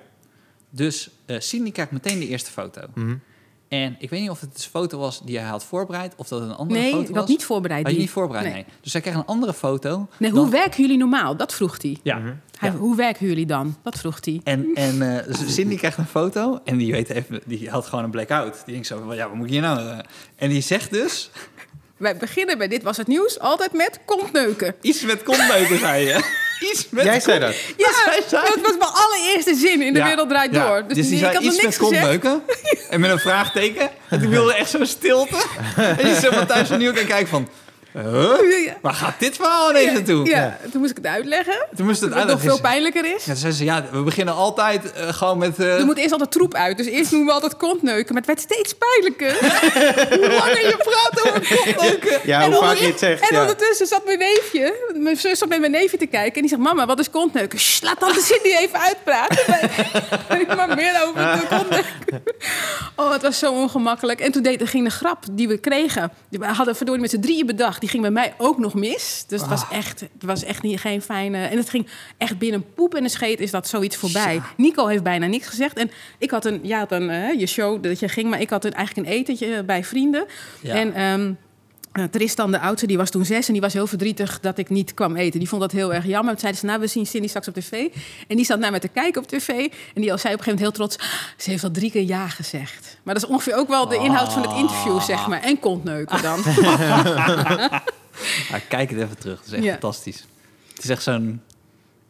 B: Dus eh Sidney kijkt meteen de eerste foto.
A: Mhm.
B: En ik weet niet of het een foto was die hij had voorbereid... of dat het een andere
C: Nee,
B: foto
C: ik
B: was.
C: had niet voorbereid.
B: Had je
C: die.
B: niet voorbereid, nee.
C: Nee.
B: Dus hij kreeg een andere foto.
C: Nee, hoe
B: dan-
C: werken jullie normaal? Dat vroeg hij.
B: Ja.
C: Hij,
B: Mhm. Ja.
C: Hoe werken jullie dan? Dat vroeg hij.
B: En, en eh, dus Cindy krijgt een foto en die, weet even, die had gewoon een blackout. Die denkt zo, ja, wat moet ik hier nou... eh? En die zegt dus
C: Wij beginnen bij Dit Was Het Nieuws altijd met
B: [LAUGHS]
C: kontneuken.
B: iets met kontneuken, zei je. [LAUGHS] Iets met
A: Jij zei dat.
C: Ja,
B: zij zei-
C: dat was mijn allereerste zin in De
B: Ja,
C: Wereld Draait
B: ja.
C: Door. Dus,
B: die
C: ik
B: zei
C: had nog
B: iets
C: niks
B: met
C: gezegd.
B: kontneuken
C: [LAUGHS]
B: en met een vraagteken. En toen wilde echt zo'n stilte. en die zei van thuis opnieuw gaan kijken van... huh?
C: [LAUGHS] Ja.
B: Waar gaat dit verhaal ineens naartoe?
C: Ja, toen moest ik het uitleggen.
B: Toen moest het
C: Dat het nog
B: uitleggen.
C: veel pijnlijker is.
B: Ja, toen zei ze, ja, we beginnen altijd eh, gewoon met... eh,
C: Er moet eerst altijd troep uit. Dus eerst noemen we altijd kontneuken. Maar het werd steeds pijnlijker. [LAUGHS] hoe langer je praat over kontneuken.
A: Ja,
C: En
A: hoe
C: onder-
A: vaak je het zegt,
C: En
A: ja.
C: ondertussen zat mijn neefje, mijn zus zat bij mijn neefje te kijken. En die zegt, mama, wat is kontneuken? Sst, laat tante Cindy even uitpraten. [LAUGHS] Maar- Ik maak meer
A: Ah.
C: over de kontneuken. Oh, het was zo ongemakkelijk. En toen deed, ging de grap die we kregen, die we hadden verdorie met z'n drieën bedacht, die ging bij mij ook nog mis. Dus het was echt, het was echt niet, geen fijne... En het ging echt binnen poep en een scheet is dat zoiets voorbij. Nico heeft bijna niks gezegd. En ik had een, ja, dan eh, je show dat je ging, maar ik had een, eigenlijk een etentje bij vrienden.
B: Ja.
C: En ehm, eh, Tristan, de oudste, die was toen zes en die was heel verdrietig dat ik niet kwam eten. Die vond dat heel erg jammer. Toen zeiden ze, nou, we zien Cindy straks op tv. En die zat naar me te kijken op tv. En die al zei op een gegeven moment heel trots, "Ah, ze heeft al drie keer ja gezegd. Maar dat is ongeveer ook wel de inhoud van het interview, zeg maar. En kontneuken dan.
B: Ja, kijk het even terug. Het is echt
C: Ja.
B: fantastisch. Het is echt zo'n...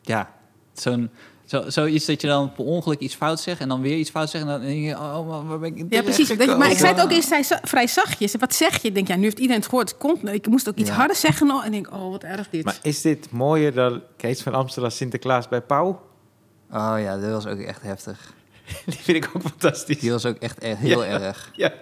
B: Ja, zo'n... Zo, zoiets dat je dan per ongeluk iets fout zegt en dan weer iets fout zegt. En dan denk je, oh, maar waar ben ik in
C: Ja, precies.
B: terecht
C: Dat je- maar ik zei het ook
B: gekomen?
C: eerst zei- za- vrij zachtjes. Wat zeg je? Ik denk, ja, nu heeft iedereen het gehoord. Komt, ik moest ook iets
A: Ja.
C: harder zeggen. nog. En ik denk, oh, wat erg dit.
A: Maar is dit mooier dan Kees van Amstel als Sinterklaas bij Pauw? [LAUGHS]
B: Oh ja, dat was ook echt heftig.
A: Die vind ik ook fantastisch.
B: Die was ook echt e- heel erg.
A: Ja.
C: dat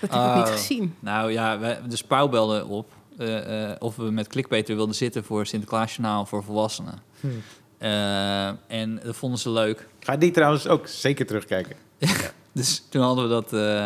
C: heb ik
B: Oh.
C: niet gezien.
B: [LAUGHS] Nou ja, wij, de spouw belde op eh, eh, of we met Clickbaiter wilden zitten voor Sinterklaasjournaal voor volwassenen.
C: Hmm.
B: Eh, en dat vonden ze leuk.
A: Ga die trouwens ook zeker terugkijken.
B: Dus toen hadden we dat eh,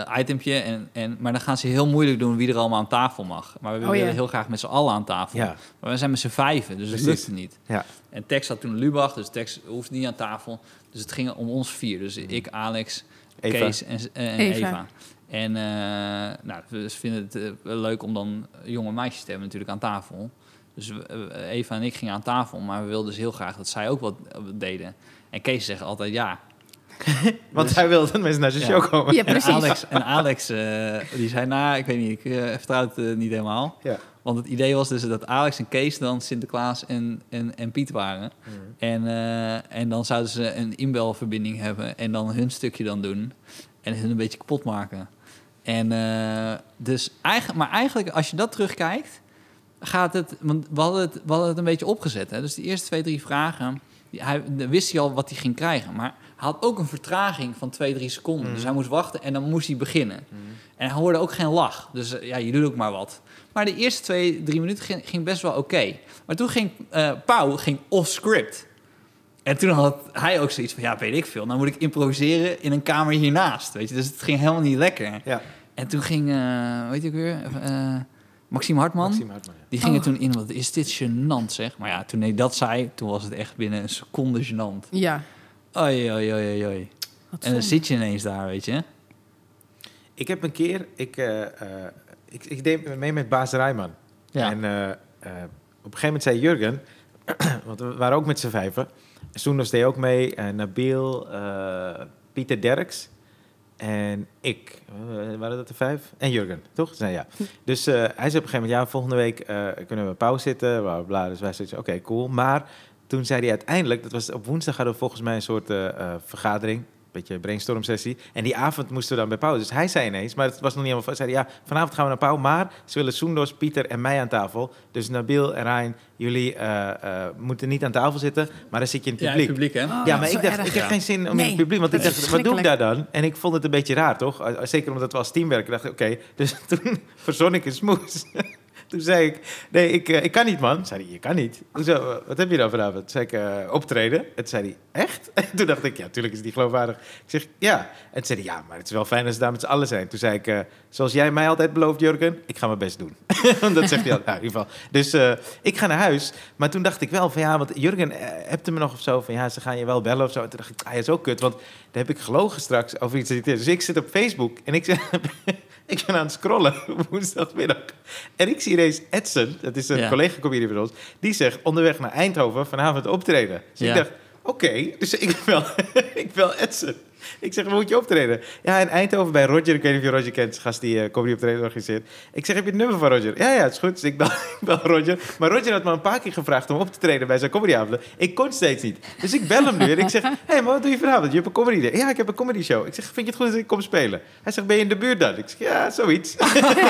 B: eh, itempje. En, en, maar dan gaan ze heel moeilijk doen wie er allemaal aan tafel mag. Maar we
C: Oh,
B: willen
C: ja.
B: heel graag met z'n allen aan tafel.
A: Ja.
B: Maar we zijn met z'n vijven, dus het
A: Precies.
B: lukte niet.
A: Ja.
B: En Tex had toen Lubach, dus Tex hoefde niet aan tafel. Dus het ging om ons vier. Dus ik, Alex,
A: Hmm. Eva.
B: Kees en, en Eva.
C: Eva.
B: En eh, nou, we vinden het eh, leuk om dan jonge meisjes te hebben natuurlijk aan tafel. Dus we- eh, Eva en ik gingen aan tafel, maar we wilden dus heel graag dat zij ook wat eh, deden. En Kees zegt altijd ja.
A: Want hij wil dat mensen naar zijn
B: Ja.
A: show komen.
C: Ja,
B: En
C: precies.
B: Alex, en Alex eh, die zei, nou, ik weet niet, ik eh, vertrouw het eh, niet helemaal.
A: Ja.
B: Want het idee was dus dat Alex en Kees dan Sinterklaas en, en, en Piet waren. En, eh, en dan zouden ze een inbelverbinding hebben en dan hun stukje dan doen. En hun een beetje kapot maken. En eh, dus eigenlijk, maar eigenlijk als je dat terugkijkt, gaat het, want we hadden het, we hadden het een beetje opgezet. Hè? Dus de eerste twee, drie vragen, die, hij, dan wist hij al wat hij ging krijgen. Maar hij had ook een vertraging van twee, drie seconden. Dus hij moest wachten en dan moest hij beginnen. En hij hoorde ook geen lach. Dus eh, ja, je doet ook maar wat. Maar de eerste twee, drie minuten ging, ging best wel oké. Maar toen ging eh Pauw ging off-script. En toen had hij ook zoiets van, ja, weet ik veel. Nou moet ik improviseren in een kamer hiernaast, weet je. Dus het ging helemaal niet lekker.
A: Ja.
B: En toen ging, eh weet ik weer, eh Maxime Hartman.
A: Maxime Hartman, ja.
B: Die gingen toen in, wat is dit gênant zeg. Maar ja, toen hij dat zei, toen was het echt binnen een seconde gênant.
C: Ja.
B: Oei, oei, oei, oei, oei.
C: Wat
B: En dan
C: zonde.
B: zit je ineens daar, weet je.
A: Ik heb een keer... Ik, eh, eh, ik, ik deed mee met Baas Rijman.
B: Ja.
A: En eh, eh, op een gegeven moment zei Jurgen... [CLEARS THROAT] want we waren ook met z'n vijven. Soenos deed ook mee. eh, Nabil, eh, Pieter Derks. En ik. Eh, waren dat de vijf? En Jurgen, toch? Ze zei ja. Dus eh, hij zei op een gegeven moment... Ja, volgende week eh, kunnen we pauw zitten. Bla, bla, bla. Dus wij zeiden, oké, cool. Maar toen zei hij uiteindelijk... Dat was op woensdag hadden we volgens mij een soort eh, eh, vergadering. beetje brainstorm sessie. En die avond moesten we dan bij Pauw. Dus hij zei ineens, maar het was nog niet helemaal... vast. Zei hij, ja, vanavond gaan we naar Pauw, maar ze willen Soendos, Pieter en mij aan tafel. Dus Nabil en Rijn, jullie eh, eh, moeten niet aan tafel zitten, maar dan zit je in het
B: Ja,
A: publiek.
B: het publiek, hè?
C: Oh,
A: Ja, maar
C: zo
A: ik dacht,
C: erg.
A: ik heb
B: Ja.
A: geen zin om in
C: Nee,
A: het publiek. Want ik
C: dat
A: dacht,
C: is
A: wat doe ik daar dan? En ik vond het een beetje raar, toch? Uh, Zeker omdat we als team werken. dacht ik, oké. Dus [LAUGHS] toen verzon ik een smoes. [LAUGHS] toen zei ik, nee, ik, eh, ik kan niet, man. Zei hij, je kan niet. Hoezo, eh, wat heb je dan vanavond? Toen zei ik, eh, optreden. En toen zei hij, echt? [LAUGHS] En toen dacht ik, ja, tuurlijk is die geloofwaardig. Ik zeg, ja. En toen zei hij, ja, maar het is wel fijn als ze daar met z'n allen zijn. Toen zei ik, eh, zoals jij mij altijd belooft, Jurgen, ik ga mijn best doen. [LAUGHS] dat zegt hij al, nou, in ieder geval. Dus eh, ik ga naar huis. Maar toen dacht ik wel van ja, want Jurgen eh, hebte me nog of zo. Van ja, ze gaan je wel bellen of zo. En toen dacht ik, ah, ja, zo kut. Want daar heb ik gelogen straks over iets. dat niet is. Dus ik zit [LAUGHS] op Facebook en ik, zeg- ik ben aan het scrollen [LAUGHS] woensdagmiddag. En ik zie ineens Edson, dat is een
B: Ja.
A: collega comedian van ons. Die zegt onderweg naar Eindhoven vanavond optreden. Dus
B: Ja.
A: ik dacht, oké. Dus ik [LAUGHS] bel, ik bel Edson. Ik zeg, moet je optreden? Ja, in Eindhoven bij Roger. Ik weet niet of je Roger kent, de gast die eh comedy optreden organiseert. Ik zeg, heb je het nummer van Roger? Ja, ja, het is goed. Dus ik bel, [LAUGHS] ik bel Roger. Maar Roger had me een paar keer gevraagd om op te treden bij zijn comedyavonden. Ik kon steeds niet. Dus ik bel hem nu en ik zeg, hé, hey, maar wat doe je vanavond? Je hebt een comedy day. Ja, ik heb een comedy show. Ik zeg, vind je het goed als ik kom spelen? Hij zegt, ben je in de buurt dan? Ik zeg, ja, zoiets.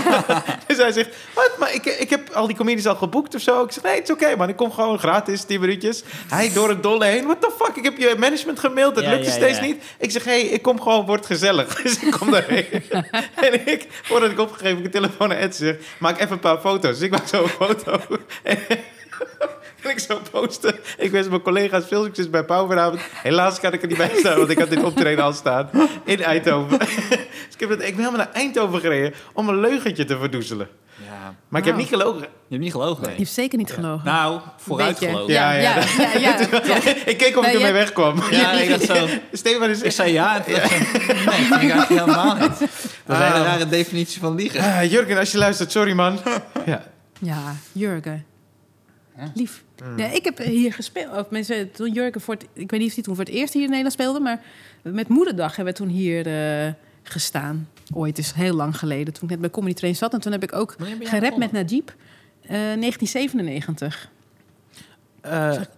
A: [LAUGHS] dus hij zegt, wat? Maar ik, ik heb al die comedies al geboekt of zo. Ik zeg, nee, het is oké, man. Ik kom gewoon gratis, 10 minuutjes. Hij door het dolle heen. What the fuck? Ik heb je management gemaild. Het
B: Ja,
A: lukte
B: ja,
A: steeds
B: ja.
A: niet. Ik zeg, hé, hey, ik kom gewoon, wordt gezellig. [LAUGHS] Dus ik kom daarheen.
B: [LAUGHS]
A: en ik, voordat ik opgegeven heb, ik een telefoon naar Ed zeg, maak even een paar foto's. Dus ik maak zo een foto. [LAUGHS] en ik zo posten. Ik wens mijn collega's veel succes bij Pauw vanavond. Helaas kan ik er niet bij staan, want ik had dit optreden al staan. In Eindhoven. [LAUGHS] dus ik, heb het, ik ben helemaal naar Eindhoven gereden om een leugentje te verdoezelen.
B: Ja.
A: Maar ik heb
C: Nou.
A: niet gelogen.
B: Je hebt niet gelogen.
C: Je hebt zeker niet gelogen.
B: Nou, vooruit
C: Beetje.
B: gelogen.
C: Ja,
A: Ja,
C: ja,
A: ja.
C: ja. ja, [LAUGHS] ja.
A: ik keek of
C: Nee,
A: ik ermee
C: je-
A: wegkwam.
C: [LAUGHS]
B: Ja, ik dacht zo.
A: Stefan is...
B: Ik zei ja en toen dacht ik, nee, dat vind ik eigenlijk [LAUGHS] helemaal niet. Dat is een hele
A: Ah.
B: rare definitie van liegen.
A: Ah, Jurgen, als je luistert, sorry
C: [LAUGHS]
A: man. ja.
C: Ja, Jurgen. Lief. Ja, ik heb hier gespeeld. Of mensen, toen Jurgen voor het, ik weet niet of hij toen voor het eerst hier in Nederland speelde, maar met Moederdag hebben we toen hier eh, gestaan. Ooit, is heel lang geleden, toen ik net bij Comedy Train zat. En toen heb ik ook
B: Wanneer ben jij
C: gerept met
B: begonnen?
C: Najib. eh 1997. goed?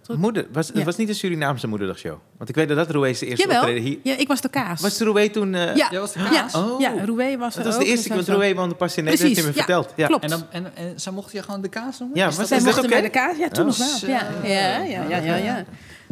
A: eh, moeder, was, het
C: Ja.
A: was niet de Surinaamse moederdagshow. Want ik weet dat dat Roué's eerste
C: Jawel.
A: optreden hier...
C: Ja, ik was de kaas.
A: Was Roué toen... eh,
C: ja,
B: Jij was de
C: ja,
B: kaas?
A: Oh.
C: ja, Roué was
A: Dat was
C: er
A: de
C: ook. dus
A: eerste
C: en
A: keer, want
C: zij was
A: Roué woonde pas in Nederland,
C: Precies,
A: heeft
C: ja,
A: hij me verteld. Ja.
C: klopt.
B: En, dan, en, en ze mochten je gewoon de kaas noemen?
A: Ja,
B: Is
A: maar
B: dat-
A: ze-
C: Zij
A: Is dat
C: mochten
A: oké?
C: bij de kaas. Ja, toen
A: Oh,
C: nog wel. Ja,
B: zo.
C: ja, ja, ja, ja, ja.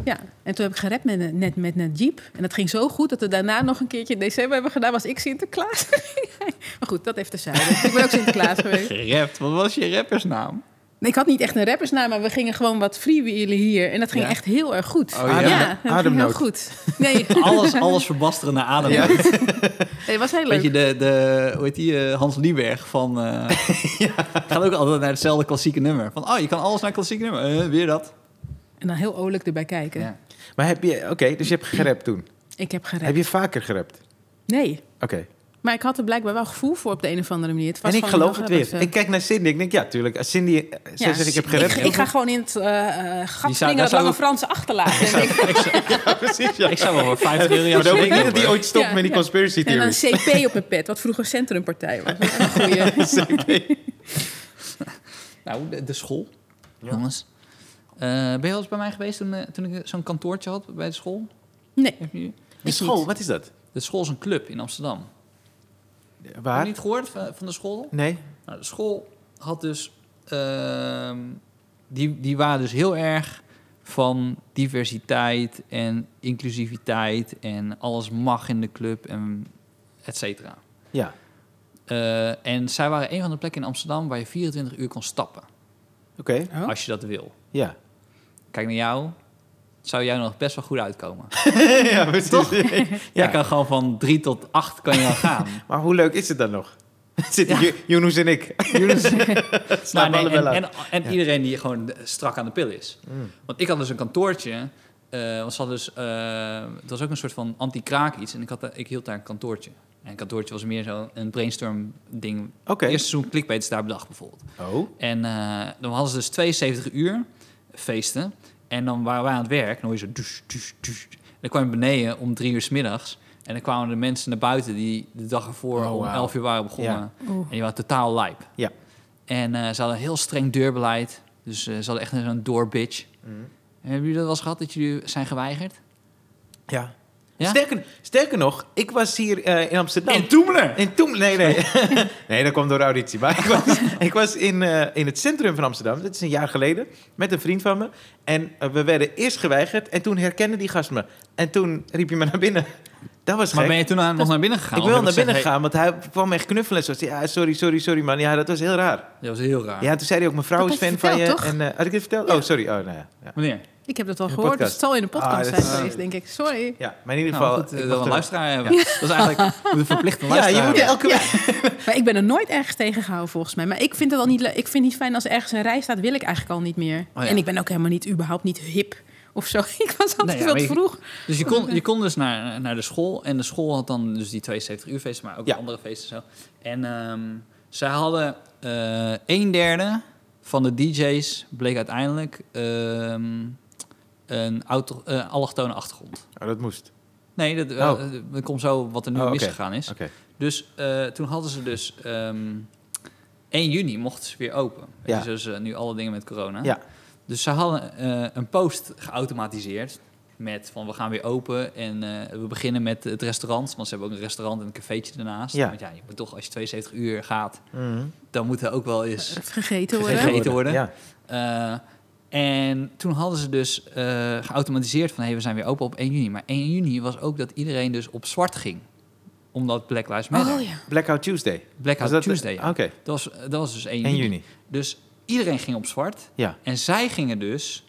C: Ja, en toen heb ik gerept met, een- net met een jeep. En dat ging zo goed dat we daarna nog een keertje in december hebben gedaan. Was ik Sinterklaas. [LAUGHS] maar goed, dat heeft terzijde. Ik ben ook Sinterklaas geweest.
B: Gerapt. Wat was je rappersnaam?
C: Nee, ik had niet echt een rappersnaam, maar we gingen gewoon wat freewheelen hier. En dat ging
B: Ja.
C: echt heel erg goed.
B: Oh, ja.
A: Adem-
C: dat ging heel
A: ademnood. [LAUGHS]
C: goed. Nee,
B: Alles, alles verbasteren naar adem.
A: Ja.
C: nee, was heel leuk.
B: Weet je, de, de, hoe heet die, eh, Hans Lieberg van... eh Gaat ook altijd naar hetzelfde klassieke nummer. Van, oh, je kan alles naar klassieke nummer. Eh, weer dat.
C: En dan heel oorlijk erbij kijken.
B: Ja.
A: Maar heb je... Oké, dus je hebt gerept toen.
C: Ik heb gerept.
A: Heb je vaker gerept?
C: Nee,
A: Oké.
C: maar ik had er blijkbaar wel gevoel voor op de een of andere manier. Het was
A: En ik
C: gewoon
A: geloof
C: heel
A: het
C: grappig,
A: weer.
C: zo.
A: Ik kijk naar Cindy. Ik denk, ja, tuurlijk. Als Cindy... eh, Zij
C: Ja,
A: zegt, ik heb
C: ik,
A: gerept.
C: ik
A: [LAUGHS]
C: [LAUGHS] ga gewoon in het eh
B: Die
C: eh, gat
B: zou-
C: springen
B: daar
C: dat lange
B: zou-
C: Franse
B: [LAUGHS]
C: achterlaten. En, ik-
A: Ja, precies, ja.
B: Ik zou wel voor 50 euro jouw
A: Maar dan hoop
B: cd
A: ik niet dat die
B: kopen.
A: ooit stopt
C: Ja,
A: met die
C: ja.
A: conspiracy
C: en dan
A: theories.
C: CP op mijn pet, wat vroeger Centrumpartij was. Dat is een
B: [LAUGHS]
C: goeie.
B: Nou, de, de school. Jongens. Eh, ben je wel eens bij mij geweest toen, eh, toen ik zo'n kantoortje had bij de school?
C: Nee,
B: Heb je-
A: De school, wat is dat?
B: De school is een club in Amsterdam. Heb
A: Waar?
B: je niet gehoord eh, van, van de school?
A: Nee.
B: Nou, de school had dus... ehm, die, die waren dus heel erg van diversiteit en inclusiviteit... en alles mag in de club en et cetera.
A: Ja.
B: Eh, en zij waren een van de plekken in Amsterdam... waar je 24 uur kon stappen,
A: Oké.
C: Oh.
B: als je dat wil.
A: Ja.
B: Kijk naar jou, zou jij nog best wel goed uitkomen.
A: ja, precies. [LAUGHS]
B: Jij kan gewoon van 3 tot 8 kan je al gaan.
A: Maar hoe leuk is het dan nog? [LAUGHS] Zitten Ju- Joenus en ik. [LAUGHS] Nou,
B: Maar
A: Slaap
B: nee,
A: allebei
B: en
A: uit. Mm.
B: en, en iedereen die gewoon strak aan de pil is. Want ik had dus een kantoortje. eh want ze hadden dus, eh, het was ook een soort van anti-kraak iets. En ik, had, daar- ik hield daar een kantoortje. En een kantoortje was meer zo'n een brainstorm ding.
A: Oké.
B: Eerste seizoen Clickbait is daar bedacht bijvoorbeeld.
A: Oh.
B: En eh, dan hadden ze dus 72 uur feesten. En dan waren wij aan het werk. En dan hoor je zo... Dus, dus, dus. En dan kwam je beneden om drie uur 's middags. En dan kwamen de mensen naar buiten die de dag ervoor
A: Oh,
B: om
A: wauw.
B: 11 uur waren begonnen.
A: Ja.
C: Oeh.
B: En die waren totaal lijp.
A: Ja.
B: En eh, ze hadden een heel streng deurbeleid. Dus eh, ze hadden echt
A: Mhm.
B: zo'n doorbitch. En Hebben jullie dat wel eens gehad, dat jullie zijn geweigerd?
A: Ja.
B: Ja?
A: Sterker, sterker nog, ik was hier eh, in Amsterdam.
B: In Toemelen!
A: In Toem, nee, nee. [LAUGHS] nee, dat kwam door de auditie. Maar ik was, [LAUGHS] ik was in, eh, in het centrum van Amsterdam, dat is een jaar geleden, met een vriend van me. En eh, we werden eerst geweigerd en toen herkende die gast me. En toen riep hij me naar binnen. Dat was
B: Maar
A: gek.
B: ben je toen aan, nog naar binnen gegaan?
A: ik wil naar
B: Want
A: binnen
B: hebben Nou, ze
A: gaan, want hij kwam me echt knuffelen. Zo. Ja, sorry, sorry, sorry man. Ja, dat was heel raar.
B: gezegd, hey, dat was heel raar.
A: Ja, toen zei hij ook, mijn vrouw
C: Dat
A: is
C: heb je
A: fan van je.
C: verteld, toch?
A: En, eh, had ik dit verteld? Oh, sorry. Oh, nou ja. ja.
B: Wanneer?
C: Ik heb dat al
A: de
C: gehoord, dus
A: podcast.
C: het zal in de
A: Ah,
C: podcast
A: dat
C: zijn
B: eh,
A: is-
C: geweest, denk ik. Sorry.
A: Ja, maar in ieder
B: Nou,
A: geval...
B: goed, eh,
A: ik
B: dat we
A: mocht
B: een
A: er-
B: luisteraar hebben. Dat is eigenlijk we moeten verplicht een
A: Ja,
B: luisteraar
A: je moet
B: hebben.
A: elke week...
C: Maar ik ben er nooit ergens tegengehouden, volgens mij. Maar ik vind het al niet leuk. Ik vind het niet fijn als ergens een rij staat, wil ik eigenlijk al niet meer.
B: Oh ja.
C: En ik ben ook helemaal niet, überhaupt niet hip of zo. [LAUGHS] Ik was altijd
B: Nee, ja,
C: veel
B: maar
C: te
B: je-
C: vroeg.
B: Dus je kon, je kon dus naar, naar de school. En de school had dan dus die 72 uur feesten, maar ook
A: Ja.
B: andere feesten en zo. En ehm zij hadden eh een derde van de DJ's bleek uiteindelijk ehm, een auto, eh, allochtone achtergrond.
A: Oh, dat moest.
B: Nee, dat, eh,
A: Oh.
B: eh, dat komt zo wat er nu
A: Oh, oké.
B: misgegaan is.
A: Oké.
B: Dus eh, toen hadden ze dus ehm 1 juni mochten ze weer open. Weet
A: Ja.
B: je, dus eh, nu alle dingen met corona.
A: Ja.
B: Dus ze hadden eh, een post geautomatiseerd met van we gaan weer open en eh, we beginnen met het restaurant. Want ze hebben ook een restaurant en een cafeetje ernaast.
A: Ja.
B: Want ja, je moet toch als je 72 uur gaat,
A: Mhm.
B: dan moet er ook wel eens
C: Vergeten worden.
B: Gegeten worden.
A: Ja.
B: eh, en toen hadden ze dus eh, geautomatiseerd van... hé, we zijn weer open op 1 juni. Maar 1 juni was ook dat iedereen dus op zwart ging. Omdat Black Lives Matter.
C: Oh ja.
A: Blackout Tuesday.
B: Blackout
A: Was dat- eh, oh,
B: Tuesday.
A: Oké,
B: ja. Dat, was, dat was dus 1 juni.
A: 1 juni.
B: Dus iedereen ging op zwart.
A: Ja.
B: En zij gingen dus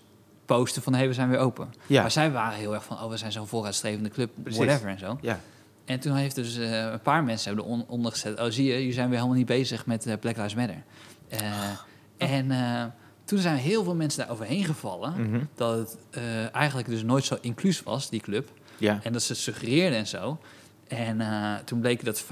B: posten van... hé, we zijn weer open.
A: Ja.
B: Maar zij waren heel erg van... oh, we zijn zo'n vooruitstrevende club,
A: Precies.
B: whatever en zo.
A: Ja.
B: En toen heeft dus eh, een paar mensen hebben eronder onder gezet... oh, zie je, jullie zijn weer helemaal niet bezig met eh, Black Lives Matter. Eh,
A: Ah.
B: En eh, toen zijn heel veel mensen daar overheen gevallen...
A: Mhm.
B: dat het eh, eigenlijk dus nooit zo inclusief was, die club.
A: ja.
B: En dat ze suggereerden en zo. En eh, toen bleek dat 15%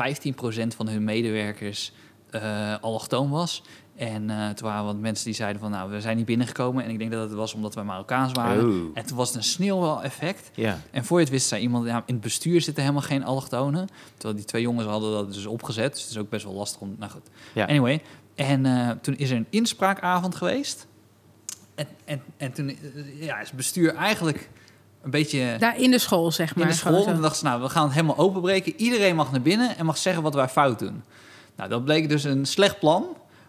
B: van hun medewerkers eh allochtoon was. En eh toen waren wat mensen die zeiden van... nou, we zijn niet binnengekomen. En ik denk dat het was omdat we Marokkaans waren.
A: Oh.
B: En toen was het een sneeuwwal-effect.
A: Ja.
B: En voor je het wist, zei iemand... ja, in het bestuur zitten helemaal geen allochtonen. Terwijl die twee jongens hadden dat dus opgezet. Dus het is ook best wel lastig om... Nou goed,
A: Ja.
B: anyway. En eh, toen is er een inspraakavond geweest. En, en, en toen eh, ja, is het bestuur eigenlijk een beetje...
C: Daar in de school, zeg maar.
B: In de school.
C: gewoon
B: En
C: zo.
B: toen dachten ze, nou, we gaan het helemaal openbreken. Iedereen mag naar binnen en mag zeggen wat wij fout doen. Nou, dat bleek dus een slecht plan.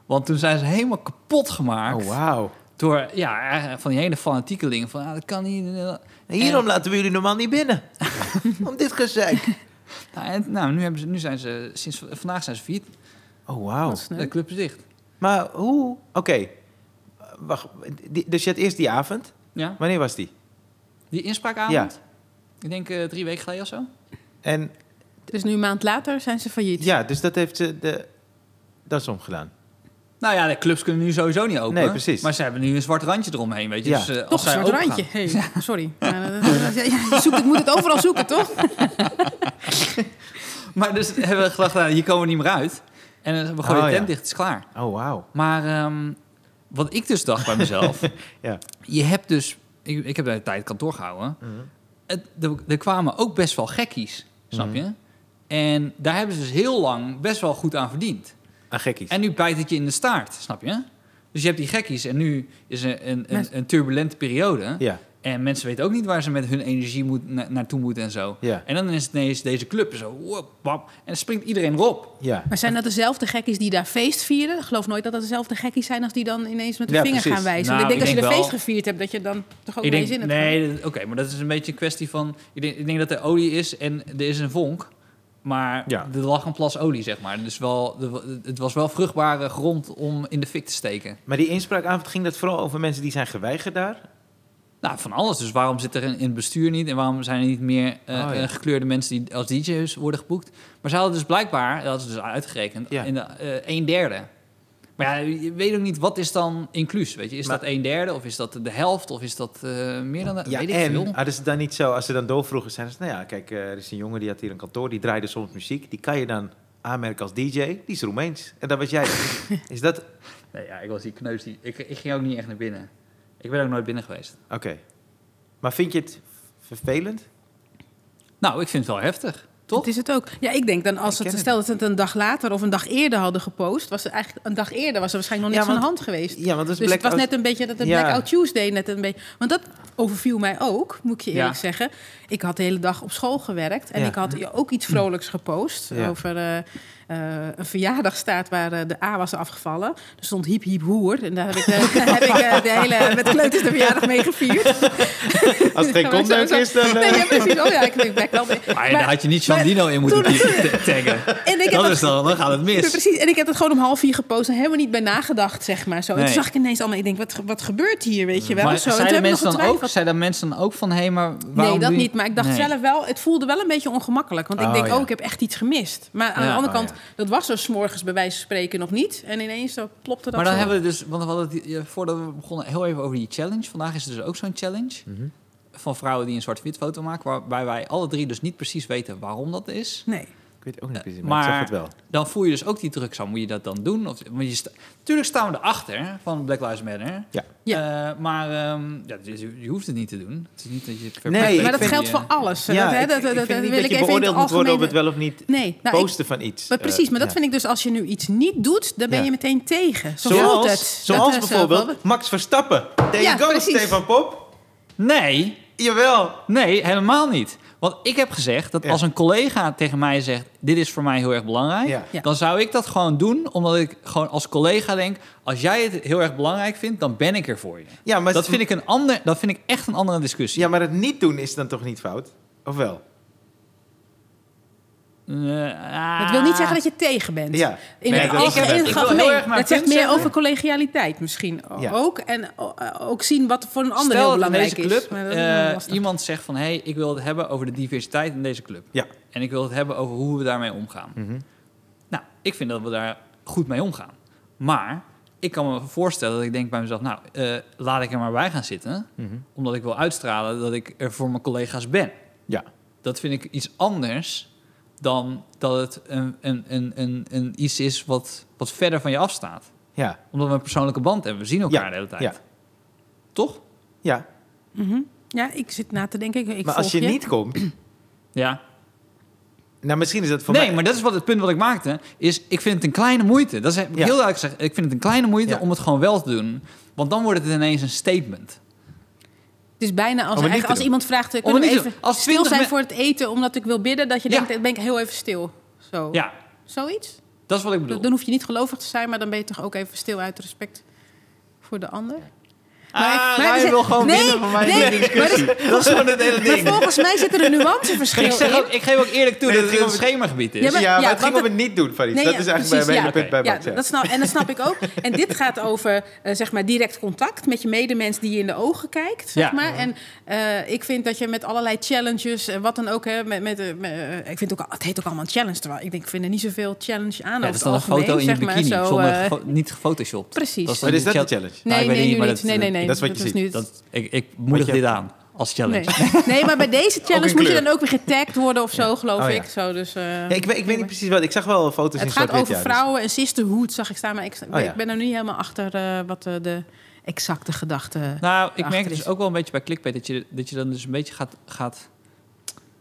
B: Want toen zijn ze helemaal kapot gemaakt.
A: Oh, wauw.
B: Door, ja, eigenlijk van die hele fanatiekeling. Van, ah, dat kan niet. eh,
A: Hierom laten we jullie normaal niet
B: [LAUGHS]
A: binnen. Om dit gezeik.
B: Nou, en, nou nu, hebben ze, nu zijn ze, sinds v- vandaag zijn ze failliet.
A: Oh, wauw.
C: Dat is leuk.
B: De club is dicht.
A: Maar hoe... Oké. Wacht. die- Dus je had eerst die avond.
B: Ja.
A: Wanneer was die?
B: Die inspraakavond. Ik denk eh, drie weken geleden of zo.
A: En
C: Dus nu een maand later zijn ze failliet.
A: ja, dus dat heeft ze de das omgedaan.
B: Nou ja, de clubs kunnen nu sowieso niet open.
A: Nee, precies.
B: Maar ze hebben nu een zwart randje eromheen, weet je.
A: Ja.
B: Dus, eh, als
C: Toch een
B: zij
C: soort
B: opengaan-
C: randje. Hey, sorry. Ja, dat- dat- ja, je zoekt- ik moet het overal zoeken, toch?
B: Maar dus [LAUGHS] hebben we gedacht, nou, hier komen we niet meer uit. En eh, we gooien
A: Oh,
B: de tent
A: ja.
B: dicht, het is klaar.
A: Oh, wauw.
B: Maar ehm, wat ik dus dacht bij
A: [LAUGHS]
B: mezelf...
A: Ja.
B: je hebt dus... Ik, ik heb daar de tijd kantoor gehouden.
A: Mhm.
B: Het, er, er kwamen ook best wel gekkies,
A: Mhm.
B: snap je? En daar hebben ze dus heel lang best wel goed aan verdiend.
A: Aan gekkies.
B: En nu bijt het je in de staart, snap je? Dus je hebt die gekkies en nu is er een, een,
C: Mensen-
B: een turbulente periode.
A: Ja.
B: En mensen weten ook niet waar ze met hun energie moet, na- naartoe moeten en zo.
A: Ja.
B: En dan is het ineens deze club zo... wop, wap, en dan springt iedereen erop.
A: Ja.
C: Maar zijn dat dezelfde gekkies die daar feest vieren? Ik geloof nooit dat dat dezelfde gekkies zijn als die dan ineens met de
A: Ja,
C: vinger
A: precies.
C: gaan wijzen.
B: Nou,
C: Want ik denk
B: ik
C: als je
B: denk
C: de
B: wel-
C: feest gevierd hebt, dat je dan toch ook
B: Ik
C: mee
B: denk,
C: zin hebt. gehad.
B: nee, dat- oké, maar dat is een beetje een kwestie van... Ik denk, ik denk dat er olie is en er is een vonk. Maar
A: Ja.
B: er lag een plas olie, zeg maar. Dus wel, er wa- het was wel vruchtbare grond om in de fik te steken.
A: Maar die inspraakavond ging dat vooral over mensen die zijn geweigerd daar?
B: Nou, van alles. Dus waarom zit er in in het bestuur niet? En waarom zijn er niet meer eh,
A: Oh, ja.
B: eh, gekleurde mensen die als DJ's worden geboekt? Maar ze hadden dus blijkbaar, dat hadden ze dus uitgerekend,
A: Ja.
B: in de, eh, een derde. Maar ja, je weet ook niet, wat is dan inclus? Weet je? Is
A: Maar-
B: dat een derde of is dat de helft of is dat eh, meer dan... dat?
A: Ja,
B: weet ik
A: en
B: veel.
A: hadden ze Ah, dus dan niet zo, als ze dan doorvroegen, zeiden ze, nou ja, kijk, eh, er is een jongen die had hier een kantoor, die draaide soms muziek, die kan je dan aanmerken als DJ, die is Roemeens. En dan was
C: [LAUGHS]
A: jij. is dat. Oké.
B: Nee, ja, ik was die kneus die... Ik, ik ging ook niet echt naar binnen. Ik ben ook nooit binnen geweest.
A: Maar vind je het vervelend?
B: Nou, ik vind het wel heftig. Toch?
C: Dat is het ook. Ja, ik denk dan als
A: Ik ken
C: het,
A: het.
C: stel dat ze het een dag later of een dag eerder hadden gepost, was het eigenlijk een dag eerder was er waarschijnlijk nog
A: Ja,
C: niks aan
A: want-
C: de hand geweest.
A: Ja, want dat is
C: Dus het was
A: Blackout-
C: net een beetje dat de
A: Ja.
C: Blackout Tuesday net een beetje. Want dat overviel mij ook, moet ik je eerlijk
B: Ja.
C: zeggen. Ik had de hele dag op school gewerkt en
A: Ja.
C: ik had ook iets vrolijks gepost
A: Ja.
C: over eh, eh, een verjaardagstaart waar eh, de A was afgevallen. Er stond hiep hiep hoer en daar heb ik, eh, [LAUGHS] daar heb ik eh, de hele met kleuters de verjaardag mee gevierd.
A: Als het geen
C: Maar [LAUGHS] zo-
A: kontneuk
C: zo-
A: is, dan... eh,
C: Nee, ja, precies. Oh ja, ik denk Blackout.
B: Maar,
C: Maar-
B: daar had je niet Sandino in moeten
C: toen-
B: t- taggen.
C: en [LAUGHS] ik heb
B: Dat
C: dat-
B: is dan, dan gaat het
C: Ja,
B: mis.
C: precies. En ik heb het gewoon om half vier gepost en helemaal niet bij nagedacht, zeg maar. Zo. En
B: Nee.
C: toen zag ik ineens allemaal, ik denk, wat, wat gebeurt hier, weet je wel?
B: Maar
C: zo. En toen
B: zeiden
C: heb ik nog
B: mensen, dan ook,
C: getwijfeld.
B: zeiden mensen dan ook van, hé, maar waarom
C: Nee, dat
B: doe je-
C: niet. Maar ik dacht
B: Nee.
C: zelf wel, het voelde wel een beetje ongemakkelijk. Want ik
A: Oh,
C: denk,
A: ja.
C: oh, ik heb echt iets gemist. Maar aan
B: Ja.
C: de
A: Oh,
C: andere kant, dat was er s'morgens bij wijze van spreken nog niet. En ineens zo plopte dat
B: Maar dan
C: zo.
B: hebben we dus, want we hadden het, hier- voordat we begonnen, heel even over die challenge. Vandaag is er dus ook zo'n challenge van vrouwen die een zwart-wit foto maken, waarbij wij alle drie dus niet precies weten waarom dat is.
C: Nee.
A: Ik weet het ook niet precies, maar, ik
B: Maar
A: zag het wel.
B: dan voel je dus ook die druk zo. Moet je dat dan doen? Of, want je sta- Tuurlijk staan we erachter van Black Lives Matter.
A: Ja.
B: Ja.
C: Eh,
B: maar ehm, ja, dus je, je hoeft het niet te doen. Het is niet dat je het
A: Nee,
B: verplicht
C: maar
B: bent.
C: dat
A: vind-
C: geldt voor alles. dat, hè,
A: ik-
C: dat,
A: ik
C: dat,
A: vind niet
C: dat wil
A: dat je
C: ik even in
A: beoordeeld
C: het
A: moet worden op
C: algemene...
A: het wel of niet
C: Nee, nou, ik,
A: posten van iets.
C: maar precies, maar dat
A: Eh, ja.
C: vind ik dus als je nu iets niet doet, dan ben
A: Ja.
C: je meteen tegen. Zo voelt het.
A: Zoals, zoals
C: Dat is, eh,
A: bijvoorbeeld Max Verstappen. There
C: Ja,
A: you go,
C: precies.
A: Stefan Pop.
B: Nee,
A: Jawel.
B: nee, helemaal niet. Want ik heb gezegd dat
A: Ja.
B: als een collega tegen mij zegt... dit is voor mij heel erg belangrijk...
A: Ja.
C: Ja.
B: dan zou ik dat gewoon doen, omdat ik gewoon als collega denk... als jij het heel erg belangrijk vindt, dan ben ik er voor je.
A: Ja, maar,
B: Dat vind ik, een ander, dat vind ik echt een andere discussie.
A: ja, maar het niet doen is dan toch niet fout? Of wel?
B: Eh,
C: Dat wil niet zeggen dat je tegen bent.
A: Ja.
C: In
A: Nee,
C: het
A: ik wil-
C: algemeen,
A: ik wil-
C: in
A: ik
C: het
B: wil
C: algemeen.
B: heel erg mijn
C: Dat zegt
B: punt
C: meer
B: zeggen.
C: over collegialiteit misschien
A: Ja.
C: ook. En o- eh, ook zien wat voor een ander
B: Stel
C: heel
B: dat in
C: belangrijk
B: deze club
C: is. Maar dat is
B: eh,
C: wel lastig.
B: iemand zegt van... hé, hey, ik wil het hebben over de diversiteit in deze club.
A: Ja.
B: En ik wil het hebben over hoe we daarmee omgaan.
A: Mhm.
B: Nou, ik vind dat we daar goed mee omgaan. Maar ik kan me voorstellen dat ik denk bij mezelf... nou, eh, laat ik er maar bij gaan zitten.
A: Mhm.
B: Omdat ik wil uitstralen dat ik er voor mijn collega's ben.
A: Ja.
B: Dat vind ik iets anders dan dat het een, een, een, een, een iets is wat, wat verder van je afstaat.
A: Ja.
B: Omdat we een persoonlijke band hebben. We zien elkaar
A: Ja,
B: de hele tijd.
A: ja.
B: Toch?
A: Ja.
C: Mhm. Ja, ik zit na te denken. Ik, ik
A: maar als
C: volg
A: je niet komt...
B: Ja.
A: Nou, misschien is dat voor
B: nee,
A: mij...
B: maar dat is wat het punt wat ik maakte. Is ik vind het een kleine moeite. Dat is heb ik
A: Ja.
B: heel duidelijk gezegd. Ik vind het een kleine moeite
A: Ja.
B: om het gewoon wel te doen. Want dan wordt het ineens een statement.
C: Het is bijna als,
A: Om het Oh, niet
C: eigenlijk
A: te
C: als
A: doen.
C: iemand vraagt... eh,
B: Om
C: Kunnen we
B: het Oh, niet te
C: even
B: doen. Als
C: stil
B: 20
C: zijn
B: men-
C: voor het eten omdat ik wil bidden? Dat je
B: Ja.
C: denkt, dan ben ik heel even stil.
A: Oh.
C: Zo.
B: Ja,
C: Zoiets?
B: dat is wat ik bedoel.
C: Dan hoef je niet gelovig te zijn, maar dan ben je toch ook even stil uit respect voor de ander?
B: Ah,
C: Maar ik- maar
B: Ryan
C: er zit-
B: wil gewoon
C: nee,
B: winnen van mij.
C: nee,
B: in de discussie.
C: maar
B: [LAUGHS] dat is gewoon het hele
C: Maar
B: ding.
C: volgens mij zit er een nuanceverschil
B: [LAUGHS] Ik, zeg
C: in.
B: ook, ik geef ook eerlijk toe
A: Nee,
B: dat
A: het
B: het een
A: ging om-
B: schemergebied is.
C: Ja, maar-
A: ja, maar
C: ja,
A: het ging
C: want
A: om het niet doen van iets.
C: Nee,
A: dat
C: ja,
A: is eigenlijk
C: precies,
A: mijn
C: ja.
A: hele punt bij
C: Ja,
A: Max. Ja.
C: dat snap, en dat snap ik ook. En dit gaat over eh, zeg maar direct contact met je medemens die je in de ogen kijkt. Zeg
B: Ja.
C: maar. En eh, ik vind dat je met allerlei challenges, en wat dan ook, hè, met, met, eh, met, eh, ik vind ook, al- het heet ook allemaal een challenge. Terwijl ik denk, ik vind er niet zoveel challenge aan.
B: Ja,
C: over
B: dat is
C: het
B: dan een
C: algemeen,
B: foto in je
C: zeg maar,
B: bikini,
C: zo,
B: zonder
C: eh,
B: gefo- niet gefotoshopt.
C: precies.
A: Maar is
B: dan
A: dat de
B: chal-
A: challenge?
B: Ah, ik
C: Nee,
B: weet
C: nee,
B: het
C: nu
B: maar
C: niet. Nee, nee, nee.
A: dat is wat je
C: is
A: ziet.
C: nu het-
B: Dat, ik, ik moedig
A: Wat je-
B: dit aan als challenge.
C: Nee. nee, maar bij deze challenge moet je
A: kleur.
C: dan ook weer getagd worden of zo, geloof
A: Oh, ja.
C: ik. Zo, dus, eh,
A: Ja, ik, weet, ik weet niet precies wat. Ik zag wel foto's
C: Het
A: in
C: gaat
A: zwart-wit.
C: over
A: ja, dus-
C: vrouwen en sisterhood, zag ik staan. Maar ik, sta-
A: Oh ja.
C: ik ben er nu niet helemaal achter eh, wat eh, de exacte gedachte...
B: Nou, ik merk
C: Achter
B: dus
C: is.
B: ook wel een beetje bij clickbait dat je, dat je dan dus een beetje gaat, gaat...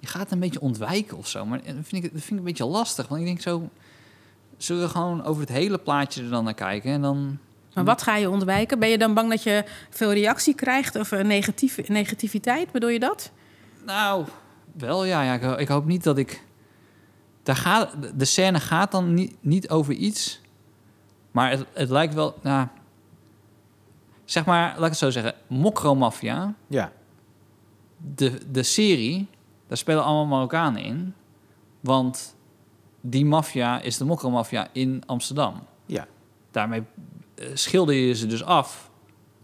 B: Je gaat een beetje ontwijken of zo. Maar dat vind, ik, dat vind ik een beetje lastig. Want ik denk zo... Zullen we gewoon over het hele plaatje er dan naar kijken? En dan...
C: Maar wat ga je ontwijken? Ben je dan bang dat je veel reactie krijgt of eh, negatief, negativiteit? Bedoel je dat?
B: Nou, wel ja. ja ik, ho- ik hoop niet dat ik... Daar gaat, de scène gaat dan niet, niet over iets. Maar het, het lijkt wel... Nou, zeg maar, laat ik het zo zeggen. Mokromafia,
A: Ja.
B: de, de serie, daar spelen allemaal Marokkanen in. Want die maffia is de mokromafia in Amsterdam.
A: Ja.
B: Daarmee eh, schilder je ze dus af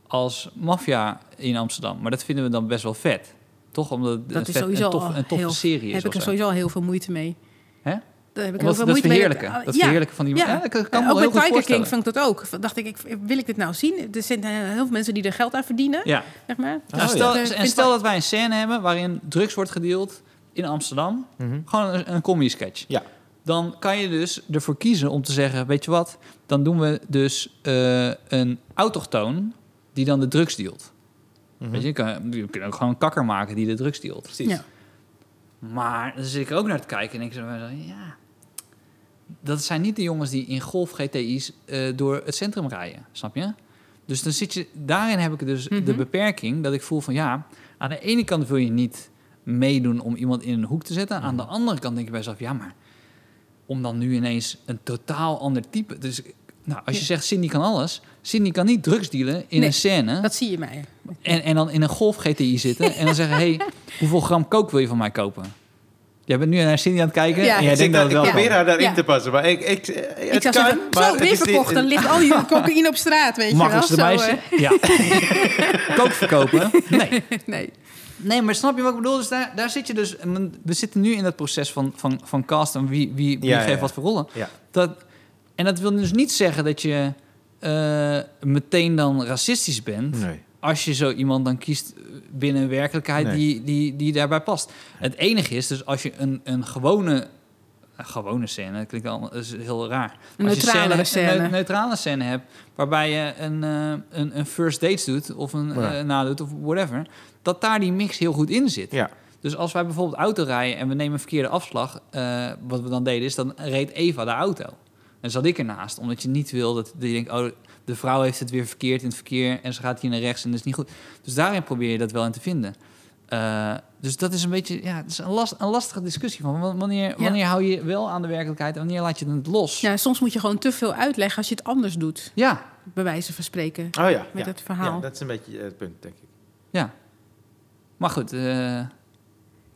B: als maffia in Amsterdam. Maar dat vinden we dan best wel vet. Toch? Omdat het
C: Dat
B: een,
C: is
B: vet- een
C: sowieso
B: tof-
C: al
B: een toffe
C: heel-
B: serie is.
C: heb ik
B: of
C: er
B: zo.
C: sowieso al heel veel moeite mee.
B: Hè?
C: Daar heb ik heel
B: Omdat
C: veel
B: dat
C: moeite
B: verheerlijken.
C: mee. Ah,
B: Dat
C: Ja.
B: verheerlijken van die... Ja,
C: Ja.
B: dat kan ik me
C: Eh,
B: wel
C: ook bij
B: heel goed
C: Tiger King
B: voorstellen.
C: vond ik dat ook. Dacht ik, ik, wil ik dit nou zien? Er zijn eh, heel veel mensen die er geld aan verdienen,
B: Ja.
C: zeg maar.
B: Nou,
A: oh
B: stel,
C: dat, eh,
B: En
C: vind
B: stel
C: ik-
B: dat wij een scène hebben waarin drugs wordt gedeeld in Amsterdam.
A: Mhm.
B: Gewoon een, een comedy sketch.
A: Ja.
B: Dan kan je dus ervoor kiezen om te zeggen, weet je wat, dan doen we dus eh, een autochtoon die dan de drugs dealt.
A: Mhm.
B: Weet je, je kan, je kan ook gewoon een kakker maken die de drugs dealt.
A: Precies.
C: Ja.
B: Maar dan zit ik er ook naar te kijken en denk ik zo, van, ja, dat zijn niet de jongens die in golf GTI's eh, door het centrum rijden, snap je? Dus dan zit je, daarin heb ik dus de
C: Mhm.
B: beperking dat ik voel van ja, aan de ene kant wil je niet meedoen om iemand in een hoek te zetten. Aan de
C: Mhm.
B: andere kant denk je bij jezelf, ja maar, om dan nu ineens een totaal ander type. Dus nou, als je
C: Ja.
B: zegt Cindy kan alles, Cindy kan niet drugs dealen in
C: Nee,
B: een scène.
C: Dat zie je mij.
B: En, en dan in een Golf GTI zitten en dan zeggen... hey, hoeveel gram coke wil je van mij kopen? Jij bent nu naar Cindy aan het kijken
C: Ja.
B: en
C: Ik
B: jij
A: Ik,
B: denkt dat het
A: ik
B: wel
C: ja.
A: probeer
B: kan.
A: haar daarin
C: Ja.
A: te passen, maar ik... ik, eh, het
C: ik zou
A: kan,
C: zeggen,
A: maar
C: zo
A: het is
C: weer
A: niet-
C: verkocht, dan ligt al die cocaïne op straat, weet je wel.
B: Mag
C: Zo,
B: ze de meisje?
C: eh,
B: Ja.
C: [LAUGHS]
B: Coke verkopen? Nee.
C: nee.
B: nee, maar snap je wat ik bedoel? Dus daar, daar zit je dus... en We zitten nu in dat proces van, van, van cast en wie, wie, wie
A: Ja, ja,
B: geeft
A: ja.
B: wat voor rollen.
A: Ja.
B: Dat, en dat wil dus niet zeggen dat je eh, meteen dan racistisch bent...
A: Nee.
B: als je zo iemand dan kiest eh, binnen een werkelijkheid
A: Nee.
B: die, die, die daarbij past. Het enige is dus als je een, een gewone, een gewone scène, dat klinkt allemaal is heel raar.
C: Een
B: Als je
C: neutralere
B: Een
C: scène.
B: neu- neutrale scène hebt waarbij je een, eh, een, een first date doet of een
A: Ja.
B: eh, nadoet of whatever. Dat daar die mix heel goed in zit.
A: Ja.
B: Dus als wij bijvoorbeeld auto rijden en we nemen een verkeerde afslag, eh, wat we dan deden is, dan reed Eva de auto. En zat ik ernaast, omdat je niet wil dat dat je denkt, oh, de vrouw heeft het weer verkeerd in het verkeer en ze gaat hier naar rechts en dat is niet goed. Dus daarin probeer je dat wel in te vinden. Eh, dus dat is een beetje, ja, het is een, last, een lastige discussie van wa- wanneer,
C: Ja.
B: wanneer hou je wel aan de werkelijkheid en wanneer laat je het los? Ja,
C: Ja, Nou, soms moet je gewoon te veel uitleggen als je het anders doet, bij wijze van spreken.
A: Oh ja.
C: Met
A: ja.
C: het verhaal.
A: Ja, dat is een beetje eh, het punt, denk ik.
B: ja. Maar goed, eh,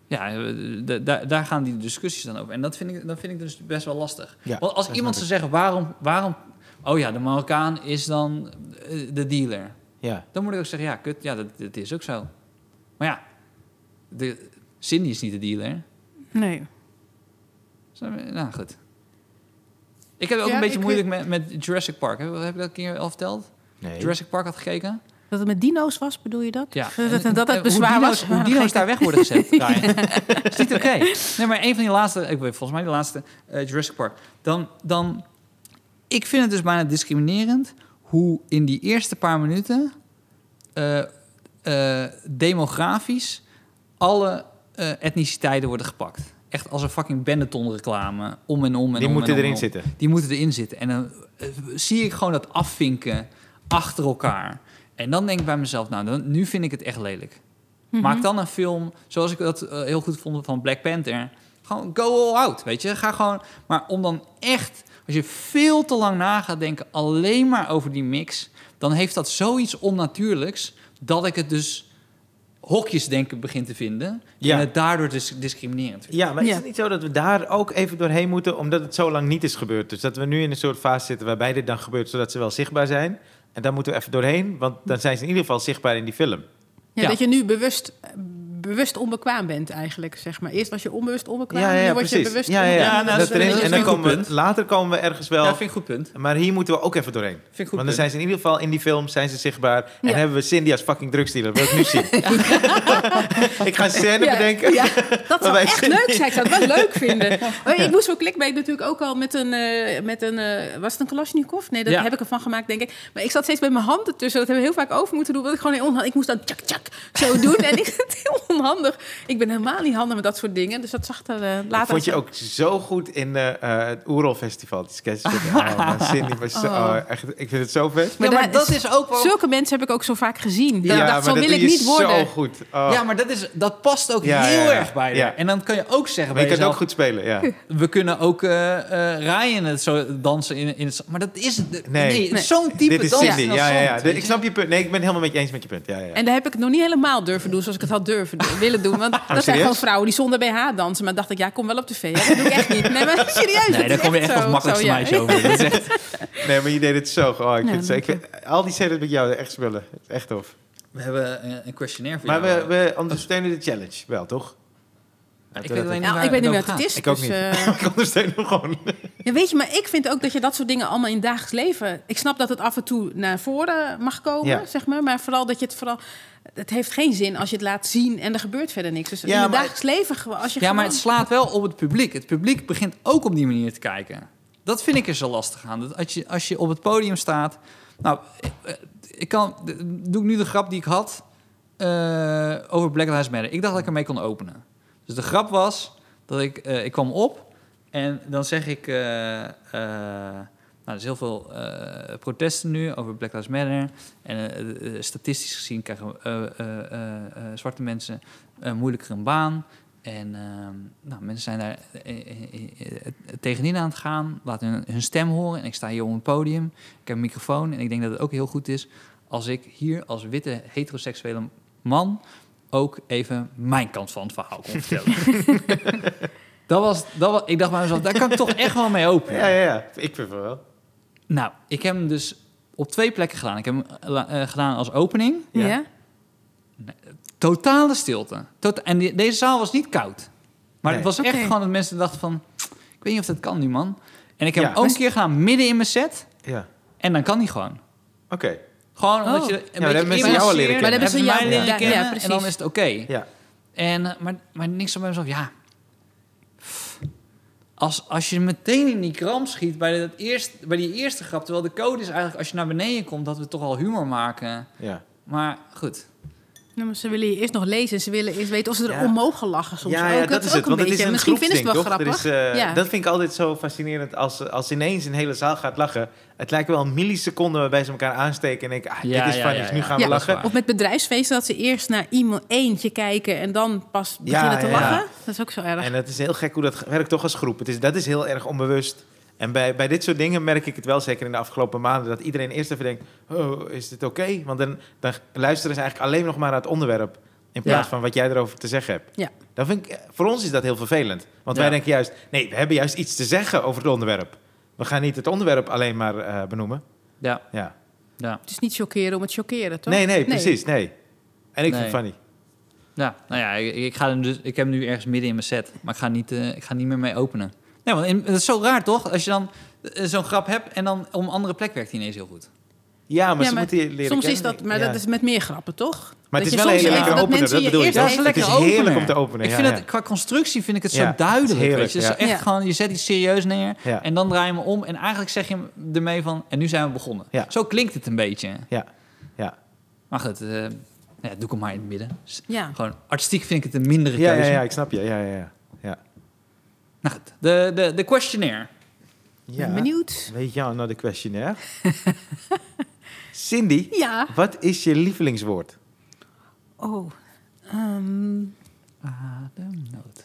B: ja, eh, da- da- daar gaan die discussies dan over. En dat vind ik, dat vind ik dus best wel lastig.
A: Ja,
B: Want als
A: dat
B: iemand zou
A: snap
B: zeggen, waarom, waarom... Oh ja, de Marokkaan is dan eh, de dealer.
A: Ja.
B: Dan moet ik ook zeggen, ja, kut, ja dat, dat is ook zo. Maar ja, de, Cindy is niet de dealer.
C: Nee.
B: Snap je? Nou, goed. Ik heb ook
C: Ja,
B: een beetje
C: ik
B: moeilijk met, met Jurassic Park. Heb, heb ik dat een keer al verteld?
A: Nee.
B: Jurassic Park had gekeken?
C: Dat het met dino's was, bedoel je dat?
B: Ja.
C: Dat, dat, dat
B: En eh,
C: het bezwaar
B: hoe dino's,
C: was.
B: Hoe dino's daar weg worden
C: [LAUGHS]
B: gezet. Ryan. is niet oké. Nee, maar een van die laatste, ik weet volgens mij de laatste eh, Jurassic Park. Dan, dan, ik vind het dus bijna discriminerend hoe in die eerste paar minuten eh, eh, demografisch alle eh, etniciteiten worden gepakt. Echt als een fucking Benetton reclame. Om en om en
A: Die
B: om
A: moeten
B: en om
A: erin
B: en om.
A: zitten.
B: Die moeten erin zitten. En dan eh, zie ik gewoon dat afvinken achter elkaar. En dan denk ik bij mezelf, nou, dan, nu vind ik het echt lelijk. Maak dan een film, zoals ik dat eh, heel goed vond van Black Panther. Gewoon go all out, weet je. Ga gewoon... Maar om dan echt, als je veel te lang na gaat denken... alleen maar over die mix... dan heeft dat zoiets onnatuurlijks... dat ik het dus hokjesdenken begin te vinden...
A: Ja.
B: en het daardoor dus discriminerend vind.
A: Ja, maar
C: Ja.
A: is het niet zo dat we daar ook even doorheen moeten, omdat het zo lang niet is gebeurd? Dus dat we nu in een soort fase zitten waarbij dit dan gebeurt, zodat ze wel zichtbaar zijn. En daar moeten we even doorheen, want dan zijn ze in ieder geval zichtbaar in die film.
C: Ja,
B: Ja.
C: Dat je nu bewust, bewust onbekwaam bent eigenlijk, zeg maar. Eerst was je onbewust onbekwaam,
A: ja,
C: en
A: ja,
C: nu word
A: precies.
C: je bewust
A: ja, ja,
C: onbekwaam.
A: ja.
B: Ja, nou,
A: dat
B: dat is
A: erin, en
B: een heel
A: dan
B: goed
A: komen
B: punt.
A: we, later komen we ergens wel.
B: Ja, vind ik goed punt.
A: Maar hier moeten we ook even doorheen.
B: Vind ik goed
A: Want dan
B: punt.
A: zijn ze in ieder geval in die film zijn ze zichtbaar. En
C: Ja.
A: hebben we Cindy als fucking drugsdealer. Dat wil ik nu
C: [LAUGHS]
A: zien. ik ga een scène
C: Ja,
A: bedenken.
C: ja,
A: [LAUGHS]
C: dat zou
A: wij
C: echt
A: vinden-
C: leuk zijn. Ik zou het wel leuk
A: [LAUGHS]
C: vinden. Maar Ik moest voor clickbait natuurlijk ook al met een... eh, met een eh, was het een Kalashnikov? Nee, daar
B: Ja.
C: heb ik ervan gemaakt, denk ik. Maar ik zat steeds met mijn hand ertussen. Dat hebben we heel vaak over moeten doen. Want ik gewoon heel onhandig... Ik moest dan tjak, tjak
A: [LAUGHS]
C: zo doen. en ik het heel onhandig. Ik ben helemaal niet handig met dat soort dingen. Dus dat zag er eh, later...
A: Dat vond je
C: uit.
A: ook zo goed in eh, eh, het Oerol Festival. Die sketch.
C: [LAUGHS]
A: Oh, maar Cindy was zo,
C: Oh.
A: oh, echt, ik vind het zo vet.
C: Maar
B: ja, maar
C: daar
B: dat
C: is-
B: is ook wel...
C: Zulke mensen heb ik ook zo vaak gezien. Dat ik dacht, zo
A: dat
C: wil
A: doe
C: ik
A: je
C: niet worden.
A: Zo goed. Oh.
B: Ja, maar dat, is, dat past ook
A: Ja,
B: heel
A: ja, ja.
B: erg bij je.
A: Ja.
B: En dan kan je ook zeggen
A: Maar
B: bij
A: je kan het
B: jezelf...
A: ook goed spelen,
C: [LAUGHS]
A: ja.
B: we kunnen ook eh, eh, Ryan het zo dansen in, in het... Maar dat is... de-
A: Nee.
B: nee,
C: Nee.
B: zo'n type
A: Dit is
B: dans
A: Cindy.
B: in
A: Ja,
B: dat
A: ja, ja.
B: zand,
A: De-
B: weet
A: Ik
B: je.
A: snap je punt. Nee, ik ben helemaal met je eens met je punt. Ja, ja, ja.
C: En daar heb ik het nog niet helemaal durven doen zoals ik het had durven doen- willen
A: [LAUGHS]
C: doen. Want dat zijn
A: Oh, serieus?
C: gewoon vrouwen die zonder BH dansen. Maar dacht ik, ja, kom wel op tv. Ja, dat doe ik echt niet. Nee, maar [LAUGHS] serieus. dat
B: Nee, daar
C: is
B: kom je
C: echt
B: echt als
C: zo-
B: makkelijkste
C: zo, [LAUGHS] ja.
B: meisje over. Dat is echt...
A: Nee, maar je deed het zo. Oh, ik
C: Ja,
A: vind het zo. Ik vind- al die scènes met jou, echt spullen. Echt tof.
B: We hebben eh, een questionnaire voor
A: Maar
B: jou.
A: we, we ondersteunen de challenge wel, toch?
B: Ik weet alleen niet
C: Ja,
B: waar
C: ik weet niet meer
B: over
C: wat het
B: gaat.
C: is.
A: Ik ook
C: dus,
A: niet.
B: [LAUGHS]
A: [LAUGHS]
C: eh,
A: Ik ondersteun hem gewoon.
C: ja, weet je, maar ik vind ook dat je dat soort dingen allemaal in het dagelijks leven... Ik snap dat het af en toe naar voren mag komen,
A: Ja.
C: zeg maar. Maar vooral dat je het vooral... Het heeft geen zin als je het laat zien en er gebeurt verder niks. Dus
A: Ja,
C: in het
A: maar-
C: dagelijks leven gewoon... Als je
B: Ja, maar
C: gewoon-
B: het slaat wel op het publiek. Het publiek begint ook op die manier te kijken. Dat vind ik er zo lastig aan. Dat als, je, als je op het podium staat... Nou, eh, eh, ik kan, d- doe ik nu de grap die ik had eh, over Black Lives Matter. Ik dacht dat ik ermee kon openen. Dus de grap was dat ik, eh, ik kwam op en dan zeg ik... eh, eh, nou, er is heel veel eh, protesten nu over Black Lives Matter. En eh, eh, statistisch gezien krijgen eh, eh, eh, eh, zwarte mensen eh, moeilijker een baan. En ehm, nou, mensen zijn daar eh, eh, eh, eh, tegenin aan het gaan, laten hun, hun stem horen. En ik sta hier op een podium, ik heb een microfoon. En ik denk dat het ook heel goed is als ik hier als witte heteroseksuele man ook even mijn kant van het verhaal kon vertellen.
A: [LAUGHS]
B: dat was, dat was, ik dacht bij mezelf, daar kan ik toch echt wel mee open.
A: Ja, ja, ja. Ik vind het wel.
B: Nou, ik heb hem dus op twee plekken gedaan. Ik heb hem eh, la- eh, gedaan als opening.
A: Ja.
C: Ja.
B: Totale stilte. Tota- en die- deze zaal was niet koud.
A: Nee.
B: Maar het was echt
C: Oké.
B: gewoon dat mensen dachten van... Ik weet niet of dat kan nu, man. En ik heb
A: Ja.
B: hem ook een keer gedaan midden in mijn set.
A: Ja.
B: En dan kan die gewoon.
A: Oké.
B: Gewoon
C: Oh.
B: omdat je... Een
A: Ja, maar dat hebben mensen jou al leren kennen.
C: Maar dat hebben ze
B: mij
C: jou-
B: leren
C: ja,
B: kennen.
C: ja,
B: en dan
C: precies.
B: is het oké.
A: Ja.
B: En, eh, maar, maar niks van bij mezelf, ja. pff, Als, als je meteen in die kramp schiet bij, dat eerst, bij die eerste grap. Terwijl de code is eigenlijk als je naar beneden komt dat we toch al humor maken.
A: Ja.
B: Maar goed.
C: Nou, maar ze willen je eerst nog lezen. Ze willen eerst weten of ze er
A: Ja.
C: om mogen lachen soms
A: ja,
C: ook.
A: ja,
C: Dat,
A: dat is
C: ook
A: het.
C: een
A: Want het
C: beetje.
A: is een
C: Misschien vinden ze het wel
A: groepsding,
C: grappig.
A: toch? Er is, eh,
C: ja.
A: Dat vind ik altijd zo fascinerend. Als, als ineens een hele zaal gaat lachen. Het lijkt wel een milliseconde waarbij ze elkaar aansteken. En denken, ah,
B: Ja,
A: dit is
B: ja,
A: funny,
B: ja,
A: dus nu
B: ja.
A: gaan
C: Ja.
A: we lachen.
C: Of met bedrijfsfeesten dat ze eerst naar iemand eentje kijken en dan pas beginnen te
A: ja,
C: lachen.
A: ja.
C: Dat is ook zo erg.
A: En het is heel gek hoe dat werkt toch als groep. Het is, dat is heel erg onbewust. En bij, bij dit soort dingen merk ik het wel, zeker in de afgelopen maanden, dat iedereen eerst even denkt, oh, is dit oké? Want dan, dan luisteren ze eigenlijk alleen nog maar naar het onderwerp, in plaats
B: Ja.
A: van wat jij erover te zeggen hebt.
C: Ja.
A: Dan vind ik, eh, voor ons is dat heel vervelend. Want
B: Ja.
A: wij denken juist, nee, we hebben juist iets te zeggen over het onderwerp. We gaan niet het onderwerp alleen maar eh, benoemen.
B: Ja,
A: Ja.
B: ja,
C: Het is niet chockeren om het chockeren, toch?
A: Nee, nee, precies, nee. En ik vind
B: Nee.
A: het funny.
B: ja. Nou ja, ik, ik ga hem dus, ik heb hem nu ergens midden in mijn set. Maar ik ga, niet, eh, ik ga niet meer mee openen. Nee, want in- dat is zo raar toch? Als je dan eh, zo'n grap hebt en dan om een andere plek werkt hij ineens heel goed.
A: Ja, maar
C: Ja,
A: ze
C: maar
A: moeten je leren
C: soms is
A: kennen.
C: dat, maar
A: Ja.
C: dat is met meer grappen, toch?
A: Maar het
C: Dat je
A: is wel een hele
C: soms even-
A: lekkere
C: dat
A: opener,
C: mensen
A: dat
C: je
A: bedoel je.
C: eerst
A: toch?
B: Ja, dat is
C: even-
A: Het
B: een
A: is
B: lekkere
A: heerlijk
B: opener.
A: om te openen.
B: ik
A: ja,
B: vind
A: ja.
B: het, qua constructie vind ik het zo
A: Ja,
B: duidelijk.
A: het is heerlijk,
B: weet je. Het is
A: ja.
B: echt
C: Ja.
B: gewoon, je zet iets serieus neer
A: Ja.
B: en dan draai je hem om. En eigenlijk zeg je hem ermee van, en nu zijn we begonnen.
A: Ja.
B: Zo klinkt het een beetje.
A: Ja, ja.
B: Maar goed, eh, nou ja, doe ik hem maar in het midden. S-
C: Ja.
B: Gewoon, artistiek vind ik het een mindere
A: Ja,
B: keuze.
A: ja, ja, ik snap je. Ja, ja, ja. ja.
B: Nou goed, de, de, de questionnaire.
C: Ben benieuwd.
A: Weet je nou de questionnaire? [LAUGHS] Cindy,
C: Ja.
A: wat is je lievelingswoord?
C: Oh. Ehm,
B: Ademnood.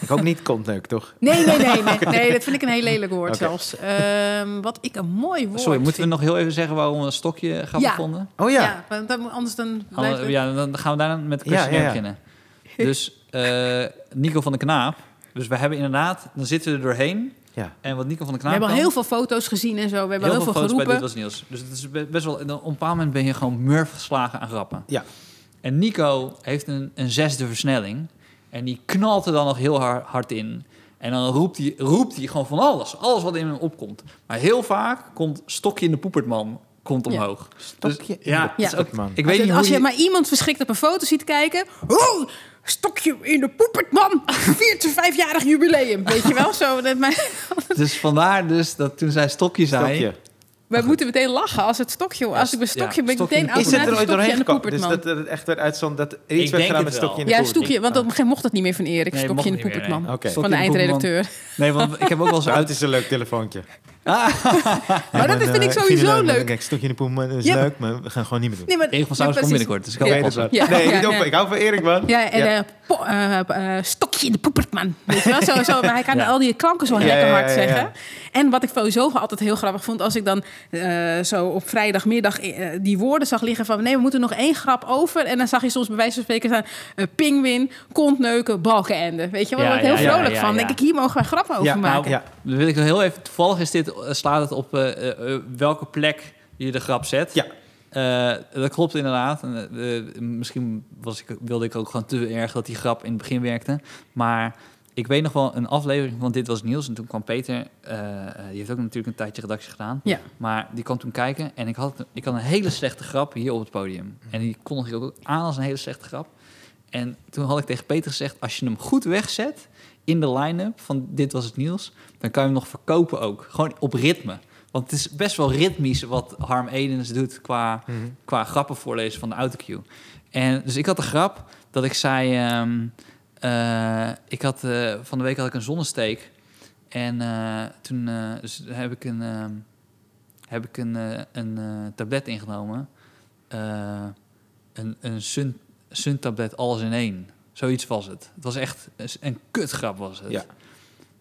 A: Ik hoop niet kontneuk, toch?
C: nee, nee,
A: [LAUGHS]
C: nee, nee, nee. Dat vind ik een heel lelijk woord
A: Oké.
C: zelfs. Ehm, wat ik een mooi woord
B: Oh, Sorry, moeten we nog
C: vind.
B: heel even zeggen waarom we een stokje gaan
C: Ja.
B: gevonden?
A: Oh ja.
C: Ja, want dan- anders dan
B: Gaan
C: blijft
B: we,
C: het...
B: ja, dan gaan we daarna met de
A: Ja, ja,
B: questionnaire
A: ja.
B: beginnen. Dus eh, Nico van de Knaap. Dus we hebben inderdaad, dan zitten we er doorheen.
A: Ja.
B: En wat Nico van de Knaap
C: We hebben al
B: kan-
C: heel veel foto's gezien en zo. We hebben
B: heel
C: heel veel
B: foto's bij Dit
C: geroepen.
B: Was Niels. Dus het is be- best wel, en op een bepaald moment ben je gewoon murf geslagen aan grappen.
A: Ja.
B: En Nico heeft een, een zesde versnelling. En die knalt er dan nog heel har- hard in. En dan roept hij, roept hij gewoon van alles. Alles wat in hem opkomt. Maar heel vaak komt stokje in de poepertman komt
C: Ja.
B: omhoog. Dus
A: Stokje in
B: ja,
A: de
B: het is ook-
A: poepertman.
B: Ik
C: Als,
B: weet niet
C: je,
B: hoe
C: als je
B: die-
C: maar iemand verschrikt op een foto ziet kijken... Oh, stokje in de poepert,
B: [LAUGHS]
C: man. Viert zijn vijfjarig jubileum. Weet je wel? Zo, dat mijn,
B: Dus vandaar dus dat toen zij stokje zei...
A: Stokje.
C: we moeten meteen lachen als het stokje... Als ik mijn
B: ja,
C: stokje ben ik
B: stokje in
C: meteen
A: Is
B: de
A: het er
C: automatisch
A: ooit
C: stokje
A: doorheen
C: in de
A: gekomen?
C: poepert,
A: Dus
C: man.
A: dat het echt werd uitzond dat er iets
B: Ik
A: werd
B: denk
A: gedaan met
B: het wel.
A: stokje in de
C: Ja,
A: poepert.
C: stokje. Want op een gegeven moment mocht dat niet meer van Erik.
B: Nee,
C: stokje in de
B: mocht niet meer,
C: poepert, man.
B: nee.
A: Oké.
C: Van de
B: Stokje in de
C: eindredacteur.
B: Nee, want ik heb
C: [LAUGHS]
B: ook wel eens
A: Oh,
B: uit...
A: het is een leuk
B: [LAUGHS] Ah.
A: telefoontje. eh,
C: Maar dat vind ik sowieso leuk.
A: Kijk, stokje in de poepert dat is
C: Ja.
A: leuk, maar we gaan gewoon niet meer doen.
C: Nee, maar,
B: Erik van
C: ja,
B: Saus komt
C: precies.
B: binnenkort, dus ik
A: Ik
B: kan
A: weet het
B: oppassen.
A: wel.
C: Ja,
A: Nee, niet
C: ja,
A: op.
C: ja.
A: Ik hou van Erik, man.
C: Ja, en
A: Ja.
C: eh, po- eh, eh, stokje in de poepertman. Weet je wel? Zo, zo, maar hij kan
B: Ja.
C: al die klanken zo
A: [LAUGHS] Ja,
C: lekker
A: ja,
C: hard
A: ja, ja.
C: zeggen. En wat ik sowieso altijd heel grappig vond... als ik dan eh, zo op vrijdagmiddag eh, die woorden zag liggen van... nee, we moeten nog één grap over. En dan zag je soms bij wijze van spreken staan... eh pingwin, kontneuken, balkenende. Weet je wel, daar
B: Ja,
C: word ik
B: ja,
C: heel
B: ja,
C: vrolijk
B: ja,
C: van.
B: ja.
C: denk ik, hier mogen wij grappen over
A: Ja, nou,
C: maken.
A: ja.
B: Dan wil ik nog heel even, toevallig is dit, eh, slaat het op eh, eh, eh, welke plek je de grap zet.
A: Ja.
B: Eh, dat klopt inderdaad. En, eh, eh, misschien was ik, wilde ik ook gewoon te erg dat die grap in het begin werkte. Maar ik weet nog wel een aflevering, want dit was Niels. En toen kwam Peter, eh, eh, die heeft ook natuurlijk een tijdje redactie gedaan.
C: Ja.
B: Maar die kwam toen kijken en ik had, ik had een hele slechte grap hier op het podium.
A: Mhm.
B: En die kondigde ik ook aan als een hele slechte grap. En toen had ik tegen Peter gezegd, als je hem goed wegzet in de line-up van Dit Was Het Nieuws, dan kan je hem nog verkopen ook. Gewoon op ritme. Want het is best wel ritmisch wat Harm Edens doet qua,
C: eh,
A: Mhm.
B: qua grappen voorlezen van de autocue. En, dus ik had de grap dat ik zei, ehm, eh, ik had, eh, van de week had ik een zonnesteek. En eh, toen eh, dus heb ik een, eh, heb ik een, eh, een eh, tablet ingenomen. Eh, een een sun, tablet alles in één. Zoiets was het. Het was echt een kutgrap was het.
A: Ja.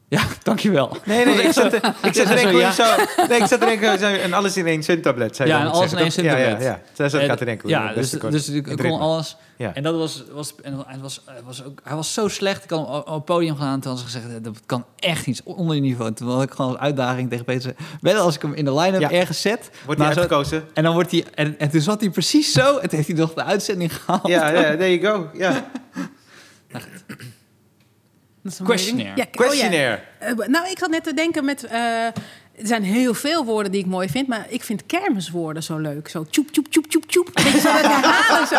B: ja [LAUGHS] dankjewel.
A: Nee, nee, ik zat, ik zat
B: Ja,
A: er
B: zo,
A: denk
B: ja.
A: ik zo... Nee, ik zat er denk ik zo... Een alles in één zin-tablet, zou je
B: Ja,
A: dan
B: een alles
A: zeggen,
B: in
A: toch?
B: één
A: Ja,
B: zin-tablet.
A: ja, ja. Daar zat ik aan te denken. hoe
B: Ja,
A: je het
B: dus,
A: beste kon.
B: dus ik
A: Het
B: kon
A: ritme.
B: alles.
A: Ja.
B: En dat was, was, en hij was, hij was ook, hij was zo slecht. Ik had hem op op het podium gaan. Toen had ze gezegd, eh, dat kan echt iets onder je niveau. Toen had ik gewoon als uitdaging tegen Peter gezegd, Wel, als ik hem in de line-up
A: Ja.
B: ergens zet.
A: Wordt
B: maar
A: hij
B: zo-
A: uitgekozen?
B: en, dan wordt hij, en, en toen zat hij precies zo. En toen heeft hij nog de uitzending gehaald.
A: Ja, ja, there you go. Ja.
C: Dat is een
B: Questionnaire.
C: moeilijk. Ja, oh ja.
A: Questionnaire.
C: Eh, nou, ik zat net te denken met... eh, er zijn heel veel woorden die ik mooi vind, maar ik vind kermiswoorden zo leuk. Zo tjoep, tjoep, tjoep, tjoep, tjoep. Weet je, zo dat herhalen zo.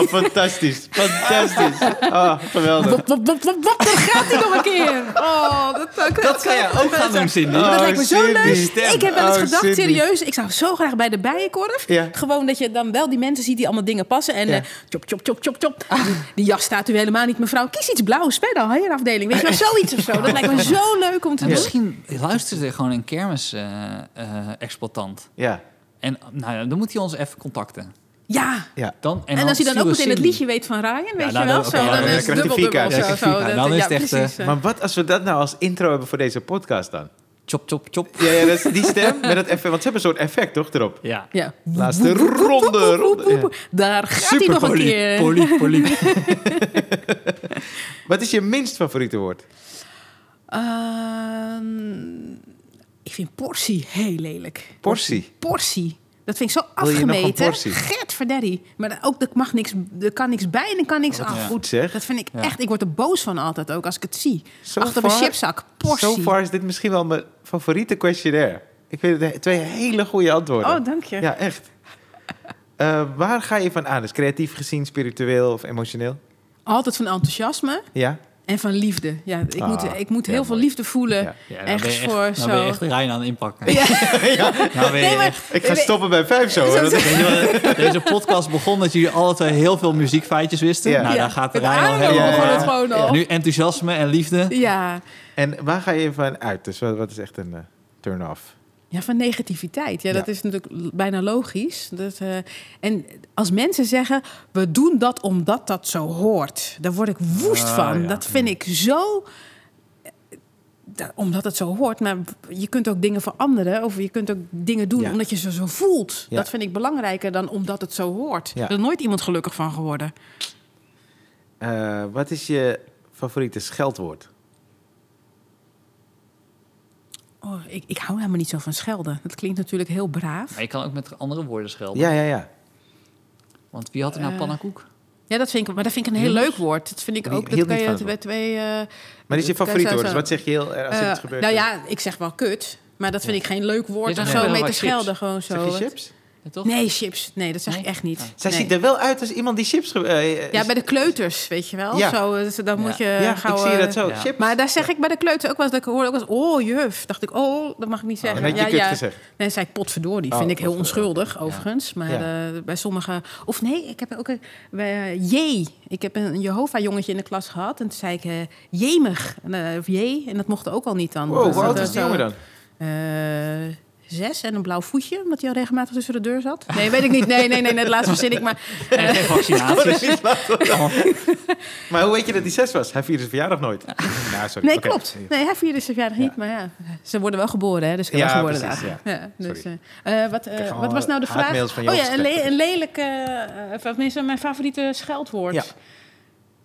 A: Oh, fantastisch. Fantastisch. [LAUGHS] Oh, geweldig.
C: Wop, wop, wop, wop, wop, dan gaat hij nog een keer. Oh, dat, dat,
B: [LAUGHS] Dat kan jij ook gaan
A: [LAUGHS]
B: doen, Cindy.
A: Oh,
C: dat lijkt me zo
A: Cindy.
C: leuk.
A: Stem.
C: Ik heb wel eens
A: Oh,
C: gedacht,
A: Cindy.
C: serieus, ik zou zo graag bij de bijenkorf.
A: Ja.
C: Gewoon dat je dan wel die mensen ziet die allemaal dingen passen. En
A: Ja.
C: eh chop, chop, chop, chop, chop. Die jas staat u helemaal niet, mevrouw. Kies iets blauws bij de afdeling. Weet je
A: [LAUGHS]
C: wel, zoiets of zo. Dat lijkt me zo leuk om te
B: En
C: doen.
B: Misschien luistert er gewoon een kermis-exploitant.
A: Ja,
B: en nou, ja, dan moet hij ons even contacten.
C: Ja.
A: ja.
B: Dan, en,
C: En, als je dan ook
B: sturen we
C: meteen het
B: Cindy.
C: liedje weet van Ryan, weet
B: nou,
C: je wel?
B: dan-
C: zo,
B: oké, ja,
C: dan
B: dan
C: is
A: krijg
C: het
A: je
C: dubbel
A: vier
C: dubbel
A: kaarten.
C: of
B: Ja,
C: zo.
B: dan krijg je
C: zo.
B: vier kaarten. Dan
C: Dat- ja,
B: is het echt,
C: precies, eh.
A: Maar wat als we dat nou als intro hebben voor deze podcast dan?
B: Chop, chop, chop.
A: Ja, ja dat is die stem met dat effect. Want ze hebben een soort effect, toch, erop?
B: Ja.
C: Ja.
A: Laatste ronde. ronde. Ja.
C: Daar gaat hij nog een keer. [LAUGHS]
B: Polie, polie.
A: Wat is je minst favoriete woord?
C: Ehm, ik vind portie heel lelijk.
A: Portie.
C: Portie. Dat vind ik zo
A: Wil je nog een
C: afgemeten.
A: portie?
C: Gert verdaddy. Maar dan ook, dat mag niks, er kan niks bij en er kan niks af.
A: ja. goed, zeg.
C: Dat vind ik
B: Ja.
C: echt, ik word er boos van altijd ook als ik het zie.
A: So
C: Achter
A: far-
C: mijn chipzak, portie.
A: So far is dit misschien wel mijn favoriete questionnaire. Ik vind het he- twee hele goede antwoorden.
C: oh, dank je.
A: Ja, echt. Eh, waar ga je van aan? Dus creatief gezien, spiritueel of emotioneel?
C: Altijd van enthousiasme
A: Ja?
C: en van liefde. Ja, ik
A: Ah,
C: moet, ik moet
A: ja,
C: heel veel
A: mooi.
C: liefde voelen.
A: Ja.
B: Ja,
C: Echt voor
B: nou ben
C: zo.
B: je echt Rijn aan het inpakken. [LAUGHS]
C: Ja.
B: Nou ben je
C: Nee, maar-
B: echt-
A: Ik ga stoppen bij vijf
C: [LAUGHS]
A: zo. hoor.
C: Zo- zo-
B: Weet je wat, Deze podcast begon dat jullie alle twee heel veel muziekfeitjes wisten.
A: Ja.
B: Nou,
C: Ja.
B: daar gaat de
C: Met
B: Rijn al
C: Arno
B: helemaal
A: begon
B: van.
A: het
C: gewoon al.
B: Nu enthousiasme en liefde.
C: Ja.
A: En waar ga je van uit? Dus wat, wat is echt een eh, turn-off?
C: Ja, van negativiteit. Ja,
A: Ja.
C: dat is natuurlijk l- bijna logisch. Dat, eh, en als mensen zeggen, we doen dat omdat dat zo hoort. Daar word ik woest
B: Ah,
C: van.
B: ja.
C: Dat vind ik zo... eh, da- omdat het zo hoort. Maar je kunt ook dingen veranderen. Of je kunt ook dingen doen
A: Ja.
C: omdat je ze zo voelt.
A: Ja.
C: Dat vind ik belangrijker dan omdat het zo hoort.
A: Ja.
C: Er is nooit iemand gelukkig van geworden.
A: Eh, wat is je favoriete scheldwoord?
C: Oh, ik, ik hou helemaal niet zo van schelden. Dat klinkt natuurlijk heel braaf.
B: Maar je kan ook met andere woorden schelden.
A: Ja, ja, ja.
B: Want wie had er nou
C: Eh,
B: pannenkoek?
C: Ja, dat vind ik, maar dat vind ik een heel leuk woord. Dat vind ik
A: Hield-
C: ook.
A: hield
C: Dat kan
A: niet
C: je
A: van
C: het
A: het
C: bij twee... eh,
A: Maar dit is je
C: Dat-
A: favoriete
C: zo-
A: woord. Dus
C: zo.
A: wat zeg je heel erg als
C: Eh,
A: iets gebeurt?
C: nou ja, ik zeg wel kut. Maar dat vind ik geen leuk woord
B: Ja,
C: om
B: dan
C: zo
B: wel
C: mee te
B: wat chips.
C: schelden. Gewoon zo.
A: Zeg je chips?
B: Ja, toch?
C: Nee, chips. Nee, dat zeg ik
B: Nee?
C: echt niet.
A: Zij
C: Nee.
A: ziet er wel uit als iemand die chips... ge- eh, eh,
C: Ja, bij de kleuters, weet je wel.
A: Ja.
C: Zo, dus dan moet je
A: ja,
C: gauw...
A: ik zie
C: eh,
A: dat zo.
B: ja.
A: Chips.
C: Maar daar zeg ik bij de kleuters ook wel eens... Dat ik hoorde ook wel eens, oh juf. Dacht ik, oh, dat mag ik niet
A: en
C: zeggen.
A: had je
C: ja,
A: kut
C: ja.
A: gezegd?
C: Nee, zei ik potverdorie.
A: Oh,
C: Vind ik heel
A: potverdorie.
C: onschuldig, overigens. Maar
A: Ja.
C: eh, bij sommige... Of nee, ik heb ook een... bij, eh, jee. Ik heb een Jehovah-jongetje in de klas gehad. En toen zei ik eh, jemig. En, eh, of jee. En dat mocht ook al niet dan.
A: Wow,
C: Dus
A: hoe
C: dat,
A: oud
C: eh,
A: is die
C: zo-
A: jongen dan?
C: eh, zes en een blauw voetje, omdat hij al regelmatig tussen de deur zat. Nee, weet ik niet. Nee, nee, nee, nee dat laatste verzin ik. Maar
B: En geen [LAUGHS] vaccinaties.
A: [LAUGHS] Maar hoe weet je dat hij zes was? Hij vierde zijn verjaardag
B: [LAUGHS]
A: nooit. Nou, sorry.
C: nee,
A: Oké.
C: klopt. Nee, hij vierde zijn verjaardag niet, maar ja, ze worden wel geboren, hè? Dus ik heb
A: Ja,
C: wel geboren
A: precies,
C: dagen.
A: ja.
C: dus,
A: Sorry.
C: eh, eh, wat, eh,
A: krijg gewoon
C: wat was nou de
A: haatmails
C: vraag?
A: van
C: oh
A: jou
C: ja, een,
A: gesprek.
C: le- een lelijke, eh, of tenminste mijn favoriete scheldwoord.
A: Ja.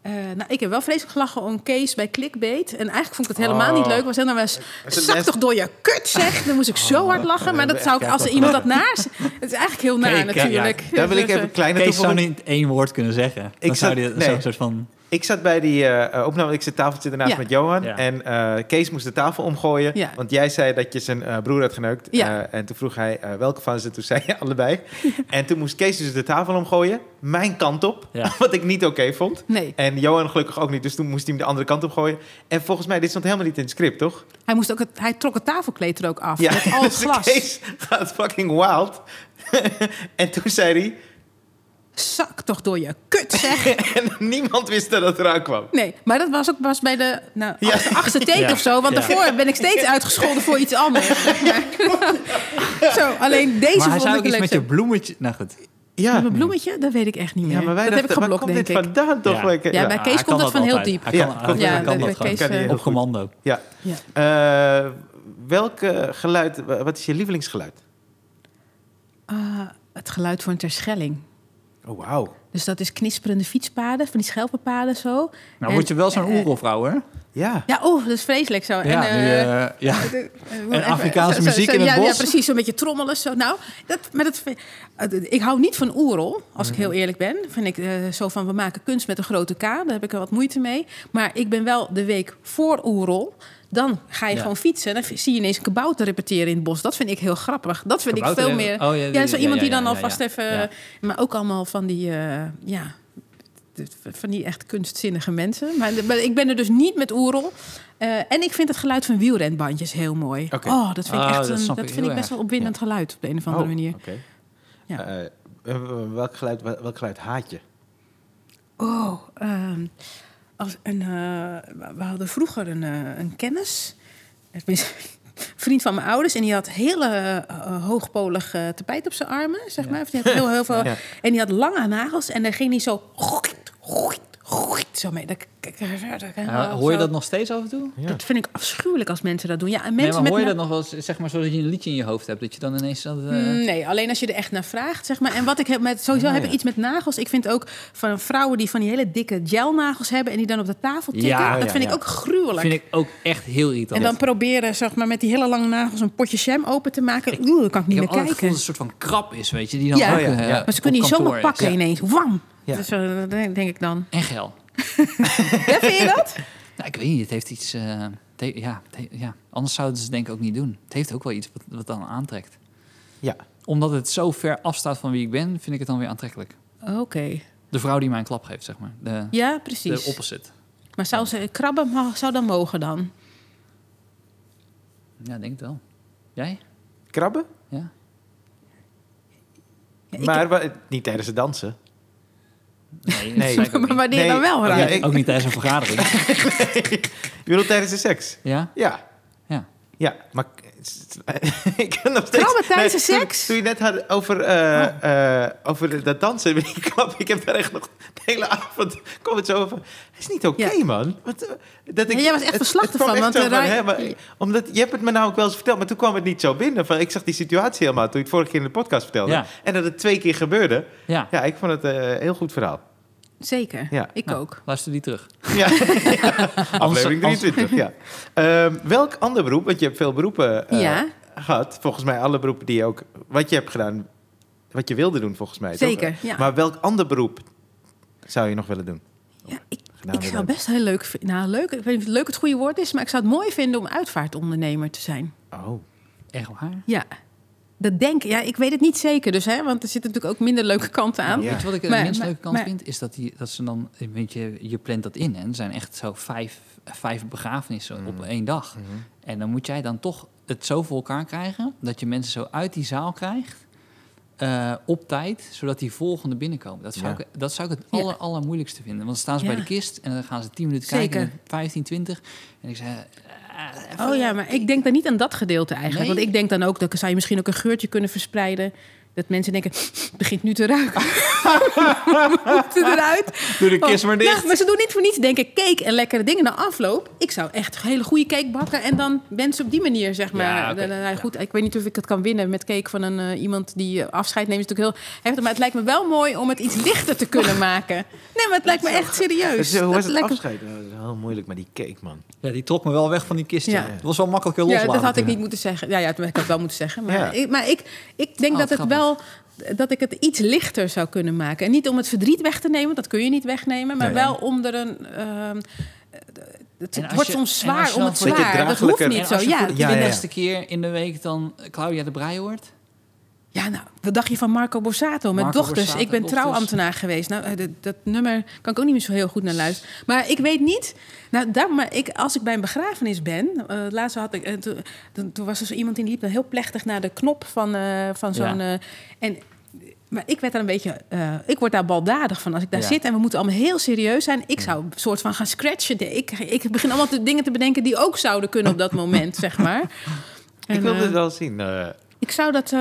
C: Eh, nou, ik heb wel vreselijk gelachen om Kees bij Clickbait. En eigenlijk vond ik het helemaal
A: Oh.
C: niet leuk. Was helemaal was,
A: is het Oh,
C: zak
A: best-
C: toch door je kut, zeg. Dan moest ik zo hard lachen. Maar dat zou ik, als er iemand dat naast... Het is eigenlijk heel naar,
B: Kijk, ja, ja,
C: natuurlijk.
A: Daar wil ik
C: Dus,
A: even
C: eh,
A: een kleine
B: Kees zou
A: toevoeging.
B: niet één woord kunnen zeggen. Dan
A: Ik
B: zou
A: zat-
B: die
A: nee.
B: zo'n soort van...
A: Ik zat bij die eh, opname, ik zit tafeltje daarnaast
C: Ja.
A: met Johan.
B: Ja.
A: En eh, Kees moest de tafel omgooien.
C: Ja.
A: Want jij zei dat je zijn eh, broer had geneukt.
C: Ja.
A: Eh, en toen vroeg hij eh, welke van ze. Toen zei je [LAUGHS] allebei. En toen moest Kees dus de tafel omgooien. Mijn kant op.
B: Ja.
A: [LAUGHS] Wat ik niet oké vond.
C: eh, Nee,
A: En Johan gelukkig ook niet. Dus toen moest hij hem de andere kant op gooien. En volgens mij, dit stond helemaal niet in het script, toch?
C: hij, moest ook het, hij trok het tafelkleed er ook
A: [LAUGHS]
C: af. Met al het
A: dus
C: glas.
A: [LAUGHS] Kees gaat fucking wild. en toen zei hij...
C: Zak toch door je kut,
A: [LAUGHS]
C: zeg.
A: en niemand wist dat het eraan kwam.
C: Nee, maar dat was ook pas bij de nou,
A: Ja.
C: achtste, achtste teken
E: Ja.
C: of zo. Want
E: Ja.
C: daarvoor ben ik steeds uitgescholden voor iets anders. [LAUGHS] Maar- zo, alleen deze
B: Maar hij
C: vond
B: zou ook
C: ik een
B: iets
C: leuk.
B: met je
C: zo.
B: bloemmetje... Nou goed.
A: Ja,
C: Met mijn bloemetje? Dat weet ik echt niet meer.
A: ja maar wij
C: dat heb ik
A: dachten, waar
C: geblokt,
A: komt
C: denk
A: dit
C: ik.
A: vandaan toch?
E: Ja.
A: Wij- Ja,
C: Ja, bij
A: ja.
C: Kees
E: hij
C: komt
E: kan
C: het van heel
E: altijd.
C: diep.
B: Hij
A: Ja,
B: kan,
A: klopt.
B: hij
C: Ja,
B: kan
C: dat
B: dat
C: bij
B: gewoon.
C: Kees, eh,
A: heel
B: Op
A: goed.
B: commando.
C: Ja.
A: Eh, welk eh, geluid, wa- wat is je lievelingsgeluid?
C: Ah, het geluid van Terschelling.
A: Oh, wauw.
C: Dus dat is knisperende fietspaden, van die schelpenpaden zo.
B: Nou
C: En-
B: word je wel zo'n
C: eh,
B: oerolvrouw, hè?
A: Ja.
C: Ja, oh, dat is vreselijk zo.
B: Ja,
C: en,
B: nu,
C: eh,
B: eh, ja.
C: [LAUGHS] eh, eh,
B: En
C: even-
B: Afrikaanse muziek in het
C: ja,
B: bos?
C: Ja, precies, zo'n beetje trommelen. Zo. Nou, dat, maar dat, vind- eh, ik hou niet van oerol, als
B: Mhm.
C: ik heel eerlijk ben. Vind ik eh, zo van, we maken kunst met een grote K. Daar heb ik er wat moeite mee. Maar ik ben wel de week voor oerol. Dan ga je
B: Ja.
C: gewoon fietsen en dan zie je ineens een kabouter repeteren in het bos. Dat vind ik heel grappig. Dat vind ik
B: Kabouter
C: veel meer...
B: rep- oh, ja, ja,
C: ja, zo
B: ja, ja,
C: iemand die
B: ja,
C: dan
B: ja,
C: alvast
B: ja.
C: even...
B: Ja.
C: Maar ook allemaal van die... eh, ja, de- van die echt kunstzinnige mensen. Maar, de- maar ik ben er dus niet met oerol. Eh, en ik vind het geluid van wielrenbandjes heel mooi.
A: Oké.
C: Oh, dat vind ik
B: Ah,
C: echt
B: dat
C: een,
B: snap
C: dat
B: ik
C: vind
B: heel
C: ik best
B: erg.
C: wel opwindend geluid op de een of andere
A: Oh,
C: manier.
A: oké.
C: Ja.
A: Eh, eh, welk, geluid, wel- welk geluid haat je?
C: Oh, ehm, als een, eh, we hadden vroeger een, eh, een kennis. Tenminste, Een vriend van mijn ouders. En die had hele eh, eh, hoogpolig eh, tapijt op zijn armen, zeg maar. Of Die had heel, heel
B: [LAUGHS]
C: veel,
A: Ja.
C: En die had lange nagels. En daar ging hij zo... [LAUGHS] goeit, goeit, goeit, zo mee. Dat,
B: Ja, Ah, hoor je dat nog steeds af en toe?
A: Ja.
C: Dat vind ik afschuwelijk als mensen dat doen. Ja, en
B: Nee,
C: mensen
B: maar hoor je
C: met
B: dat nog wel eens, zeg maar, zodat je een liedje in je hoofd hebt? Dat je dan Oh, ineens... Dat, eh,
C: Mm, Nee, alleen als je er echt naar vraagt, zeg maar. En wat ik heb met, sowieso heb ik iets met nagels. Ik vind ook van vrouwen die van die hele dikke gelnagels hebben en die dan op de tafel tikken,
B: Ja,
C: dat
A: ja,
C: vind
A: ja.
C: ik ook gruwelijk.
B: vind ik ook echt heel irritant.
C: en dan proberen, zeg maar, met die hele lange nagels een potje jam open te maken. Oeh, dan kan
B: ik heb
C: ik niet meer
B: altijd het
C: kijken.
B: gevoel dat het een soort van krap is, weet je. Die dan
C: Ja.
B: ook,
A: Oh ja,
B: eh,
A: ja.
B: op
C: Maar ze kunnen je
B: kantoor
C: zomaar
B: is.
C: pakken
B: Ja.
C: ineens. Wam!
A: Ja.
C: Dus, eh, dat denk denk ik dan. [LAUGHS]
B: En geil.
C: Ja, vind je dat?
B: Nou, ik weet niet, het heeft iets... eh, het he- ja, het he- ja, anders zouden ze het denk ik ook niet doen. Het heeft ook wel iets wat, wat dan aantrekt.
A: Ja.
B: Omdat het zo ver afstaat van wie ik ben, vind ik het dan weer aantrekkelijk.
C: Oké.
B: De vrouw die mij een klap geeft, zeg maar. De,
C: Ja,
B: de
C: precies.
B: opposite.
C: Maar zou ze krabben, mag- zou dat mogen dan?
B: Ja, ik denk het wel. Jij?
A: Krabben?
B: Ja?
C: Ja, ik-
A: maar wa- niet tijdens het dansen. [LAUGHS]
B: Nee, [LAUGHS]
A: Nee.
B: dat zei ik ook
C: [LAUGHS] maar
B: niet. oh
C: wanneer
A: Nee,
C: dan wel,
A: ja,
C: Ryan?
A: ik-
B: Ook niet tijdens een vergadering.
A: Je bedoelt tijdens de seks?
B: Ja?
A: Ja.
B: Ja.
A: Ja, maar [LAUGHS] ik kan nog steeds...
C: Krabben tijdens
A: Nee,
C: de
A: toen-
C: seks? Oh.
A: Toen je net had over, eh, eh, over de- dat dansen met die klap, ik heb daar echt nog de hele avond... Kom het zo over. Het is niet oké,
C: Ja.
A: man. Wat, eh, dat ik,
C: Ja, jij was echt
A: het-
C: verslag
A: het kwam
C: ervan,
A: echt
C: want,
A: zo
C: eh, Ryan-
A: hè, maar, omdat, je hebt het me namelijk wel eens verteld, maar toen kwam het niet zo binnen. Van, ik zag die situatie helemaal toen je het vorige keer in de podcast vertelde.
B: Ja.
A: En dat het twee keer gebeurde.
B: Ja.
A: Ja, ik vond het eh, een heel goed
B: [LAUGHS]
A: verhaal.
C: Zeker.
A: Ja.
C: Ik
B: Nou,
C: ook.
B: Luister die terug.
A: Ja, aflevering
B: als-
A: 23, ja. Ehm, welk ander beroep, want je hebt veel beroepen eh,
C: Ja.
A: gehad. Volgens mij alle beroepen die je ook... Wat je hebt gedaan, wat je wilde doen volgens mij. toch?
C: Zeker, ja.
A: Maar welk ander beroep zou je nog willen doen?
C: Ja, nou, ik,
A: gedaan
C: ik
A: willen
C: zou
A: hebben.
C: best heel leuk vinden. Nou, leuk, ik weet niet of leuk het goede woord is, maar ik zou het mooi vinden om uitvaartondernemer te zijn.
A: Oh,
B: Echt waar?
C: Ja. Dat denk ik. Ja, ik weet het niet zeker, dus hè, want er zitten natuurlijk ook minder leuke kanten aan.
A: Ja.
B: Weet je wat ik het
C: Maar-
B: minst
C: maar-
B: leuke kant
C: maar-
B: vind? Is dat, die, dat ze dan, weet je, je plant dat in. En er zijn echt zo vijf, vijf begrafenissen
A: Mm.
B: op één dag.
A: Mm-hmm.
B: En dan moet jij dan toch het zo voor elkaar krijgen... dat je mensen zo uit die zaal krijgt... eh, op tijd, zodat die volgende binnenkomen. Dat zou,
A: Ja.
B: ik, dat zou ik het
C: Ja.
B: aller, allermoeilijkste vinden. Want dan staan ze bij
C: Ja.
B: de kist en dan gaan ze 10 minuten
C: Zeker.
B: kijken, en dan 15, 20. En ik zei, eh, even-
C: Oh ja, maar ik denk dan niet aan dat gedeelte eigenlijk.
B: Nee?
C: Want ik denk dan ook, dat zou je misschien ook een geurtje kunnen verspreiden. Dat mensen denken, het begint nu te ruiken. [LAUGHS] We moeten eruit.
B: Doe de kist maar dicht.
C: Ja, maar ze doen niet voor niets, denk ik, cake en lekkere dingen na afloop. Ik zou echt hele goede cake bakken en dan mensen op die manier, zeg maar.
B: Ja, oké.
C: Dan- dan- goed, ik weet niet of ik het kan winnen met cake van een, eh, iemand die eh, afscheid neemt. Is natuurlijk heel heftig, maar het lijkt me wel mooi om het iets lichter te kunnen [LAUGHS] maken. Nee, maar het lijkt me echt serieus.
A: hoe was het
C: lijkt me-
A: afscheid? Oh, dat is heel moeilijk met die cake, man.
B: Ja, die trok me wel weg van die kist.
C: Ja.
B: Ja. Het was wel makkelijker
C: Ja,
B: loslaten.
C: dat had ik
B: toen.
C: niet moeten zeggen. Ja, ja, dat had ik het wel moeten zeggen. Maar,
A: Ja.
C: ik, maar ik, ik denk
B: Oh,
C: dat het
B: grappig.
C: wel dat ik het iets lichter zou kunnen maken. En niet om het verdriet weg te nemen, want dat kun je niet wegnemen, maar
A: Nee.
C: wel om er een. ehm, het
B: En
C: het
B: als
C: wordt
B: je-
C: soms
B: en als
C: zwaar
B: je
C: om
B: dan
C: het
A: voor je
C: zwaar. Dat hoeft
A: draaglijker-
C: niet
B: En
C: zo.
B: als je
C: Ja,
B: voor de
A: Ja, ja, ja.
B: twintigste keer in de week dan eh, Claudia de Brij hoort.
C: ja, nou, wat dacht je van Marco Borsato met
B: Marco
C: dochters?
B: Borsato,
C: ik ben
B: Dochters.
C: trouwambtenaar geweest. Nou, eh, dat, dat nummer kan ik ook niet meer zo heel goed naar luisteren. Maar ik weet niet. Nou, daar, maar ik, als ik bij een begrafenis ben. eh laatst had ik. eh, toen, toen- toen was er zo iemand die liep dan heel plechtig naar de knop van, eh, van zo'n.
B: Ja.
C: eh, en Maar ik werd daar een beetje, eh, ik word daar baldadig van als ik daar
E: Ja.
C: zit en we moeten allemaal heel serieus zijn. Ik zou een soort van gaan scratchen. De- Ik, ik begin allemaal te, dingen te bedenken die ook zouden kunnen op dat moment,
B: [LAUGHS]
C: zeg maar.
A: ik
C: En,
A: wilde
C: eh,
A: het wel zien. eh.
C: ik zou dat, eh,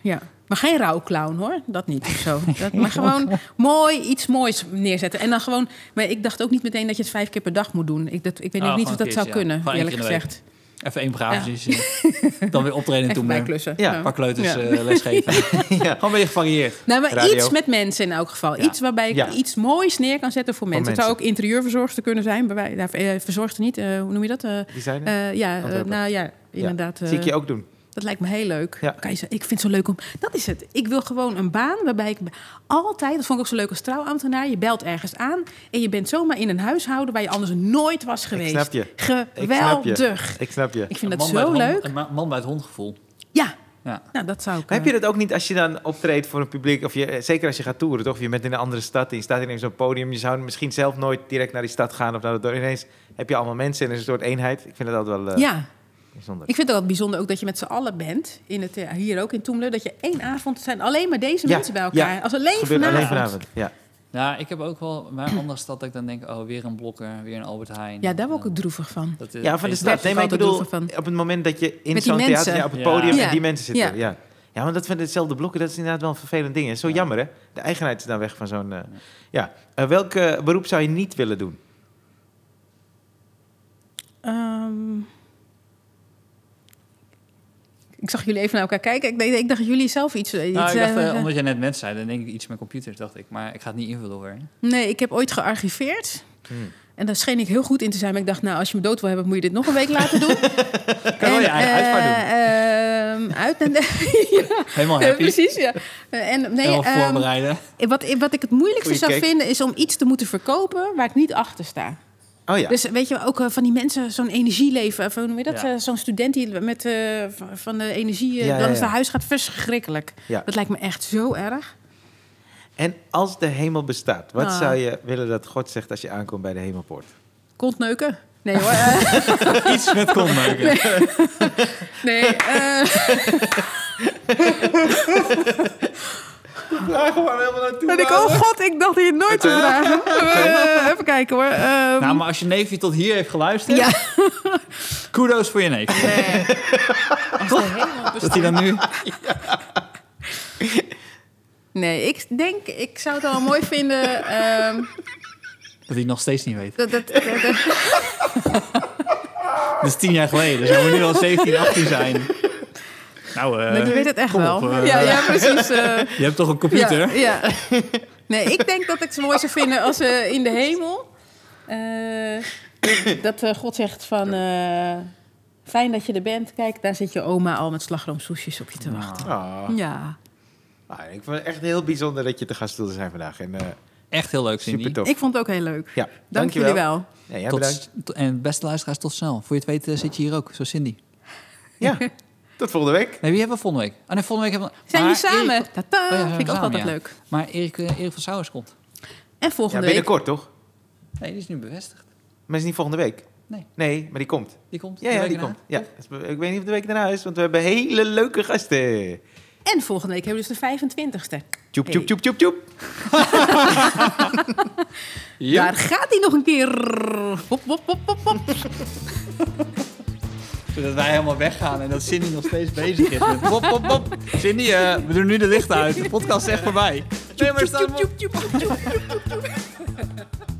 C: ja. Maar geen rouwclown hoor, dat niet of
B: [LAUGHS]
C: zo. Dat, maar gewoon mooi, iets moois neerzetten. En dan gewoon, maar ik dacht ook niet meteen dat je het vijf keer per dag moet doen. Ik, dat, ik weet
B: Ah,
C: ook niet
B: gewoon
C: of dat
B: een
C: zou
B: keertje, ja.
C: kunnen,
B: Gewoon één
C: eerlijk
B: keer in de
C: gezegd.
B: Even één begrafenis. eh, Dan weer optreden en toen
C: Even
B: weer een
C: bijklussen.
A: Ja,
B: paar kleuters
C: Ja.
B: eh,
C: [LAUGHS]
B: lesgeven.
A: ja.
B: Gewoon weer gevarieerd.
C: Nou, maar
A: Radio.
C: iets met mensen in elk geval.
B: Ja.
C: Iets waarbij ik
A: Ja.
C: iets moois neer kan zetten voor mensen. Het zou ook
A: mensen.
C: interieurverzorgster kunnen zijn. Bij wij, daar- eh, verzorgster niet, eh, hoe noem je dat? Eh,
A: Designer.
C: eh, ja, eh,
A: Ontwerper.
C: nou ja, inderdaad. eh,
A: Zie ik je ook doen.
C: Dat lijkt me heel leuk.
A: Ja.
C: Kan je zo- ik vind het zo leuk om... Dat is het. Ik wil gewoon een baan waarbij ik altijd... Dat vond ik ook zo leuk als trouwambtenaar. Je belt ergens aan en je bent zomaar in een huishouden... waar je anders nooit was geweest.
A: snap je. Ik snap je.
C: Geweldig.
A: Ik snap je.
C: Ik vind
B: Een
C: dat
B: man bij
C: zo
B: het hond-
C: leuk.
B: Een ma- man bij het hondgevoel.
C: Ja,
B: Ja.
C: nou dat zou ik...
A: Maar
C: eh,
A: heb je dat ook niet als je dan optreedt voor een publiek? Of je, eh, zeker als je gaat toeren, toch? Of je bent in een andere stad en je staat ineens op een podium. Je zou misschien zelf nooit direct naar die stad gaan. Of naar dat dorp. Ineens heb je allemaal mensen en er is een soort eenheid. Ik vind dat altijd wel eh,
C: ja,
A: bijzonder.
C: Ik vind het wel bijzonder ook dat je met z'n allen bent. In het, eh, hier ook in Toemler. Dat je één avond zijn alleen maar deze
A: Ja,
C: mensen bij elkaar.
A: ja.
C: Als alleen
A: gebeurt
C: vanavond.
A: alleen vanavond. Ja.
B: Ja, ik heb ook wel maar een andere stad dat ik dan denk, oh, weer een Blokker, weer een Albert Heijn.
C: Ja, daar word ik ook droevig van.
B: Dat, eh,
A: ja, van de
B: is-
A: stad.
C: dat
A: Nee, maar ik
C: valt ook
A: bedoel,
C: van.
A: op het moment dat je in
C: Met die
A: zo'n theater
C: mensen.
A: ja, op het
B: Ja.
A: podium
C: Ja.
A: en die mensen zitten.
C: Ja.
A: Ja. Ja, want dat van hetzelfde blokken, dat is inderdaad wel een vervelend ding. Het is zo jammer, hè? De eigenheid is dan weg van zo'n... eh, ja. Eh, welk eh, beroep zou je niet willen doen?
C: Ehm, ik zag jullie even naar elkaar kijken. Ik, denk- ik dacht dat jullie zelf iets... iets
B: Nou, ik dacht, eh,
C: eh,
B: omdat jij net mens zei, dan denk ik iets met computers, dacht ik. Maar ik ga het niet invullen hoor.
C: Nee, ik heb ooit gearchiveerd.
B: Hmm.
C: En daar scheen ik heel goed in te zijn. Maar ik dacht, nou, als je me dood wil hebben, moet je dit nog een week
B: [LAUGHS]
C: laten doen.
B: Kan wel je eigen
C: eh,
B: uitvaart doen.
C: doen. ehm, uit
B: [LAUGHS]
C: en... ja, [LAUGHS]
B: Helemaal happy.
C: precies, ja. Eh, En, nee,
B: Helemaal
C: ehm, [LAUGHS]
B: voorbereiden.
C: Wat, ik- wat ik het moeilijkste
A: Goeie
C: zou
A: cake.
C: vinden is om iets te moeten verkopen waar ik niet achter sta.
A: Oh ja.
C: Dus weet je ook eh, van die mensen zo'n energieleven, van, hoe noem je dat?
B: Ja.
C: Eh, Zo'n student die met, eh, van- van de energie eh,
A: Ja, ja,
C: langs
A: ja.
C: naar huis gaat, verschrikkelijk.
A: Ja.
C: Dat lijkt me echt zo erg.
A: En als de hemel bestaat, wat
C: Ah.
A: zou je willen dat God zegt als je aankomt bij de [LAUGHS] hemelpoort?
C: Kontneuken? Nee hoor. eh, [LAUGHS]
B: Iets met kon maken.
C: nee. eh,
A: Daar gewoon helemaal naartoe.
C: dat ik, oh god, ik dacht hier nooit te vragen. [LAUGHS] Eh, even kijken hoor. Ehm,
B: Nou, maar als je neefje tot hier heeft geluisterd,
C: ja.
B: [LAUGHS] kudos voor je neefje.
C: Nee.
B: Nou,
C: Als er helemaal best-
B: Dat hij dan nu...
C: Nee, ik denk, ik zou het wel mooi vinden. ehm,
B: Dat hij het nog steeds niet weet.
C: dat, dat, dat, dat-
B: Dat is tien jaar geleden, dus hij moet nu al 17, 18 zijn. Nou, eh,
C: Nee, die weet het echt
B: kom
C: wel.
B: op, eh.
C: ja, ja, precies. eh,
B: je hebt toch een
C: ja,
B: computer?
C: ja. Nee, ik denk dat ik ze mooi zou vinden als ze in de hemel. eh, dat eh, God zegt van. eh, Fijn dat je er bent. Kijk, daar zit je oma al met slagroomsoesjes op je
A: Nou,
C: te wachten. Ja.
A: Ah, ik vond het echt heel bijzonder dat je te gast wilde zijn vandaag. En, eh,
B: Echt heel leuk, Cindy.
A: super tof.
C: Ik vond het ook heel leuk.
A: Ja,
C: Dank jullie wel.
A: Ja, jij bedankt.
B: Tot, to- en beste luisteraars, tot snel. Voor je het weet eh, zit je hier ook, zo Cindy.
C: [LAUGHS]
A: Ja, tot volgende week.
B: Nee, wie hebben we volgende week? Ah, nee, volgende week hebben we...
C: Zijn
B: Maar
C: jullie samen?
B: Erik-
C: Tata,
B: Oh ja,
C: vind ik ook
B: samen,
C: altijd
B: ja.
C: leuk.
B: maar Erik, eh, Erik van Souwers komt.
C: En
A: Ja,
C: volgende week.
A: binnenkort toch?
B: Nee, die is nu bevestigd.
A: Maar is niet volgende week?
B: Nee.
A: Nee, maar die komt.
B: Die komt.
A: Ja,
B: de
A: ja
B: week
A: die
B: erna.
A: komt. Ja. Ik weet niet of de week daarna is, want we hebben hele leuke gasten.
C: En volgende week hebben we dus de 25ste.
A: Tjoep,
C: Hey.
A: tjoep, tjoep, tjoep, tjoep.
B: Ja.
C: Daar gaat hij nog een keer. Hop, hop, hop, hop, hop.
B: Dat wij helemaal weggaan en dat Cindy nog steeds bezig is met pop, pop, pop. Cindy, eh, we doen nu de lichten uit. De podcast is echt voorbij. Nee, maar er staat-
C: Tjoep, tjoep, tjoep, tjoep, tjoep, tjoep, tjoep.